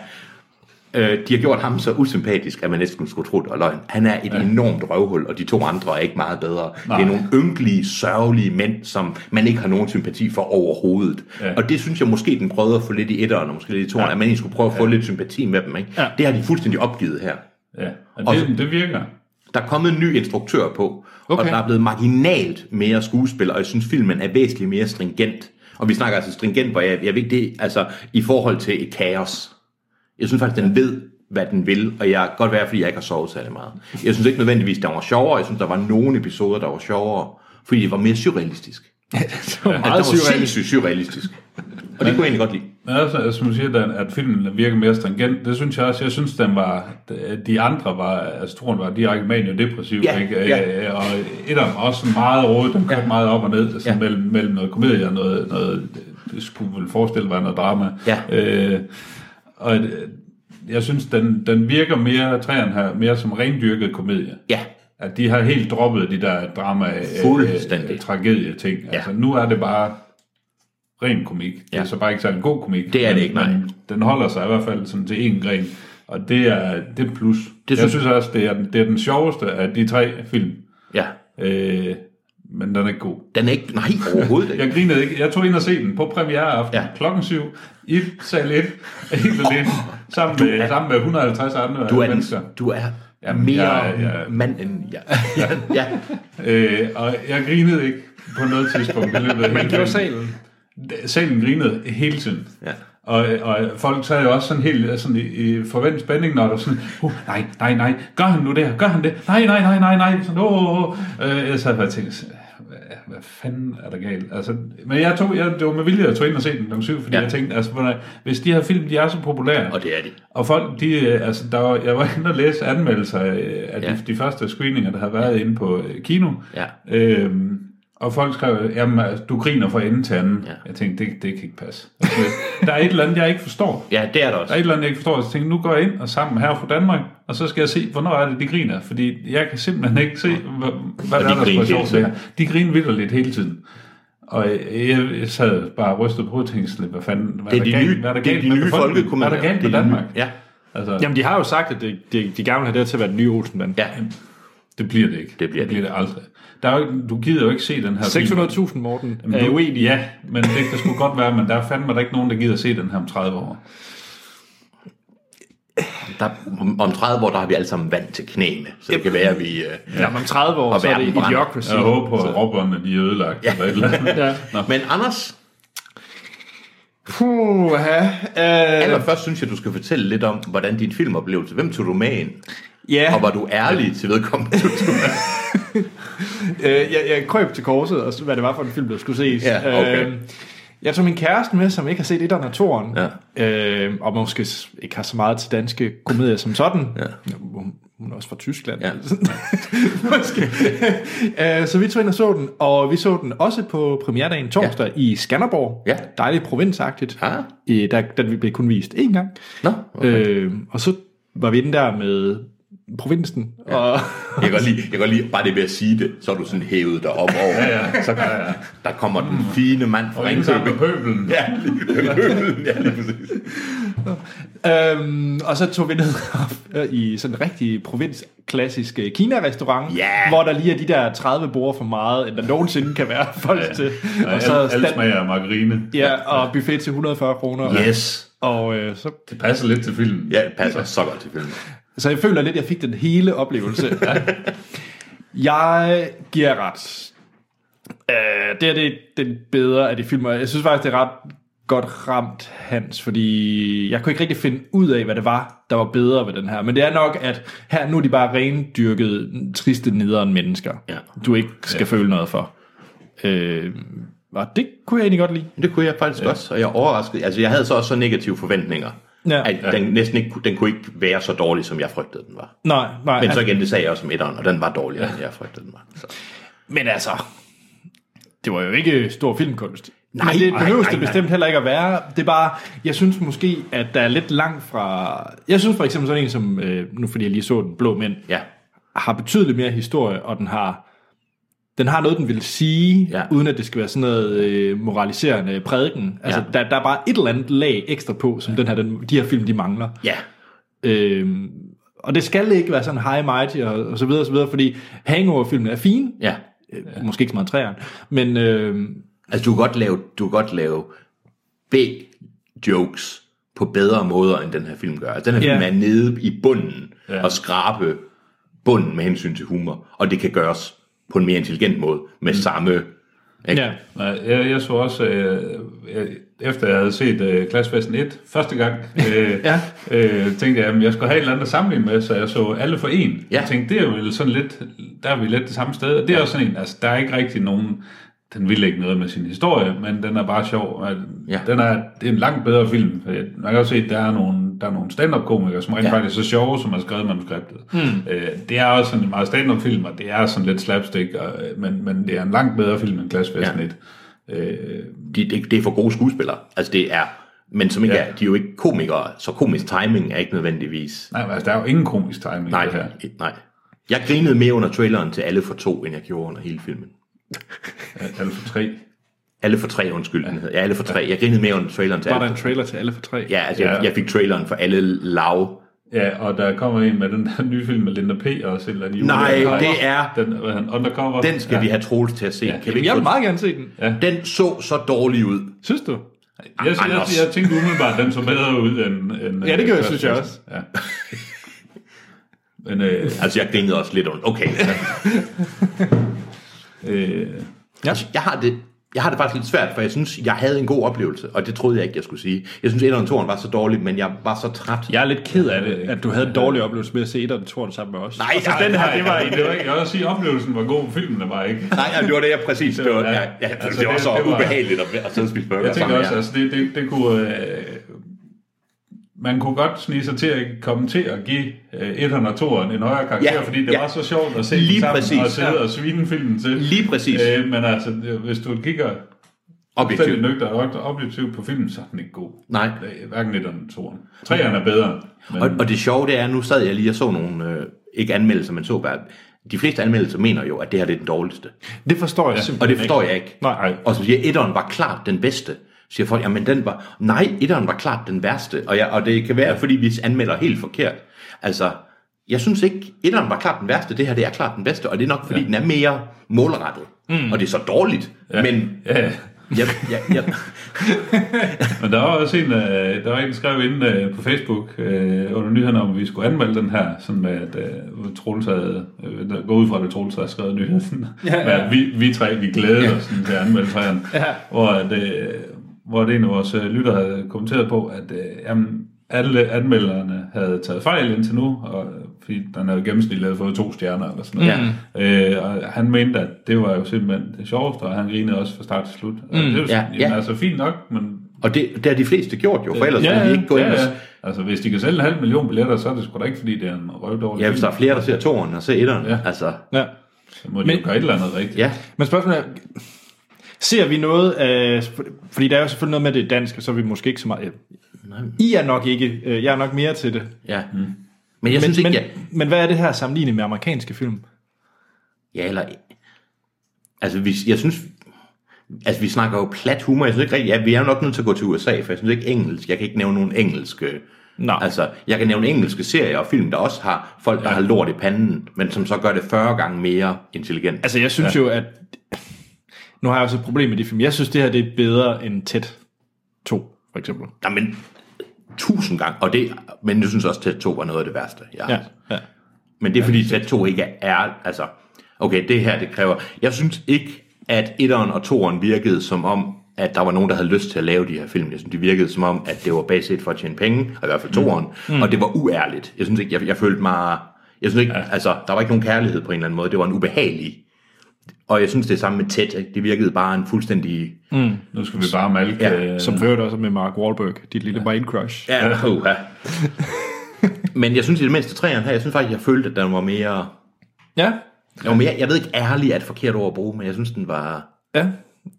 Speaker 2: Øh, de har gjort ham så usympatisk, at man næsten skulle tro, det var løgn. Han er et ja. enormt røvhul, og de to andre er ikke meget bedre. Nej. Det er nogle ynkelige, sørgelige mænd, som man ikke har nogen sympati for overhovedet.
Speaker 3: Ja.
Speaker 2: Ja. Og det synes jeg måske, den prøvede at få lidt i etteren, og måske lidt i toeren, ja. at man egentlig skulle prøve at få ja. lidt sympati med dem. Ikke? Ja. Det har de fuldstændig opgivet her.
Speaker 3: Ja, og
Speaker 2: Og
Speaker 3: det, det virker.
Speaker 2: Der er kommet en ny instruktør på, okay.
Speaker 1: Okay.
Speaker 2: og der er blevet marginalt mere skuespil, og jeg synes, filmen er væsentligt mere stringent. Og vi snakker altså stringent, hvor jeg, jeg ved ikke det, altså i forhold til et kaos. Jeg synes faktisk, den ved, hvad den vil, og jeg kan godt være, fordi jeg ikke har sovet særlig meget. Jeg synes ikke nødvendigvis, der var sjovere. Jeg synes, der var nogle episoder, der var sjovere, fordi det var mere surrealistisk.
Speaker 1: [laughs] det var
Speaker 2: Altså,
Speaker 1: meget
Speaker 2: det var
Speaker 1: surrealistisk.
Speaker 2: sindssygt surrealistisk. Og det kunne jeg egentlig godt lide.
Speaker 3: Men altså, som du siger, den, at filmen virker mere stringent, det synes jeg også. Jeg synes, den var, de andre var, altså Toren var direkte manio-depressiv,
Speaker 2: Ja,
Speaker 3: ikke?
Speaker 2: ja.
Speaker 3: Øh, og et af dem også meget rodet, den kørte ja. meget op og ned, sådan ja.
Speaker 2: Ja.
Speaker 3: mellem, mellem noget komedie og noget, noget det skulle vel forestille mig noget drama.
Speaker 2: Ja.
Speaker 3: Øh, og øh, jeg synes, den, den virker mere, træerne her, mere som rendyrket komedie.
Speaker 2: Ja,
Speaker 3: At de har helt droppet de der drama, øh,
Speaker 2: Fuldstændig.
Speaker 3: øh, tragedie-ting. Ja. Altså, nu er det bare ren komik. Det er
Speaker 2: Ja.
Speaker 3: så bare ikke særlig god komik.
Speaker 2: Det er det
Speaker 3: men-
Speaker 2: ikke, nej.
Speaker 3: men Den holder sig i hvert fald sådan til én gren, og det er, det er et plus. Det
Speaker 2: Det
Speaker 3: jeg
Speaker 2: synes-
Speaker 3: synes også, det er, den- det er den sjoveste af de tre film,
Speaker 2: ja.
Speaker 3: øh, men den er ikke god.
Speaker 2: Den er ikke... Nej, overhovedet ikke.
Speaker 3: Jeg grinede ikke. Jeg tog ind og se den på premiereaften
Speaker 2: Ja.
Speaker 3: ja. klokken 7 i sal 1, [laughs] helt alene, sammen, med, sammen med 150 andre
Speaker 2: Du er, den,
Speaker 3: mennesker.
Speaker 2: du er
Speaker 3: Jamen,
Speaker 2: mere
Speaker 3: jeg- jeg-
Speaker 2: mand end jeg. Ja. ja.
Speaker 3: Øh, og jeg grinede ikke på noget tidspunkt. i løbet af hele
Speaker 1: Man gjorde
Speaker 3: filmen.
Speaker 1: salen.
Speaker 3: salen grinede hele tiden.
Speaker 2: Ja.
Speaker 3: Og, og folk sad jo også sådan helt øh, sådan i, i forventet spænding, når der var sådan, uh, nej, nej, nej, gør han nu det her, gør han det, nej, nej, nej, nej, nej, sådan, åh, åh, åh. Øh, jeg sad bare og tænkte, hvad, hvad fanden er der galt? Altså, men jeg tog, jeg, det var med vilje, at jeg tog ind og se den kl. 7, fordi ja.
Speaker 2: Ja.
Speaker 3: jeg tænkte, altså, hvordan- hvis de her film, de er så populære,
Speaker 2: Og det er de.
Speaker 3: og folk, de, øh, altså, der var, jeg var inde og læse anmeldelser øh, af ja.
Speaker 2: Ja.
Speaker 3: de, de første screeninger, der havde været ja. inde på øh, kino.
Speaker 2: Ja.
Speaker 3: Øhm, og folk skrev, jamen, altså, du griner fra ende til anden. Ja.
Speaker 2: Ja.
Speaker 3: Jeg tænkte, det, det kan ikke passe. Altså, der er et eller andet, jeg ikke forstår.
Speaker 2: Ja, det er der
Speaker 3: Der er et
Speaker 2: også.
Speaker 3: eller andet, jeg ikke forstår. Så jeg tænkte, nu går jeg ind og sammen her fra Danmark, og så skal jeg se, hvornår er det, de griner. Fordi jeg kan simpelthen ikke se, hvad, hvad
Speaker 2: Og
Speaker 3: der
Speaker 2: de
Speaker 3: er der
Speaker 2: griner
Speaker 3: for sjovt
Speaker 2: hele tiden.
Speaker 3: her. De griner vidderligt hele tiden. Og jeg, jeg sad bare og rystede på hovedet og tænkte, hvad fanden, hvad
Speaker 2: Det er de
Speaker 3: der galt-
Speaker 2: nye,
Speaker 3: hvad der
Speaker 2: det er
Speaker 3: galt
Speaker 2: de
Speaker 3: med
Speaker 2: nye
Speaker 3: befolkningen?
Speaker 2: folkekommanderer.
Speaker 3: Hvad er der galt
Speaker 2: Det
Speaker 3: med
Speaker 2: er de nye-
Speaker 3: Danmark?
Speaker 2: Ja,
Speaker 3: Altså,
Speaker 1: Jamen, de har jo sagt, at de, de, de gerne vil have det her til at være den nye Olsenband.
Speaker 2: ja.
Speaker 3: Det bliver det ikke.
Speaker 2: Det bliver
Speaker 3: det, bliver det aldrig. Der er jo, ikke- du gider jo ikke se den her film.
Speaker 1: 600.000, Morten,
Speaker 3: Men
Speaker 1: er
Speaker 3: du-
Speaker 1: uenig.
Speaker 3: Ja, men det kan sgu godt være, men der er fandme der ikke nogen, der gider se den her om 30 år.
Speaker 2: Der, om- om 30 år, der har vi alle sammen vand til knæene. Så det kan være, at vi... Øh,
Speaker 1: Ja, men om 30 år,
Speaker 2: Og
Speaker 1: så er det
Speaker 2: verden brænder.
Speaker 1: idiocracy.
Speaker 3: Jeg håber på, at robberne de er ødelagt. Ja. Eller et eller andet.
Speaker 1: Ja.
Speaker 2: Men Anders,
Speaker 3: Øh.
Speaker 1: Puh, ja. Øh,
Speaker 2: allerførst synes jeg, du skal fortælle lidt om, hvordan din filmoplevelse. Hvem tog du med ind?
Speaker 1: ja.
Speaker 2: Og var du ærlig til vedkommende? du tog med?
Speaker 1: Øh, jeg, jeg krøb til korset, og så, hvad det var for en film, der skulle ses.
Speaker 2: Ja, okay.
Speaker 1: øh, jeg tog min kæreste med, som ikke har set etteren og toren,
Speaker 2: Ja.
Speaker 1: øh, og måske s- ikke har så meget til danske komedier som sådan. Ja. Hun, hun er også fra Tyskland.
Speaker 2: Ja.
Speaker 1: [laughs] måske. øh, så vi tog ind og så den, og vi så den også på premierdagen torsdag ja. i Skanderborg.
Speaker 2: Ja. Ah.
Speaker 1: Dejligt provinsagtigt.
Speaker 2: Ja.
Speaker 1: Øh, der, den blev kun vist én gang.
Speaker 2: Nå, okay.
Speaker 1: Øh, og så var vi inde der med provinsen, ja. og
Speaker 2: Jeg kan godt lide, jeg kan godt lide bare det ved at sige det, så er du sådan hævet dig op over. Ja, ja. Så der kommer den fine mand fra
Speaker 3: Og ingen sammen med
Speaker 2: Ringkøbing.
Speaker 3: pøbelen. Ja.
Speaker 2: Ja, lige, [laughs] ja, lige præcis.
Speaker 1: Øhm, og så tog vi ned op øh, i sådan en rigtig provinsklassisk øh, Kina-restaurant,
Speaker 2: Ja.
Speaker 1: hvor der lige er de der 30 borde for meget, end der nogensinde kan være folk ja. til.
Speaker 3: Og
Speaker 1: så
Speaker 3: alle, alle
Speaker 1: stand-
Speaker 3: smager af margarine.
Speaker 1: ja, og buffet til 140 kroner.
Speaker 2: Yes.
Speaker 1: Og øh, så,
Speaker 3: Det passer lidt til filmen.
Speaker 2: Ja, det passer så godt til filmen.
Speaker 1: så jeg føler lidt, at jeg fik den hele
Speaker 2: [laughs]
Speaker 1: oplevelse. jeg giver ret. Øh, det her det er den bedre af de film, og jeg synes faktisk, det er ret godt ramt, Hans, fordi jeg kunne ikke rigtig finde ud af, hvad det var, der var bedre ved den her. Men det er nok, at her nu er de bare rendyrkede, triste nederen mennesker,
Speaker 2: Ja.
Speaker 1: du ikke skal ja. føle noget for. Øh, og det kunne jeg egentlig godt lide.
Speaker 2: Det kunne jeg faktisk ja. også, og jeg er overrasket. Altså, jeg havde så også så negative forventninger,
Speaker 1: Ja.
Speaker 2: ja. at den næsten ikke, kunne- den kunne ikke være så dårlig, som jeg frygtede, den var.
Speaker 1: Nej, nej.
Speaker 2: Men så igen, det sagde jeg også om etteren, og den var dårligere, ja. end jeg frygtede, den var. Så.
Speaker 1: Men altså, det var jo ikke stor filmkunst. Nej,
Speaker 2: Nej,
Speaker 1: Men det
Speaker 2: nej,
Speaker 1: behøves
Speaker 2: nej,
Speaker 1: det
Speaker 2: nej.
Speaker 1: bestemt heller ikke at være. Det er bare, jeg synes måske, at der er lidt langt fra... Jeg synes for eksempel sådan en som, øh, nu fordi jeg lige så den, Blå Mænd,
Speaker 2: Ja.
Speaker 1: har betydeligt mere historie, og den har den har noget, den vil sige, ja.
Speaker 2: Ja.
Speaker 1: uden at det skal være sådan noget øh, moraliserende prædiken. Altså, ja.
Speaker 2: Ja.
Speaker 1: der, der er bare et eller andet lag ekstra på, som ja. den her, den, de her film, de mangler.
Speaker 2: Ja,
Speaker 1: Øhm, og det skal ikke være sådan high mighty og, og så videre, og så videre, fordi hangover-filmen er fin.
Speaker 2: ja.
Speaker 1: Øh, Måske ikke så meget træeren, men øh,
Speaker 2: Altså, du kan godt lave, du kan godt lave B-jokes på bedre måder, end den her film gør. Altså, den her
Speaker 1: Ja.
Speaker 2: film er nede i bunden
Speaker 3: Ja.
Speaker 2: og skrabe bunden med hensyn til humor, og det kan gøres på en mere intelligent måde med samme... Ikke?
Speaker 1: Mm. ja,
Speaker 3: Nej, jeg, jeg så også, øh, jeg, efter jeg havde set øh, Klassefesten 1 første
Speaker 2: [laughs]
Speaker 3: gang, øh,
Speaker 1: Ja.
Speaker 3: øh, tænkte jeg, at jeg skulle have et eller andet at sammenligne med, så jeg så alle for en.
Speaker 2: Ja.
Speaker 3: Jeg tænkte, det er jo sådan lidt, der er vi lidt det samme sted. Og det er også sådan en, altså der er ikke rigtig nogen, den vil ikke noget med sin historie, men den er bare sjov. og
Speaker 2: Ja.
Speaker 3: Den er, det er en langt bedre film. for Man kan også se, at der er nogle, der er nogle stand-up-komikere, som rent
Speaker 2: Ja. Hmm.
Speaker 3: ja. faktisk er så sjove, som har skrevet manuskriptet. Mm. Øh, det er også sådan en meget stand-up-film, og det er sådan lidt slapstick, og, øh, men, men det er en langt bedre film end Klassefesten
Speaker 2: Ja.
Speaker 3: 1. Øh,
Speaker 2: de, det, det er for gode skuespillere. Altså det er, men som ikke
Speaker 3: Ja.
Speaker 2: ja. er, de er jo ikke komikere, så komisk timing er ikke nødvendigvis.
Speaker 3: nej, men altså, der er jo ingen komisk timing i
Speaker 2: Nej,
Speaker 3: det her.
Speaker 2: nej. Jeg grinede mere under traileren til Alle for to, end jeg gjorde under hele filmen.
Speaker 3: Alle for tre.
Speaker 2: Alle for tre, undskyld. den hed. Ja, Alle for tre. Jeg grinede mere under traileren til
Speaker 1: var
Speaker 2: Alle
Speaker 1: der en trailer til alle for tre?
Speaker 2: Ja, altså jeg,
Speaker 3: Ja.
Speaker 2: jeg fik traileren for alle lav.
Speaker 3: Ja, og der kommer en med den der nye film med Linda P. også. Eller de
Speaker 2: Nej, det er-
Speaker 3: Den, hvad er han, undercover.
Speaker 2: Den skal
Speaker 3: ja.
Speaker 2: ja. vi have Troels til at se. Ja. Kan vi
Speaker 1: Jamen, jeg
Speaker 2: ikke
Speaker 1: vil
Speaker 2: få...
Speaker 1: meget gerne se den. Ja.
Speaker 2: Den så så dårlig ud.
Speaker 1: Synes du?
Speaker 3: Jeg, jeg, jeg,
Speaker 2: Anders.
Speaker 3: jeg tænkte umiddelbart, at den så bedre ud end... end
Speaker 1: Ja, det
Speaker 3: øh,
Speaker 1: gør jeg,
Speaker 3: Klassefesten.
Speaker 1: synes jeg også.
Speaker 3: Ja. Men øh,
Speaker 2: Altså jeg grinede også lidt under. Okay.
Speaker 3: øh,
Speaker 2: altså, jeg har det... Jeg har det faktisk lidt svært, for jeg synes, jeg havde en god oplevelse, og det troede jeg ikke, jeg skulle sige. Jeg synes, 1 og 2 var så dårlig, men jeg var så træt.
Speaker 1: Jeg er lidt ked af det, at du havde en dårlig oplevelse med at se et, og det tror du sammen med os.
Speaker 2: Nej,
Speaker 1: Og så
Speaker 2: nej,
Speaker 1: den her,
Speaker 2: nej,
Speaker 1: det var
Speaker 3: en... Det var ikke, jeg vil også sige, at oplevelsen var god, filmen var ikke.
Speaker 2: Nej, jamen, det var det, jeg præcis... Det var,
Speaker 3: Ja.
Speaker 2: ja, ja, ja,
Speaker 3: Altså,
Speaker 2: altså, det var
Speaker 3: det-
Speaker 2: så
Speaker 3: det var-
Speaker 2: ubehageligt at, at sidde og spise burger
Speaker 3: Jeg tænker
Speaker 2: sammen
Speaker 3: også,
Speaker 2: med jer.
Speaker 3: altså det, det, det kunne... Øh, man kunne godt snige sig til at komme til at give øh, 1'eren og 2'eren en højere karakter,
Speaker 2: Ja,
Speaker 3: fordi det
Speaker 2: ja.
Speaker 3: var så sjovt at se
Speaker 2: Lige
Speaker 3: dem sammen
Speaker 2: præcis.
Speaker 3: og sidde
Speaker 2: Ja.
Speaker 3: og svine filmen til.
Speaker 2: Lige præcis.
Speaker 3: Øh, men altså, det- hvis du kigger
Speaker 2: Objektivt.
Speaker 3: fuldstændig nøgter og objektivt på filmen, så er den ikke god.
Speaker 2: Nej.
Speaker 3: Øh, Hverken 1'eren og 2'eren. 3'eren er bedre. Men,
Speaker 2: Og, og det sjove det er, nu sad jeg lige og så nogle, øh, ikke anmeldelser, men så bare, de fleste anmeldelser mener jo, at det her det er den dårligste.
Speaker 1: Det forstår jeg ja.
Speaker 2: Og
Speaker 1: simpelthen
Speaker 2: det forstår jeg ikke.
Speaker 1: Nej.
Speaker 2: Og så siger jeg, etteren var klart den bedste. Så siger folk, jamen den var, nej, etteren var klart den værste. Og, jeg, og det kan være, fordi vi anmelder helt forkert. Altså, jeg synes ikke, etteren var klart den værste, det her det er klart den bedste. Og det er nok, fordi ja. den er mere målrettet. Mm. Og det er så dårligt. Ja. Men,
Speaker 3: ja,
Speaker 2: jeg, jeg, jeg,
Speaker 3: men der var også en, øh, der var en, der skrev inde øh, på Facebook øh, under nyhederne, om vi skulle anmelde den her, sådan med at øh, Troels havde, øh, der går ud fra, at Troels havde skrevet nyheden. [laughs] Ja, ja. At vi, vi tre, vi glædede ja. os sådan, til at anmelde træerne. Ja. Hvor, at, øh, hvor det en af vores øh, lytter havde kommenteret på, at øh, jamen, alle anmelderne havde taget fejl indtil nu, og, øh, fordi den havde gennemsnitligt fået to stjerner eller sådan noget. Ja. Øh, og han mente, at det var jo simpelthen det sjoveste, og han grinede også fra start til slut. Mm, det er jo
Speaker 2: ja,
Speaker 3: sådan, ja,
Speaker 2: ja.
Speaker 3: ja. altså fint nok, men
Speaker 2: og det, det har de fleste gjort jo, for ellers ville de ikke gå ind og...
Speaker 3: Altså, hvis de kan sælge en halv million billetter, så er det sgu da ikke, fordi det er en røvdårlig
Speaker 2: Ja, hvis der er flere, der ser toeren og ser etteren. Ja. Altså,
Speaker 1: Ja.
Speaker 3: så må de
Speaker 1: Men-
Speaker 3: jo gøre et eller andet rigtigt.
Speaker 2: ja.
Speaker 1: Men spørgsmålet er, ser vi noget af... Fordi der er jo selvfølgelig noget med, at det er dansk, og så er vi måske ikke så meget... I er nok ikke... øh, Jeg er nok mere til det.
Speaker 2: ja. Mm. Men jeg
Speaker 1: Men,
Speaker 2: synes ikke,
Speaker 1: men,
Speaker 2: jeg...
Speaker 1: men hvad er det her sammenlignet med amerikanske film?
Speaker 2: Ja, eller... Altså, vi, jeg synes... Altså, vi snakker jo plat humor. Jeg synes ikke rigtigt... Ja, vi er jo nok nødt til at gå til USA, for jeg synes ikke engelsk. Jeg kan ikke nævne nogen engelske...
Speaker 1: Nej.
Speaker 2: Altså, jeg kan nævne engelske serier og film, der også har folk, der ja. har lort i panden, men som så gør det 40 gange mere intelligent. Altså,
Speaker 1: Altså, jeg synes ja. jo, at... Nu har jeg også et problem med de film. Jeg synes, det her det er bedre end Tæt 2, for eksempel.
Speaker 2: men tusind gange. Og det, men jeg synes også, at Tæt 2 var noget af det værste. Jeg har
Speaker 1: Ja, ja.
Speaker 2: Men det er fordi Tæt 2 ikke er, altså, okay, det her, det kræver, jeg synes ikke, at etteren og toeren virkede som om, at der var nogen, der havde lyst til at lave de her film. Jeg synes, det virkede som om, at det var baseret for at tjene penge, og i hvert fald toeren, mm. og det var uærligt. Jeg synes ikke, jeg, jeg følte mig, jeg synes ikke, ja. altså, der var ikke nogen kærlighed på en eller anden måde, det var en ubehagelig, og jeg synes det er samme med tæt, ikke? det virkede bare en fuldstændig... Mm.
Speaker 3: Nu skal vi bare malke...
Speaker 2: Ja,
Speaker 3: øh,
Speaker 1: Som for øvrigt også med Mark Wahlberg, dit lille brain crush.
Speaker 2: Ja, Øh, uha. Men jeg synes i det mindste træerne her, jeg synes faktisk, jeg følte, at den var mere...
Speaker 1: Ja,
Speaker 2: Jo, men jeg, jeg ved ikke, ærlig er et forkert ord at bruge, men jeg synes, den var...
Speaker 1: ja.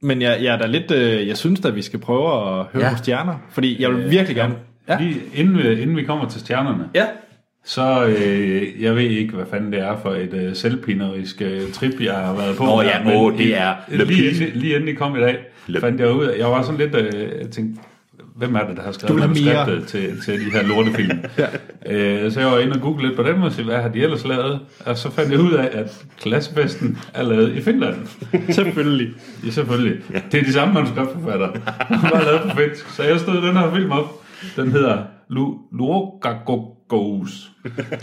Speaker 1: Men jeg, jeg er da lidt... øh, Jeg synes da, vi skal prøve at høre ja.
Speaker 2: Ja.
Speaker 1: på stjerner. Fordi jeg vil virkelig gerne... Ja.
Speaker 3: Lige inden vi, inden vi kommer til stjernerne,
Speaker 1: Ja.
Speaker 3: så øh, jeg ved ikke, hvad fanden det er for et øh, selvpinerisk øh, trip, jeg har været på.
Speaker 2: Nå ja,
Speaker 3: Men
Speaker 2: åh, det
Speaker 3: i-
Speaker 2: er Le
Speaker 3: Lige
Speaker 2: Pige.
Speaker 3: inden, lige inden I kom i dag,
Speaker 2: Le-
Speaker 3: fandt jeg ud af, jeg var sådan lidt, øh, jeg tænkte, hvem er det, der har skrevet
Speaker 1: Du vil have mere.
Speaker 3: manuskriptet til, til de her lortefilm? ja. øh, så jeg var inde og google lidt på dem og se, hvad har de ellers lavet? Og så fandt jeg ud af, at klassefesten er lavet i Finland.
Speaker 1: Selvfølgelig.
Speaker 3: Ja, selvfølgelig. Ja. Det er de samme [laughs] manuskriptforfatter. Bare lavet på finsk. Så jeg stod den her film op. Den hedder Lu- [laughs] Luogagogos.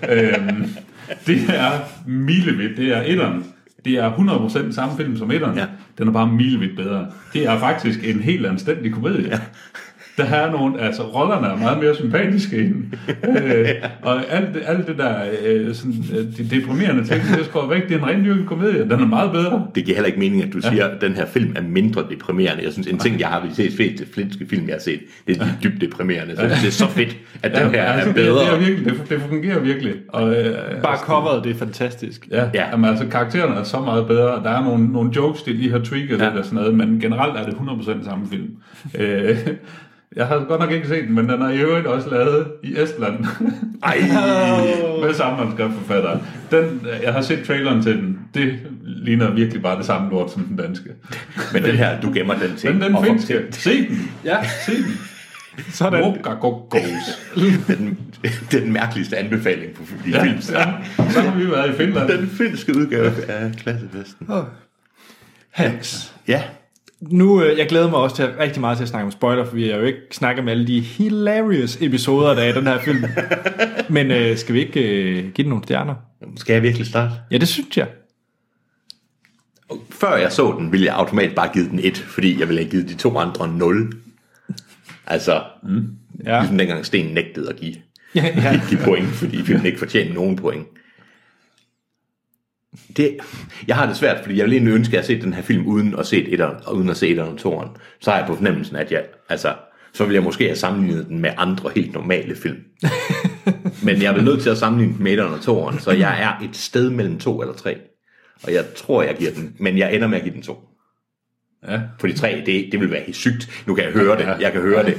Speaker 3: øhm, det er milevidt. Det er etteren. Det er 100% den samme film som etteren.
Speaker 2: Ja.
Speaker 3: Den er bare milevidt bedre. Det er faktisk en helt anstændig komedie. Ja. Der er nogle, altså rollerne er meget mere sympatiske
Speaker 2: [laughs]
Speaker 3: end, øh, og alt, det- alt det der, øh, sådan, øh, de deprimerende ting, det skal væk, det er en rendyrket komedie, den er meget bedre.
Speaker 2: Det giver heller ikke mening, at du siger, at den her film er mindre deprimerende. Jeg synes, en ting, jeg har vi set flest flinske film, jeg har set, det er de dybt deprimerende. Så jeg synes, det er så fedt, at den her
Speaker 3: altså,
Speaker 2: er
Speaker 3: Det, det, er
Speaker 2: bedre.
Speaker 3: virkelig, det, det fungerer virkelig. Og, øh,
Speaker 1: Bare coveret, det er fantastisk.
Speaker 3: ja,
Speaker 2: Ja.
Speaker 3: ja. Jamen, altså, karaktererne er så meget bedre. Der er nogle, nogle jokes, de lige har tweaked
Speaker 2: Ja.
Speaker 3: ja. lidt og sådan noget, men generelt er det 100% samme film. øh, [laughs] jeg har godt nok ikke set den, men den er i øvrigt også lavet i Estland. [laughs]
Speaker 2: Ej,
Speaker 3: med samme manuskriptforfatter. Den, jeg har set traileren til den. Det ligner virkelig bare det samme lort som den danske.
Speaker 2: men den her, du gemmer den til.
Speaker 3: [laughs] Men den
Speaker 2: og får
Speaker 3: finske, se den!
Speaker 1: Ja.
Speaker 3: Se den!
Speaker 1: Sådan.
Speaker 3: Rukagogos.
Speaker 2: den, den mærkeligste anbefaling på de ja.
Speaker 3: Ja,
Speaker 2: film.
Speaker 3: ja. Så har vi været i Finland.
Speaker 2: Den finske udgave af klassefesten.
Speaker 1: Hans.
Speaker 2: Ja,
Speaker 1: Nu, øh, jeg glæder mig også til, rigtig meget til at snakke om spoiler, for vi har jo ikke snakket om alle de hilarious episoder, der er i den her [laughs] film. Men øh, skal vi ikke øh, give den nogle stjerner?
Speaker 2: skal jeg virkelig starte?
Speaker 1: Ja, det synes jeg.
Speaker 2: Før jeg så den, ville jeg automatisk bare give den 1, fordi jeg ville have givet de to andre 0. Altså, mm.
Speaker 1: Ja.
Speaker 2: ligesom dengang Sten nægtede at give,
Speaker 1: [laughs] Ja,
Speaker 2: [laughs]
Speaker 1: ja.
Speaker 2: give point, fordi filmen ikke fortjente nogen point. Det, jeg har det svært, fordi jeg ville egentlig ønske, at jeg havde set den her film uden at se etteren, og uden at se etteren og toeren. Så har jeg på fornemmelsen, at jeg, altså, så ville jeg måske have sammenlignet den med andre helt normale [laughs] film. Men jeg er vel nødt til at sammenligne den med etteren og toeren, så jeg er et sted mellem to eller tre. Og jeg tror, jeg giver den, men jeg ender med at give den to.
Speaker 3: Ja.
Speaker 2: Fordi tre, det, det vil være helt sygt. Nu kan jeg høre det, jeg kan høre det.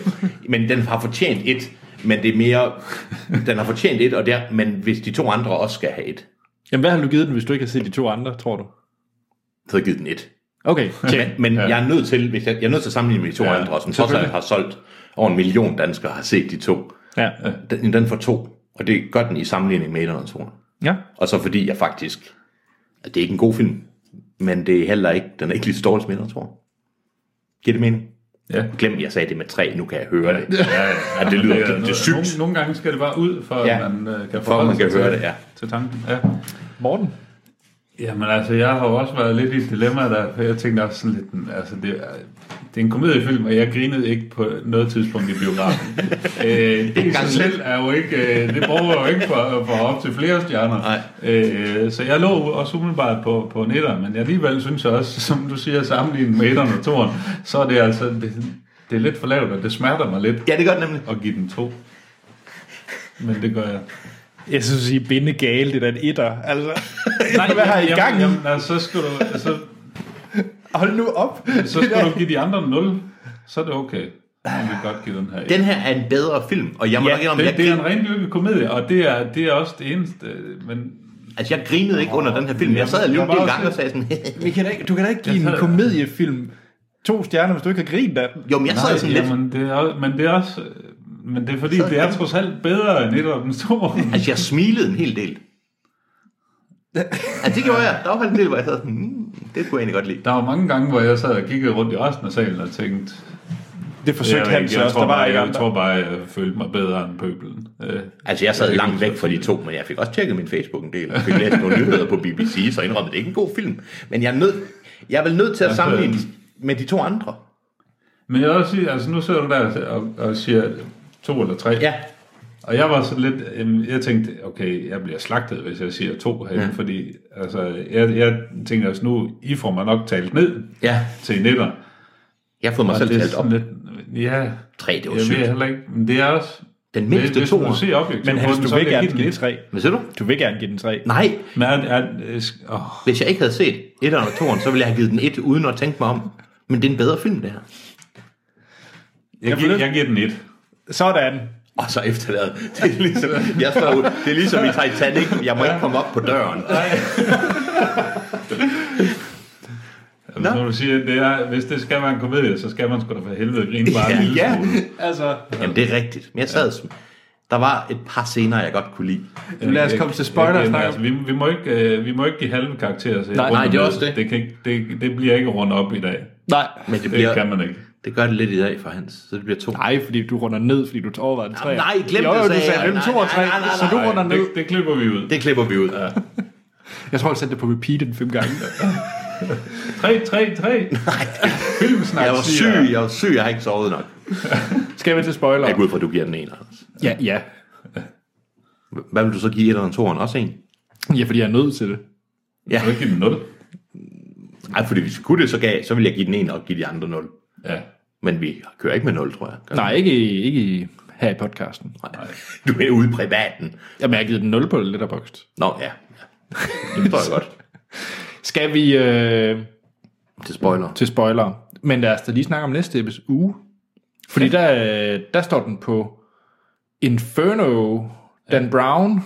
Speaker 2: Men den har fortjent et, men det er mere... Den har fortjent et, og der, men hvis de to andre også skal have et,
Speaker 1: Jamen, hvad har du givet den, hvis du ikke har set de to andre, tror du?
Speaker 2: så har jeg givet den et.
Speaker 1: Okay,
Speaker 2: Men, men ja. jeg er nødt til, hvis jeg, jeg er nødt til at sammenligne med de to ja,
Speaker 3: Ja,
Speaker 2: andre, som trods alt har solgt over en million danskere har set de to.
Speaker 1: Ja.
Speaker 2: Den, den får to, og det gør den i sammenligning med et eller andet
Speaker 1: ja.
Speaker 2: Og så fordi jeg faktisk... at Det er ikke en god film, men det er heller ikke, den er ikke lige så dårlig som et tror Giver det mening?
Speaker 3: Ja.
Speaker 2: Glem, jeg sagde det med tre, nu kan jeg høre det.
Speaker 3: Ja, ja.
Speaker 2: Ja, det lyder, det, det er
Speaker 3: Nogle,
Speaker 2: sygt.
Speaker 3: nogle gange skal det bare ud, for
Speaker 2: Ja,
Speaker 3: ja. man øh, kan
Speaker 2: For at man
Speaker 3: forholde
Speaker 2: kan
Speaker 3: sig
Speaker 2: høre
Speaker 3: til,
Speaker 2: det, ja.
Speaker 3: til tanken. Ja.
Speaker 1: Morten?
Speaker 3: Jamen altså, jeg har jo også været lidt i et dilemma der, for jeg tænkte også sådan lidt, den- altså det er, det er en komediefilm, og jeg grinede ikke på noget tidspunkt i
Speaker 1: [laughs]
Speaker 3: biografen. øh, det i sig
Speaker 2: engang
Speaker 3: selv er jo ikke, øh, det bruger jeg jo ikke for, for op til flere stjerner.
Speaker 2: Nej.
Speaker 3: Øh, så jeg lå også umiddelbart på, på en etter, men alligevel synes jeg også, [laughs] som du siger, sammenlignet med etteren og toeren, så er det altså, det, det er lidt for lavt, og det smerter mig lidt
Speaker 2: Ja, det gør det nemlig.
Speaker 3: at give den to. Men det gør jeg.
Speaker 1: Jeg synes, I er binde gale, det der en etter. Altså, [laughs] Nej, hvad har I
Speaker 3: jamen,
Speaker 1: gang i?
Speaker 3: Jamen, altså, så skal du, så,
Speaker 1: Hold nu op.
Speaker 3: så skal du give de andre 0, så er det okay. Man vil godt give den her.
Speaker 2: Den her er en bedre film, og jeg må
Speaker 1: Ja,
Speaker 2: ja, nok indrømme,
Speaker 3: det,
Speaker 2: jeg,
Speaker 3: det er
Speaker 2: grin,
Speaker 3: en rendyrket komedie, og det er, det er også det eneste, øh, men
Speaker 2: altså, jeg grinede ikke under den her film. Jeg sad og lyttede
Speaker 3: Jamen,
Speaker 2: en
Speaker 3: jeg
Speaker 2: gang
Speaker 3: var
Speaker 2: og sagde sådan,
Speaker 1: [laughs]
Speaker 2: [laughs]
Speaker 1: Vi kan da ikke, du kan da ikke give en komediefilm to stjerner, hvis du ikke har grint af den.
Speaker 2: jo, men jeg sad sådan lidt,
Speaker 3: jamen, det er, også- men det er også, øh, men det er fordi, det er trods alt bedre end et af den
Speaker 2: [laughs]
Speaker 3: store.
Speaker 2: altså jeg smilede en hel del. altså det gjorde jeg. Der var faktisk en del, hvor jeg sad sådan, hmm, det kunne jeg egentlig godt lide.
Speaker 3: Der var mange gange, hvor jeg sad og kiggede rundt i resten af salen og tænkte,
Speaker 1: Det forsøgte
Speaker 3: jeg,
Speaker 1: han
Speaker 3: ved
Speaker 1: så
Speaker 3: ikke, jeg,
Speaker 1: også,
Speaker 3: tror
Speaker 1: der var
Speaker 3: bare,
Speaker 1: ikke
Speaker 3: jeg
Speaker 1: andre.
Speaker 3: tror bare, jeg følte mig bedre end pøbelen. Øh,
Speaker 2: Altså jeg sad langt væk fra de to, men jeg fik også tjekket min Facebook en del, og fik læst nogle nyheder på BBC, så indrømmede det er ikke en god film. Men jeg er, nød, jeg er vel nødt til at
Speaker 3: Altså,
Speaker 2: sammenligne med de to andre.
Speaker 3: Men jeg vil også sige, altså nu sidder du der og, og siger to eller tre.
Speaker 2: Ja,
Speaker 3: Og jeg var så lidt, øhm, jeg tænkte, okay, jeg bliver slagtet, hvis jeg siger to herinde, ja. fordi altså, jeg, jeg tænker også nu, I får mig nok talt ned
Speaker 2: ja.
Speaker 3: til netter.
Speaker 2: Jeg har fået mig
Speaker 3: Og
Speaker 2: selv
Speaker 3: det er
Speaker 2: talt op.
Speaker 3: sådan Lidt, ja,
Speaker 2: Tre, det var
Speaker 3: jeg ved
Speaker 2: sygt.
Speaker 3: heller ikke, men det er også...
Speaker 2: Den mindste
Speaker 3: hvis du
Speaker 2: toer.
Speaker 3: ser objektivt
Speaker 1: Men
Speaker 3: på
Speaker 1: Hans,
Speaker 3: den,
Speaker 1: du
Speaker 3: så
Speaker 1: vil
Speaker 3: jeg
Speaker 1: gerne
Speaker 3: give
Speaker 1: give den
Speaker 3: et.
Speaker 1: tre.
Speaker 2: Hvad siger du?
Speaker 1: Du vil gerne give den tre.
Speaker 2: Nej,
Speaker 3: Men er, er, øh, sk- åh,
Speaker 2: Hvis jeg ikke havde set 1'eren og 2'eren, så ville jeg have givet den 1, uden at tænke mig om. Men det er en bedre film, det her.
Speaker 3: jeg,
Speaker 1: vil
Speaker 3: giver,
Speaker 1: ikke-
Speaker 3: jeg giver den et.
Speaker 1: Sådan.
Speaker 2: og så efterladet. Det er ligesom, jeg står, ud- det er ligesom i Titanic, jeg må ikke komme op på døren.
Speaker 3: Nå. Som Altså, du siger, det er, hvis det skal være en komedie, så skal man sgu da for helvede grine
Speaker 2: Ja,
Speaker 3: bare ja, en lille
Speaker 2: ja.
Speaker 3: smule. Altså,
Speaker 2: Jamen, det er rigtigt. Men jeg sad, der var et par scener, jeg godt kunne lide.
Speaker 1: Lad os komme til spoiler og
Speaker 3: igen,
Speaker 1: snakke
Speaker 3: altså,
Speaker 1: om...
Speaker 3: vi, vi, må ikke, øh, vi må ikke give halve karakterer til
Speaker 1: Nej,
Speaker 3: rundt
Speaker 2: nej, det er
Speaker 3: om
Speaker 2: også det.
Speaker 3: Det, kan ikke, det, det bliver ikke rundt op i dag.
Speaker 1: Nej.
Speaker 2: Men det,
Speaker 3: Det
Speaker 2: bliver,
Speaker 3: kan man ikke.
Speaker 2: det gør det lidt i dag for Hans, så det bliver to.
Speaker 1: Nej, fordi du runder ned, fordi du overvejede en træer.
Speaker 2: nej, glem
Speaker 1: jo,
Speaker 2: det,
Speaker 1: jo, du
Speaker 2: sagde
Speaker 1: sagde
Speaker 2: jeg.
Speaker 1: mellem
Speaker 2: Nej,
Speaker 1: to og tre,
Speaker 2: nej, nej, nej,
Speaker 1: så du
Speaker 2: nej.
Speaker 1: runder ned.
Speaker 3: Det, det klipper vi ud.
Speaker 2: Det klipper vi ud.
Speaker 1: Jeg tror, jeg sendte det på repeat en fem gange.
Speaker 3: 3, 3,
Speaker 1: [laughs]
Speaker 3: 3. Filmsnak
Speaker 2: Jeg var
Speaker 3: siger-
Speaker 2: syg, jeg var syg, jeg har ikke sovet nok.
Speaker 1: Skal vi til spoiler?
Speaker 2: Jeg går ud fra, at du giver den en, Anders.
Speaker 1: Ja, ja.
Speaker 2: Hvad vil du så give et eller toeren? Også en?
Speaker 1: Ja, fordi jeg er nødt til det.
Speaker 3: Kan du ikke give den 0?
Speaker 2: Nej, fordi hvis vi kunne det, så, gav, så ville jeg give den en og give de andre nul.
Speaker 3: Ja.
Speaker 2: Men vi kører ikke med nul, tror jeg. Gør
Speaker 1: Nej, ikke, i- ikke i- her i podcasten.
Speaker 2: vi? Nej. Du er ude i privaten.
Speaker 1: Jamen, jeg har givet den 0 på Letterboxd.
Speaker 2: Nå, ja. ja. Det forstår jeg godt.
Speaker 1: Skal vi øh,
Speaker 2: Til spoiler.
Speaker 1: til spoiler? Men lad os da lige snakke om næste episode. uge. Fordi der, øh, der står den på Inferno, Dan Brown,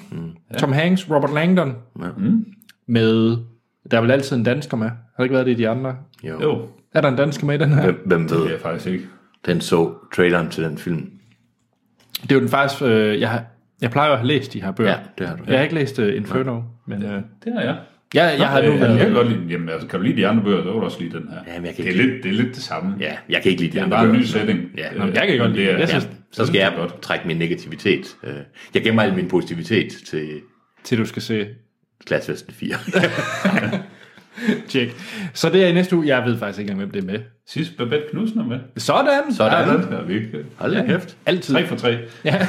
Speaker 1: Tom Hanks, Robert Langdon.
Speaker 2: Mm. Ja.
Speaker 1: Mm. Med, der er vel altid en dansker med. Har det ikke været det i de andre?
Speaker 2: Jo.
Speaker 3: Jo,
Speaker 1: Er der en dansker med i den her?
Speaker 2: Hvem, hvem
Speaker 3: det er
Speaker 2: ved?
Speaker 3: jeg faktisk ikke.
Speaker 2: Den så traileren til den film.
Speaker 1: Det er jo den faktisk, øh, jeg, har, jeg plejer jo at have læst de her bøger.
Speaker 2: Ja, det har du.
Speaker 1: Jeg har ikke læst uh, Inferno, men øh,
Speaker 3: Det har jeg.
Speaker 1: jeg, jeg har nu
Speaker 3: Øh, jeg kan
Speaker 1: været...
Speaker 3: godt lide den. Jamen, altså, kan du lide de andre bøger, så kan du også lide den her.
Speaker 2: Jamen, jeg kan
Speaker 3: det, er
Speaker 2: ikke-
Speaker 3: lidt, det er lidt det samme.
Speaker 2: Ja, jeg kan ikke lide de
Speaker 3: Det er
Speaker 2: andre
Speaker 3: bare en ny
Speaker 2: bøger.
Speaker 3: setting.
Speaker 2: Ja.
Speaker 3: Øh,
Speaker 2: Nå, men
Speaker 1: jeg kan godt lide
Speaker 3: det.
Speaker 1: den. Jeg
Speaker 3: er-
Speaker 2: Ja,
Speaker 1: synes-
Speaker 2: så skal jeg
Speaker 3: det er godt.
Speaker 2: trække min negativitet. Øh, Jeg gemmer al min positivitet til
Speaker 1: Til du skal se
Speaker 2: Glasvesten 4.
Speaker 1: Tjek. Så det er i næste uge. Jeg ved faktisk ikke engang, hvem det er med.
Speaker 3: Sidst Babette Knudsen er med.
Speaker 1: Sådan!
Speaker 2: Sådan.
Speaker 1: Ja,
Speaker 3: Det er virkelig.
Speaker 2: Hold da kæft.
Speaker 1: Altid.
Speaker 3: 3 for 3.
Speaker 1: Ja.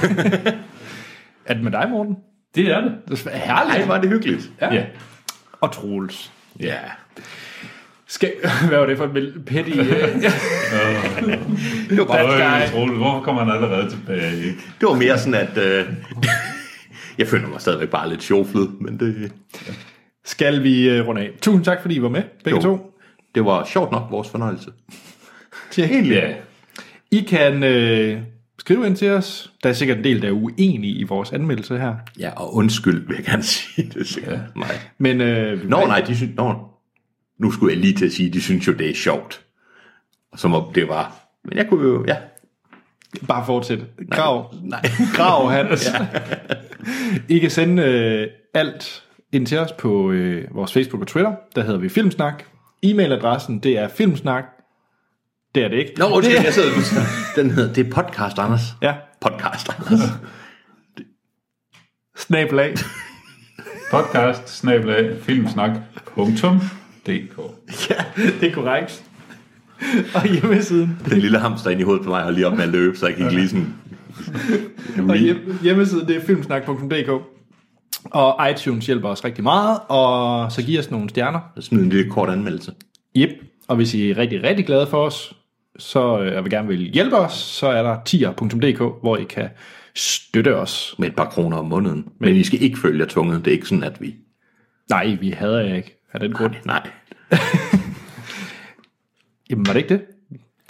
Speaker 1: er det med dig, Morten?
Speaker 3: Det er det.
Speaker 1: Det er
Speaker 2: Ej,
Speaker 1: herligt.
Speaker 2: var det hyggeligt.
Speaker 1: Ja.
Speaker 3: Ja.
Speaker 1: Og Troels.
Speaker 2: Ja.
Speaker 1: Skal, [laughs] hvad var det for en petty?
Speaker 2: [laughs]
Speaker 1: øh,
Speaker 2: Det var,
Speaker 1: That's
Speaker 2: bare,
Speaker 1: guy.
Speaker 3: Øj, Troels, hvorfor kommer han allerede tilbage? Ikke?
Speaker 2: det var mere sådan, at... Øh, [laughs] jeg føler mig stadigvæk bare lidt sjoflet, men det,
Speaker 1: Skal vi øh, runde af? Tusind tak, fordi I var med, begge
Speaker 2: Jo.
Speaker 1: to.
Speaker 2: det var sjovt nok vores fornøjelse.
Speaker 1: Tjek.
Speaker 3: Ja,
Speaker 1: I kan øh, skrive ind til os. Der er sikkert en del, der er uenige i vores anmeldelse her.
Speaker 2: Ja, og undskyld, vil jeg gerne [laughs] sige. Det er sikkert ja. mig.
Speaker 1: Men øh, vi-
Speaker 2: Nå, nej, de synes... Nå, nu skulle jeg lige til at sige, de synes jo, det er sjovt. Som om det var... Men jeg kunne jo... Ja.
Speaker 1: bare fortsæt. Grav.
Speaker 2: Nej.
Speaker 1: Grav, Hans. [laughs] ja. I kan sende øh, alt ind til os på øh, vores Facebook og Twitter. Der hedder vi Filmsnak. E-mailadressen, det er filmsnak. Det er det ikke.
Speaker 2: [laughs] Nå, undskyld, jeg sidder... Den hedder... Det er podcast, Anders.
Speaker 1: [laughs] Ja.
Speaker 2: Podcast, Anders.
Speaker 1: Snabelag.
Speaker 3: podcast snabla filmsnak.dk
Speaker 1: ja, det er korrekt. og hjemmesiden.
Speaker 2: Den lille hamster inde i hovedet på mig har lige op med at løbe, så jeg kan ikke lige sådan...
Speaker 1: Og hjem, hjemmesiden, det er filmsnak.dk. Og iTunes hjælper os rigtig meget, og så giver os nogle stjerner.
Speaker 2: Smid en lille kort anmeldelse.
Speaker 1: Yep. Og hvis I er rigtig, rigtig glade for os, så øh, og vil gerne vil hjælpe os, så er der tier.dk, hvor I kan støtte os.
Speaker 2: Med et par kroner om måneden. Men, I skal ikke følge jer tunget. Det er ikke sådan, at vi...
Speaker 1: Nej, vi hader jer ikke af den grund.
Speaker 2: Nej.
Speaker 1: Jamen, var det ikke det?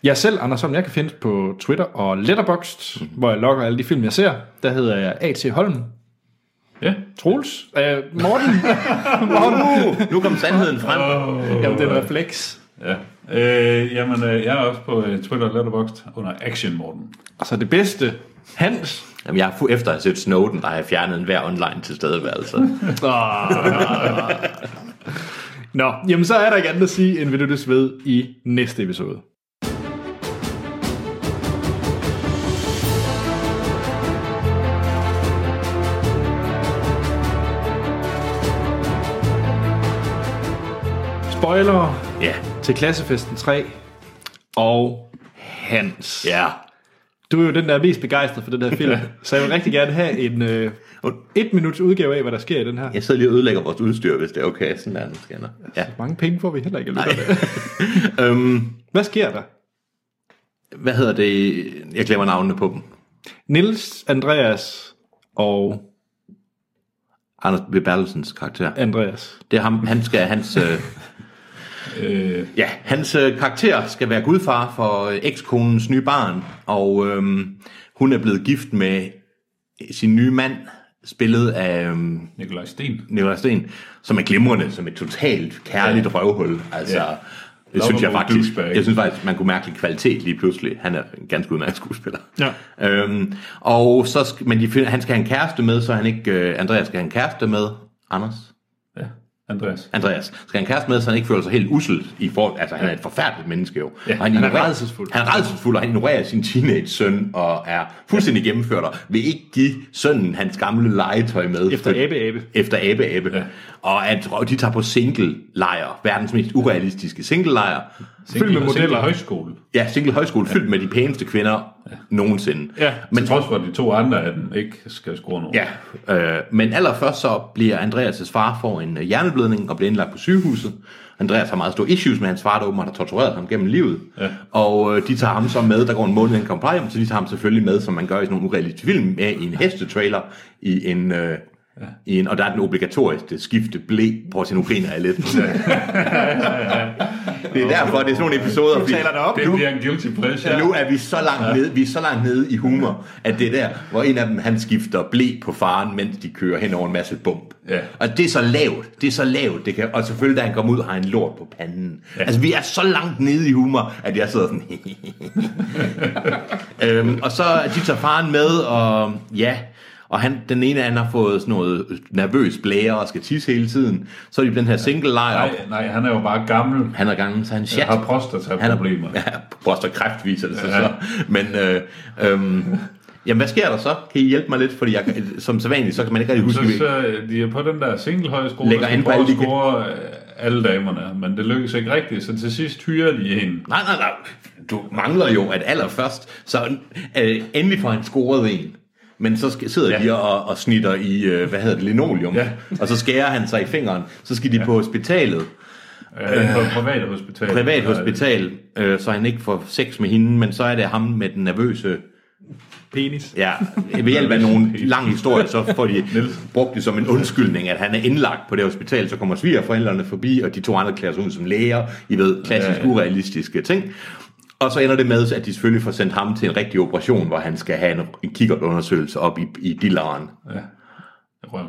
Speaker 1: Jeg selv, Anders Holm, jeg kan findes på Twitter og Letterboxd, mm-hmm. hvor jeg logger alle de film, jeg ser. Der hedder jeg A.T. Holm.
Speaker 3: Ja,
Speaker 1: Troels? Øh, Morten? Morten?
Speaker 2: Uh, Nu kom sandheden frem.
Speaker 1: Jamen, det er en refleks.
Speaker 3: ja. Øh, jamen, øh, jeg er også på øh, Twitter og Letterboxd under Action Morten.
Speaker 1: Og så det bedste, Hans.
Speaker 2: Jamen, jeg har fu- efter at have set Snowden, der har jeg fjernet enhver online tilstedeværelse.
Speaker 1: Nå, jamen så er der ikke andet at sige, end vi lyttes ved i næste episode. Spoiler
Speaker 2: Ja.
Speaker 1: til Klassefesten 3 og Hans.
Speaker 2: Ja.
Speaker 1: Du er jo den, der er mest begejstret for den her film, så jeg vil rigtig gerne have en øh, et minuts udgave af, hvad der sker i den her.
Speaker 2: Jeg sidder lige og ødelægger vores udstyr, hvis det er okay. Sådan er den scanner. Ja.
Speaker 1: Mange penge får vi heller ikke. Nej.
Speaker 2: [laughs] Øhm,
Speaker 1: Hvad sker der?
Speaker 2: hvad hedder det? Jeg glemmer navnene på dem.
Speaker 1: Nils, Andreas og
Speaker 2: Anders B. Bertelsens karakter.
Speaker 1: Andreas.
Speaker 2: Det er ham, han skal, hans, øh,
Speaker 3: Øh,
Speaker 2: ja, hans øh, karakter skal være gudfar for øh, ekskonens nye barn, og øhm, hun er blevet gift med sin nye mand, spillet af øhm,
Speaker 3: Nikolaj Sten.
Speaker 2: Nikolaj Sten, som er glimrende, som et totalt kærligt ja. røvhul. Altså,
Speaker 3: Ja.
Speaker 2: ja. Det synes jeg
Speaker 3: Lovable
Speaker 2: faktisk,
Speaker 3: douchebag.
Speaker 2: jeg synes faktisk, man kunne mærke lidt kvalitet lige pludselig. Han er en ganske udmærket skuespiller.
Speaker 1: Ja.
Speaker 2: Øhm, og så skal, men de finder, han skal have en kæreste med, så han ikke, øh, Andreas skal have en kæreste med, Anders?
Speaker 3: Ja, Andreas.
Speaker 2: Andreas skal have en kæreste med, så han ikke føler sig helt ussel i forhold, altså han er et forfærdeligt menneske jo. Ja, og han,
Speaker 1: han er
Speaker 2: ignorerer-
Speaker 1: rædselsfuld.
Speaker 2: Han er redselsfuld, og han ignorerer sin teenage-søn, og er fuldstændig gennemført, og vil ikke give sønnen hans gamle legetøj med.
Speaker 1: Efter
Speaker 2: For-
Speaker 1: abe-abe.
Speaker 2: Efter abe-abe. Ja. Og at og de tager på single-lejr, verdens mest urealistiske single-lejr.
Speaker 1: Fyldt med modeller.
Speaker 3: højskole.
Speaker 2: Ja, single-højskole, fyldt med de pæneste kvinder nogensinde.
Speaker 1: Ja.
Speaker 2: Men
Speaker 3: Men trods for, at de to andre af dem ikke skal score nogen.
Speaker 2: Ja, øh, men allerførst så bliver Andreas' far får en øh, hjerneblødning og bliver indlagt på sygehuset. Andreas har meget store issues med hans far, der åbenbart har tortureret ham gennem livet. Ja. Og øh, de tager ham så med, der går en måned, han kommer på plejehjem, så de tager ham selvfølgelig med, som man gør i sådan nogle urealistiske film, med i en hestetrailer, i en... Øh, Ja. I en, og der er den obligatoriske skifte blæ på sin ukrainer er lidt. det er derfor, det er sådan nogle episoder. Du
Speaker 1: taler dig op.
Speaker 3: Det bliver en guilty pleasure.
Speaker 2: nu er vi så langt nede, vi er så langt nede i humor, at det er der, hvor en af dem, han skifter blæ på faren, mens de kører hen over en masse bump.
Speaker 3: Ja.
Speaker 2: Og det er så lavt, det er så lavt, det kan, og selvfølgelig, da han kommer ud, har han lort på panden. Ja. Altså, vi er så langt nede i humor, at jeg sidder
Speaker 3: [laughs]
Speaker 2: sådan, øhm, og så de tager faren med, og ja, og han, den ene han har fået sådan noget øh, nervøs blære og skal tisse hele tiden. Så er de på den her single-lejr.
Speaker 3: Nej, nej, han er jo bare gammel.
Speaker 2: Han er gangen, så han
Speaker 3: Jeg
Speaker 2: chat.
Speaker 3: har prostataproblemer.
Speaker 2: Ja, prostatkræft viser det sig ja. så. Men, øh, øhm, jamen, hvad sker der så? Kan I hjælpe mig lidt? Fordi jeg, kan- som så vanligt, så kan man ikke rigtig
Speaker 3: Så,
Speaker 2: huske,
Speaker 3: så
Speaker 2: så,
Speaker 3: øh, de er på den der singlehøjskole,
Speaker 2: Lægger
Speaker 3: der skal
Speaker 2: an på
Speaker 3: prøve at
Speaker 2: alle de-
Speaker 3: score øh, alle damerne, men det lykkes ikke rigtigt, så til sidst hyrer de en.
Speaker 2: Nej, nej, nej. Du mangler jo, at allerførst, så øh, endelig får han scoret en. Men så sk- sidder ja. de og, og snitter i, øh, hvad hedder det, linoleum.
Speaker 3: Ja.
Speaker 2: Ja. Og så skærer han sig i fingeren. Så skal de ja. på hospitalet.
Speaker 3: Øh, på et privat hospital.
Speaker 2: privat
Speaker 3: Eller-
Speaker 2: hospital, øh, så han ikke får sex med hende, men så er det ham med den nervøse...
Speaker 1: Penis.
Speaker 2: Ja, ved hjælp af nogle lang historie, så får de brugt det som en undskyldning, at han er indlagt på det hospital, så kommer svigerforældrene forbi, og de to andre klæder sig ud som læger, I ved, klassisk urealistiske ting. Og så ender det med, at de selvfølgelig får sendt ham til en rigtig operation, hvor han skal have en, en kikkertundersøgelse op i, i dilleren.
Speaker 3: Røven.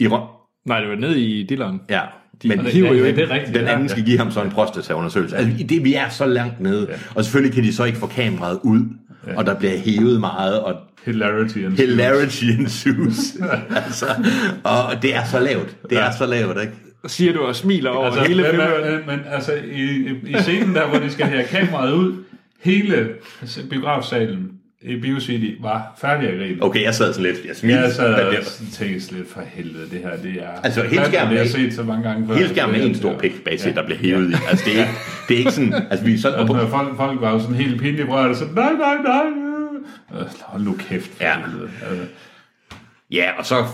Speaker 2: I rø-
Speaker 1: Nej, det var ned i dilleren.
Speaker 2: ja, men
Speaker 1: De hiver jo
Speaker 3: ja,
Speaker 1: ikke.
Speaker 3: det er rigtigt.
Speaker 2: Den
Speaker 3: ja.
Speaker 2: anden skal give ham så en prostataundersøgelse. Altså, i det, vi er så langt nede. Ja. Og selvfølgelig kan de så ikke få kameraet ud, ja. og der bliver hævet meget, og
Speaker 3: Hilarity. and-
Speaker 2: hilarity
Speaker 3: [laughs]
Speaker 2: ensues. altså, og det er så lavt. Det er så lavt, ikke?
Speaker 1: Siger du og smiler over
Speaker 3: Altså,
Speaker 1: altså, hele
Speaker 3: men,
Speaker 1: filmen.
Speaker 3: men, men altså, i, i- i scenen der, hvor de skal have kameraet ud, hele biografsalen i BioCity var færdig at grine.
Speaker 2: Okay, jeg sad sådan lidt. Jeg smilte.
Speaker 3: Jeg sad
Speaker 2: men
Speaker 3: og
Speaker 2: det-
Speaker 3: tænkte lidt for helvede, det her, det er...
Speaker 2: Altså, hele skærmen
Speaker 3: Jeg har
Speaker 2: er-
Speaker 3: set så mange gange før.
Speaker 2: Hele skærmen er en stor pik, basic, der bliver hævet i. Altså, det er, ikke, det er ikke sådan... Altså, vi er sådan...
Speaker 3: Og når folk, folk var jo sådan helt pinligt rørt, og så nej, nej, nej. øh. Øh, Hold nu kæft. for
Speaker 2: Ja.
Speaker 3: helvede. Altså,
Speaker 2: Ja, og så...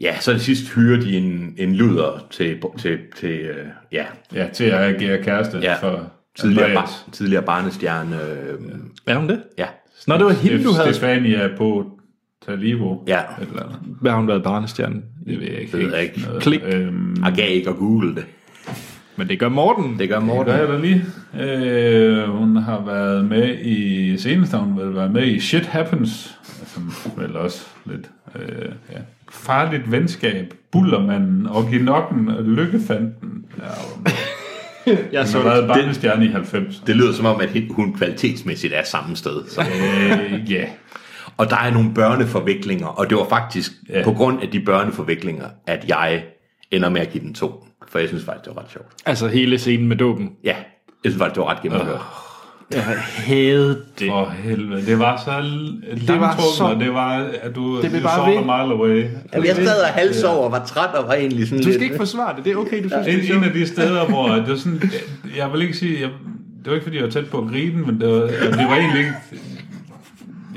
Speaker 2: Ja, så det sidste hyrer de en, en luder til, til, til øh, ja,
Speaker 3: ja, til at agere kæreste
Speaker 2: Ja.
Speaker 3: for
Speaker 2: tidligere,
Speaker 3: Andreas.
Speaker 2: bar, tidligere barnestjerne. Øh,
Speaker 1: Er hun det?
Speaker 2: ja.
Speaker 1: Nå, det var hende,
Speaker 3: Stef-
Speaker 1: du havde...
Speaker 3: Stefania på Talibo.
Speaker 2: Ja.
Speaker 3: Et eller andet.
Speaker 1: Hvad har hun været barnestjerne?
Speaker 3: Det ved jeg ikke.
Speaker 2: Det ved jeg ikke.
Speaker 3: Noget.
Speaker 1: Klik.
Speaker 3: Øhm,
Speaker 2: Jeg gav ikke at google det.
Speaker 1: Men det gør Morten.
Speaker 2: Det gør
Speaker 3: hvad
Speaker 2: Morten.
Speaker 3: er der lige? Øh, hun har været med i... Senest har hun vel været med i Shit Happens. Som vel også lidt... Øh, ja. Farligt venskab. Bullermanden. Orginokken. Lykkefanden. Ja, hun
Speaker 1: Jeg
Speaker 3: har været barnestjerne i 90.
Speaker 2: Det lyder som om, at hun kvalitetsmæssigt er samme sted. Så.
Speaker 3: Øh, ja.
Speaker 2: Og der er nogle børneforviklinger, og det var faktisk
Speaker 3: Ja.
Speaker 2: ja. på grund af de børneforviklinger, at jeg ender med at give den to. For jeg synes faktisk, det var ret sjovt.
Speaker 1: Altså hele scenen med dåben.
Speaker 2: Ja, jeg synes faktisk, det var ret gennemført. Uh.
Speaker 1: Havde det.
Speaker 3: For helvede. Det var så langtrukken, det
Speaker 1: var
Speaker 3: var
Speaker 1: så-
Speaker 3: så... og det var... At du,
Speaker 1: Det
Speaker 3: det
Speaker 1: blev
Speaker 3: you
Speaker 1: bare
Speaker 3: saw
Speaker 1: ved.
Speaker 3: a mile away.
Speaker 2: Jamen, jeg sad og halsover, var træt og var egentlig sådan
Speaker 1: Du
Speaker 2: lidt...
Speaker 1: skal ikke forsvare det. Det er okay, du synes, det er
Speaker 3: En, en
Speaker 1: sjovt.
Speaker 3: af de steder, hvor det var sådan, jeg vil ikke sige, jeg, det var ikke fordi, jeg var tæt på at grine, men det var, det var egentlig ikke,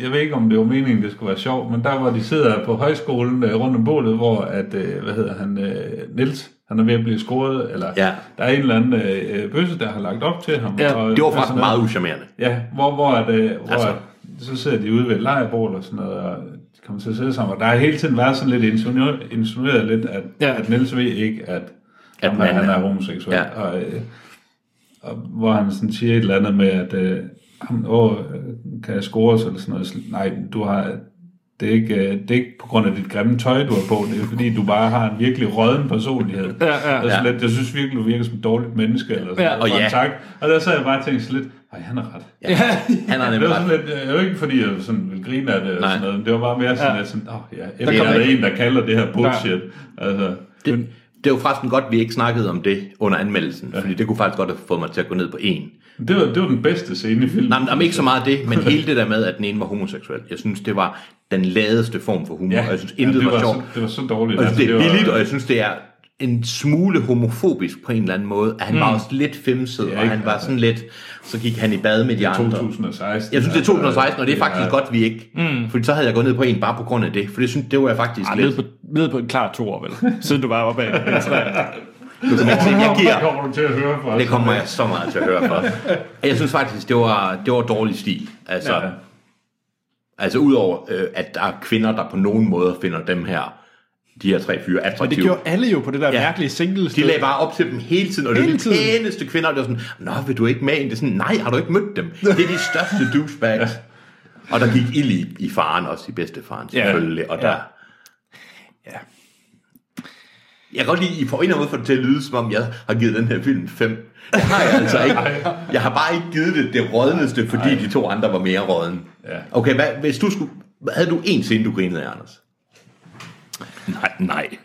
Speaker 3: jeg ved ikke, om det var meningen, det skulle være sjovt, men der var de sidder på højskolen øh, rundt om bålet, hvor at, øh, hvad hedder han, øh, Niels, han er ved at blive scoret, eller
Speaker 2: Ja.
Speaker 3: der er en eller anden øh, øh, bøsse, der har lagt op til ham.
Speaker 1: Ja,
Speaker 2: Det var
Speaker 3: sådan
Speaker 2: faktisk
Speaker 3: noget.
Speaker 2: meget uschammerende.
Speaker 3: Ja, hvor, hvor, at, øh, hvor
Speaker 2: Altså.
Speaker 3: altså. så sidder de ude ved et lejrbål og sådan noget, og de kommer til at sidde sammen, og der har hele tiden været sådan lidt insinueret, insinueret lidt, at,
Speaker 1: Ja.
Speaker 3: ja. at Niels ved ikke, at,
Speaker 2: At
Speaker 3: at man,
Speaker 2: han
Speaker 3: han
Speaker 2: er-
Speaker 3: er homoseksuel.
Speaker 2: Ja.
Speaker 3: Ja. Og, øh, og, hvor han sådan siger et eller andet med, at øh, ham, åh, øh, kan jeg score os, eller sådan noget. Så, Nej, du har, Det er, ikke, øh, det er ikke på grund af dit grimme tøj, du har på. Det er fordi, du bare har en virkelig rødden personlighed. Ja, ja, ja. Lidt, jeg synes virkelig, du virker som et dårligt menneske. Eller sådan,
Speaker 1: Ja.
Speaker 3: noget.
Speaker 2: Og ja.
Speaker 3: Tak. Og der så jeg bare og tænkte sådan lidt, nej, han er ret.
Speaker 2: Ja. Han har
Speaker 3: Det
Speaker 2: nemlig
Speaker 3: var sådan
Speaker 2: ret.
Speaker 3: lidt, det var ikke fordi, jeg sådan ville grine af det, eller
Speaker 2: Nej.
Speaker 3: sådan noget, men det var bare mere sådan, ja. at sådan, oh, ja, der
Speaker 1: kom
Speaker 3: er der
Speaker 1: ikke-
Speaker 3: en, der kalder det her bullshit. Altså,
Speaker 2: Det, det var faktisk godt, at vi ikke snakkede om det under anmeldelsen, fordi det kunne faktisk godt have fået mig til at gå ned på en.
Speaker 3: det, var, det var den bedste scene i filmen.
Speaker 2: Nej, men, jamen, ikke så meget det, men hele det der med, at den ene var homoseksuel. Jeg synes, det var den ladeste form for humor, ja. og jeg synes, intet
Speaker 3: altså, det
Speaker 2: var,
Speaker 3: var,
Speaker 2: sjovt.
Speaker 3: Så, det var så dårligt.
Speaker 2: Og jeg synes, det er
Speaker 3: var-
Speaker 2: billigt, og jeg synes, det er en smule homofobisk på en eller anden måde. At han mm. var også lidt femset, og
Speaker 3: ikke?
Speaker 2: han var sådan lidt... Så gik han i bad med de andre.
Speaker 3: 2016.
Speaker 2: Jeg synes, det er 2016, og det er faktisk
Speaker 3: ja.
Speaker 2: godt, vi ikke... Mm. Fordi så havde jeg gået ned på en bare på grund af det. For det synes, det var jeg faktisk
Speaker 6: Ej, ned
Speaker 2: lidt...
Speaker 6: på, ned på en klar to år, vel? Siden du var oppe af en træer.
Speaker 2: Du kan mærke, at jeg
Speaker 3: Det [laughs]
Speaker 2: giver.
Speaker 3: kommer du til at høre fra os.
Speaker 2: Det kommer jeg så meget til at høre for. Jeg synes faktisk, det var, det var dårlig stil. Altså, ja. altså udover, øh, at der er kvinder, der på nogen måde finder dem her, de her tre fyre
Speaker 6: Og det
Speaker 2: attraktive.
Speaker 6: gjorde alle jo på det der
Speaker 2: Ja.
Speaker 6: ja. mærkelige single
Speaker 2: De lagde bare op til dem hele tiden, og det var
Speaker 6: Hele
Speaker 2: de
Speaker 6: tiden.
Speaker 2: pæneste kvinder, og det var sådan, Nå, vil du ikke med ind? Det er sådan, nej, har du ikke mødt dem? Det er de største [laughs] douchebags. Og der gik ild i, i faren, også i bedstefaren selvfølgelig, og der... Ja. Jeg kan godt lide, I får en eller anden måde for det til at lyde, som om jeg har givet den her film 5. Det har jeg altså ikke. Jeg har bare ikke givet det det rådneste, fordi de to andre var mere rådne.
Speaker 3: Ja.
Speaker 2: Okay, hvad, hvis du skulle... Havde du en scene, du grinede af, Anders? Nej, nej.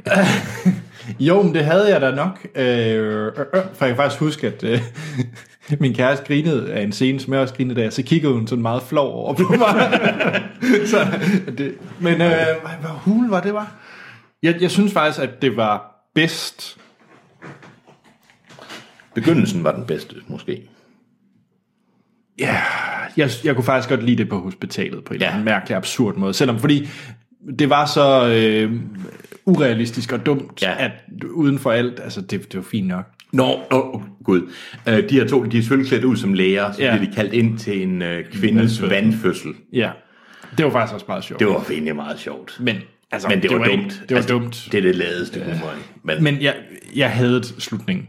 Speaker 1: Jo, men det havde jeg da nok. Øh, øh, øh, for jeg kan faktisk huske, at øh, [laughs] min kæreste grinede af en scene, som jeg også grinede af, så kiggede hun sådan meget flov over på mig. [laughs] så, det, men øh, hvad- hvad hul var det, var? Jeg, jeg synes faktisk, at det var bedst.
Speaker 2: Begyndelsen var den bedste, måske.
Speaker 1: Jeg, jeg kunne faktisk godt lide det på hospitalet på en
Speaker 2: Ja.
Speaker 1: ja. eller anden mærkelig absurd måde. Selvom fordi det var så øh, urealistisk og dumt,
Speaker 2: Ja.
Speaker 1: ja. at uden for alt, altså det, det var fint nok.
Speaker 2: Nå, oh, gud. Øh, de her to, de er selvfølgelig klædt ud som læger, så
Speaker 1: Ja.
Speaker 2: ja. bliver de kaldt ind til en øh, kvindes vandfødsel.
Speaker 1: Ja, det var faktisk også meget sjovt.
Speaker 2: Det var egentlig meget sjovt.
Speaker 1: Men, altså,
Speaker 2: Men det, var,
Speaker 1: ikke-
Speaker 2: dumt. Altså,
Speaker 1: det var dumt.
Speaker 2: Det er det ladeste ja. humor. ikke? Men, Men
Speaker 1: Men jeg, jeg havde slutningen.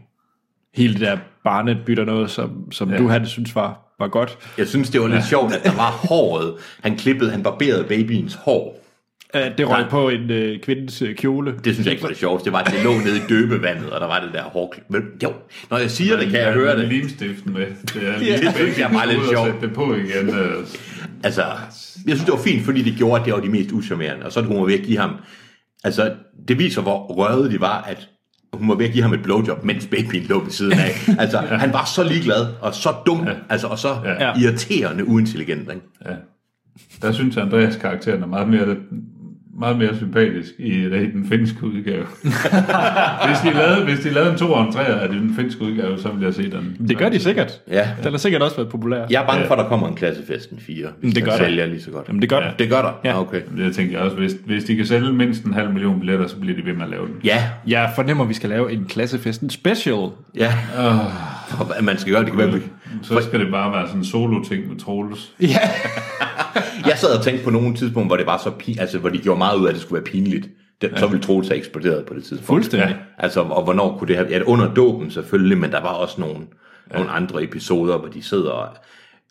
Speaker 1: Hele det der barnebytter noget, som, som ja. du havde synes var, var godt.
Speaker 2: jeg synes, det var lidt ja. sjovt, at der var håret. Han klippede, han barberede babyens hår.
Speaker 1: Uh, det røg på en øh, kvindes øh, kjole.
Speaker 2: Det synes jeg ikke var det sjoveste. Det var, at det lå nede i døbevandet, og der var det der hår. Men, jo, når jeg siger det, kan jeg høre det.
Speaker 3: Limstiften med. Det er
Speaker 2: Det synes jeg er meget lidt
Speaker 3: Ud og
Speaker 2: sjovt.
Speaker 3: sætte det på igen. øh.
Speaker 2: Altså, jeg synes, det var fint, fordi det gjorde, at det var de mest uschammerende. Og så hun var ved at give ham... Altså, det viser, hvor røvet de var, at hun var ved at give ham et blowjob, mens babyen lå ved siden af.
Speaker 1: [laughs]
Speaker 2: Altså, han var så ligeglad, og så dum, altså, og så
Speaker 3: Ja.
Speaker 2: irriterende uintelligent. Ikke?
Speaker 3: Der synes jeg, Andreas karakteren er meget mere, meget mere sympatisk i, i den finske udgave. hvis, de lavede, hvis de lavede en 2 og en 3 af den finske udgave, så ville jeg se den.
Speaker 1: Det gør de sikkert.
Speaker 2: Ja.
Speaker 1: Den har sikkert også været populær.
Speaker 2: Jeg er bange for, at der kommer en klassefest en 4, hvis
Speaker 1: det
Speaker 2: det
Speaker 1: gør
Speaker 2: gør
Speaker 1: der.
Speaker 2: sælger lige så godt.
Speaker 1: Jamen, det gør
Speaker 2: Det gør der?
Speaker 1: Ja.
Speaker 2: Ja. Okay.
Speaker 3: Altså, Det tænker jeg også. Hvis, hvis de kan sælge mindst en halv million billetter, så bliver de ved med at lave den.
Speaker 2: Ja,
Speaker 1: Jeg fornemmer, at vi skal lave en klassefesten special.
Speaker 2: ja. Uh. Man skal gøre det. det kan være, vi-
Speaker 3: Så skal det bare være sådan en solo-ting med Troels.
Speaker 2: Jeg sad og tænkte på nogle tidspunkt, hvor det var så pin, altså hvor de gjorde meget ud af, at det skulle være pinligt. Det, ja. Så ville Troels have eksploderet på det tidspunkt.
Speaker 1: Fuldstændig.
Speaker 2: Altså, og hvornår kunne det have... Ja, under dåben selvfølgelig, men der var også nogle, ja. nogle andre episoder, hvor de sidder og...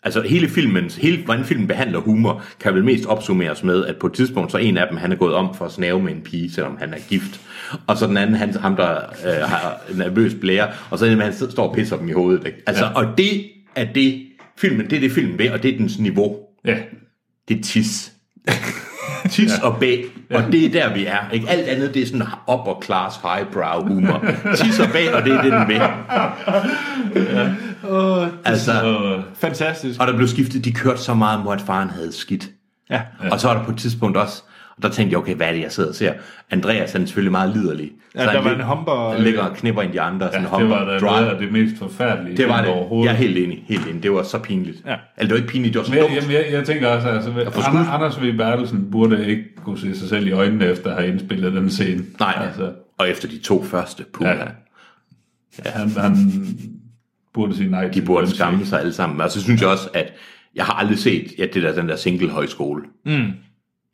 Speaker 2: Altså hele filmen, hele, hvordan filmen behandler humor, kan vel mest opsummeres med, at på et tidspunkt, så en af dem, han er gået om for at snave med en pige, selvom han er gift. Og så den anden, han, ham der øh, har en nervøs blære, og så en af dem, han sidder- står og pisser dem i hovedet. Ikke? Altså, ja. og det er det, filmen, det er det filmen ved, og det er dens niveau.
Speaker 3: Ja,
Speaker 2: Det er
Speaker 3: [laughs]
Speaker 2: tis. Tis ja. og bag. Og det er der, vi er. Ikke? Alt andet, det er sådan upper class, highbrow humor. Tis og bag, og det er det, den vil. Ja. Altså,
Speaker 1: Fantastisk.
Speaker 2: og der blev skiftet, de kørte så meget mod, at faren havde skidt.
Speaker 1: Ja.
Speaker 2: Og så var der på et tidspunkt også, og der tænkte jeg, okay, hvad er det, jeg sidder og ser? Andreas, han er selvfølgelig meget liderlig. Så
Speaker 1: Ja, der
Speaker 2: han
Speaker 1: var
Speaker 2: lig-
Speaker 1: en humper-
Speaker 2: Ligger og knipper ind i de andre, sådan
Speaker 3: Ja,
Speaker 2: ja,
Speaker 3: det
Speaker 2: humper,
Speaker 3: var da
Speaker 2: drive.
Speaker 3: noget af det mest forfærdelige
Speaker 2: Det var
Speaker 3: film
Speaker 2: det.
Speaker 3: overhovedet.
Speaker 2: Jeg er helt enig, helt enig. Det var så pinligt.
Speaker 1: Ja.
Speaker 2: Eller det var ikke pinligt, det var så
Speaker 3: Men jeg,
Speaker 2: dumt.
Speaker 3: jamen, jeg, jeg tænker også, altså, Anders, Anders V. Bertelsen burde ikke kunne se sig selv i øjnene efter at have indspillet den scene.
Speaker 2: Nej,
Speaker 3: Altså,
Speaker 2: og efter de to første, puha.
Speaker 3: Ja.
Speaker 2: Ja.
Speaker 3: han, han burde sige nej.
Speaker 2: De
Speaker 3: til
Speaker 2: burde
Speaker 3: den
Speaker 2: skamme
Speaker 3: scene.
Speaker 2: sig alle sammen. Og så synes jeg også, at jeg har aldrig set ja, det der, den der single højskole. Mm.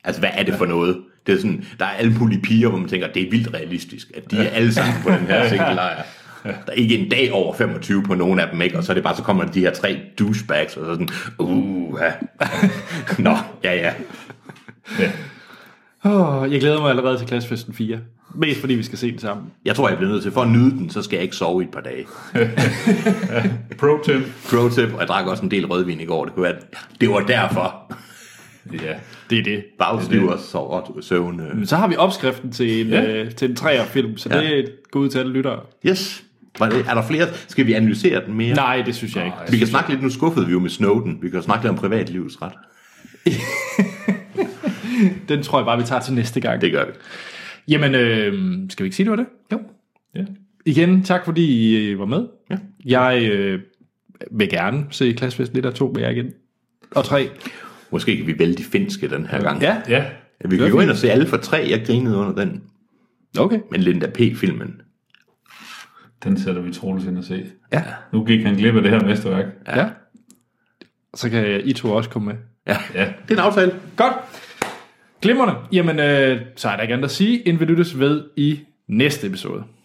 Speaker 2: Altså, hvad er det for noget? Det er sådan, der er alle mulige piger, hvor man tænker, det er vildt realistisk, at de er alle sammen på den her single lejr. Der er ikke en dag over 25 på nogen af dem, ikke? Og så er det bare, så kommer de her tre douchebags, og så sådan, uh, Nå, ja, ja.
Speaker 6: Oh, jeg glæder mig allerede til klassefesten 4. Mest fordi vi skal se den sammen.
Speaker 2: Jeg tror, jeg bliver nødt til, for at nyde den, så skal jeg ikke sove i et par dage.
Speaker 3: Pro tip.
Speaker 2: Pro tip, og jeg drak også en del rødvin i går. Det, kunne være, det var derfor.
Speaker 3: Ja.
Speaker 6: Det er det.
Speaker 2: Bagstiv og sov og søvn. øh.
Speaker 6: Men så har vi opskriften til en, ja. øh, til en træerfilm, så ja.
Speaker 2: Ja.
Speaker 6: det er et god ud til alle lyttere.
Speaker 2: Yes. Var det- Er der flere? Skal vi analysere den mere?
Speaker 6: Nej, det synes jeg ikke.
Speaker 2: Vi kan snakke lidt, nu skuffede vi jo med Snowden. Vi kan jo snakke lidt om privatlivets ret.
Speaker 6: Den tror jeg bare, vi tager til næste gang.
Speaker 2: Det gør vi.
Speaker 1: Jamen, øh, skal vi ikke sige, det var det?
Speaker 2: Jo.
Speaker 3: Ja.
Speaker 1: Igen, tak fordi I øh, var med.
Speaker 2: Ja.
Speaker 1: Jeg øh, vil gerne se Klassefest 1 og 2 med jer igen. Og 3.
Speaker 2: Måske kan vi vælge de finske den her gang.
Speaker 1: Ja,
Speaker 3: Ja.
Speaker 2: Vi kan jo ind og se alle for tre. Jeg grinede under den.
Speaker 1: okay.
Speaker 2: Men Linda P-filmen.
Speaker 3: Den sætter vi Troels ind og se.
Speaker 1: Ja.
Speaker 3: Nu gik han glip af det her mesterværk.
Speaker 1: Ja. ja. Så kan I to også komme med.
Speaker 2: Ja.
Speaker 3: Ja.
Speaker 2: Det er en aftale.
Speaker 1: Godt. Glimrende. Jamen, øh, så er der ikke andet at sige, end vi lyttes ved i næste episode.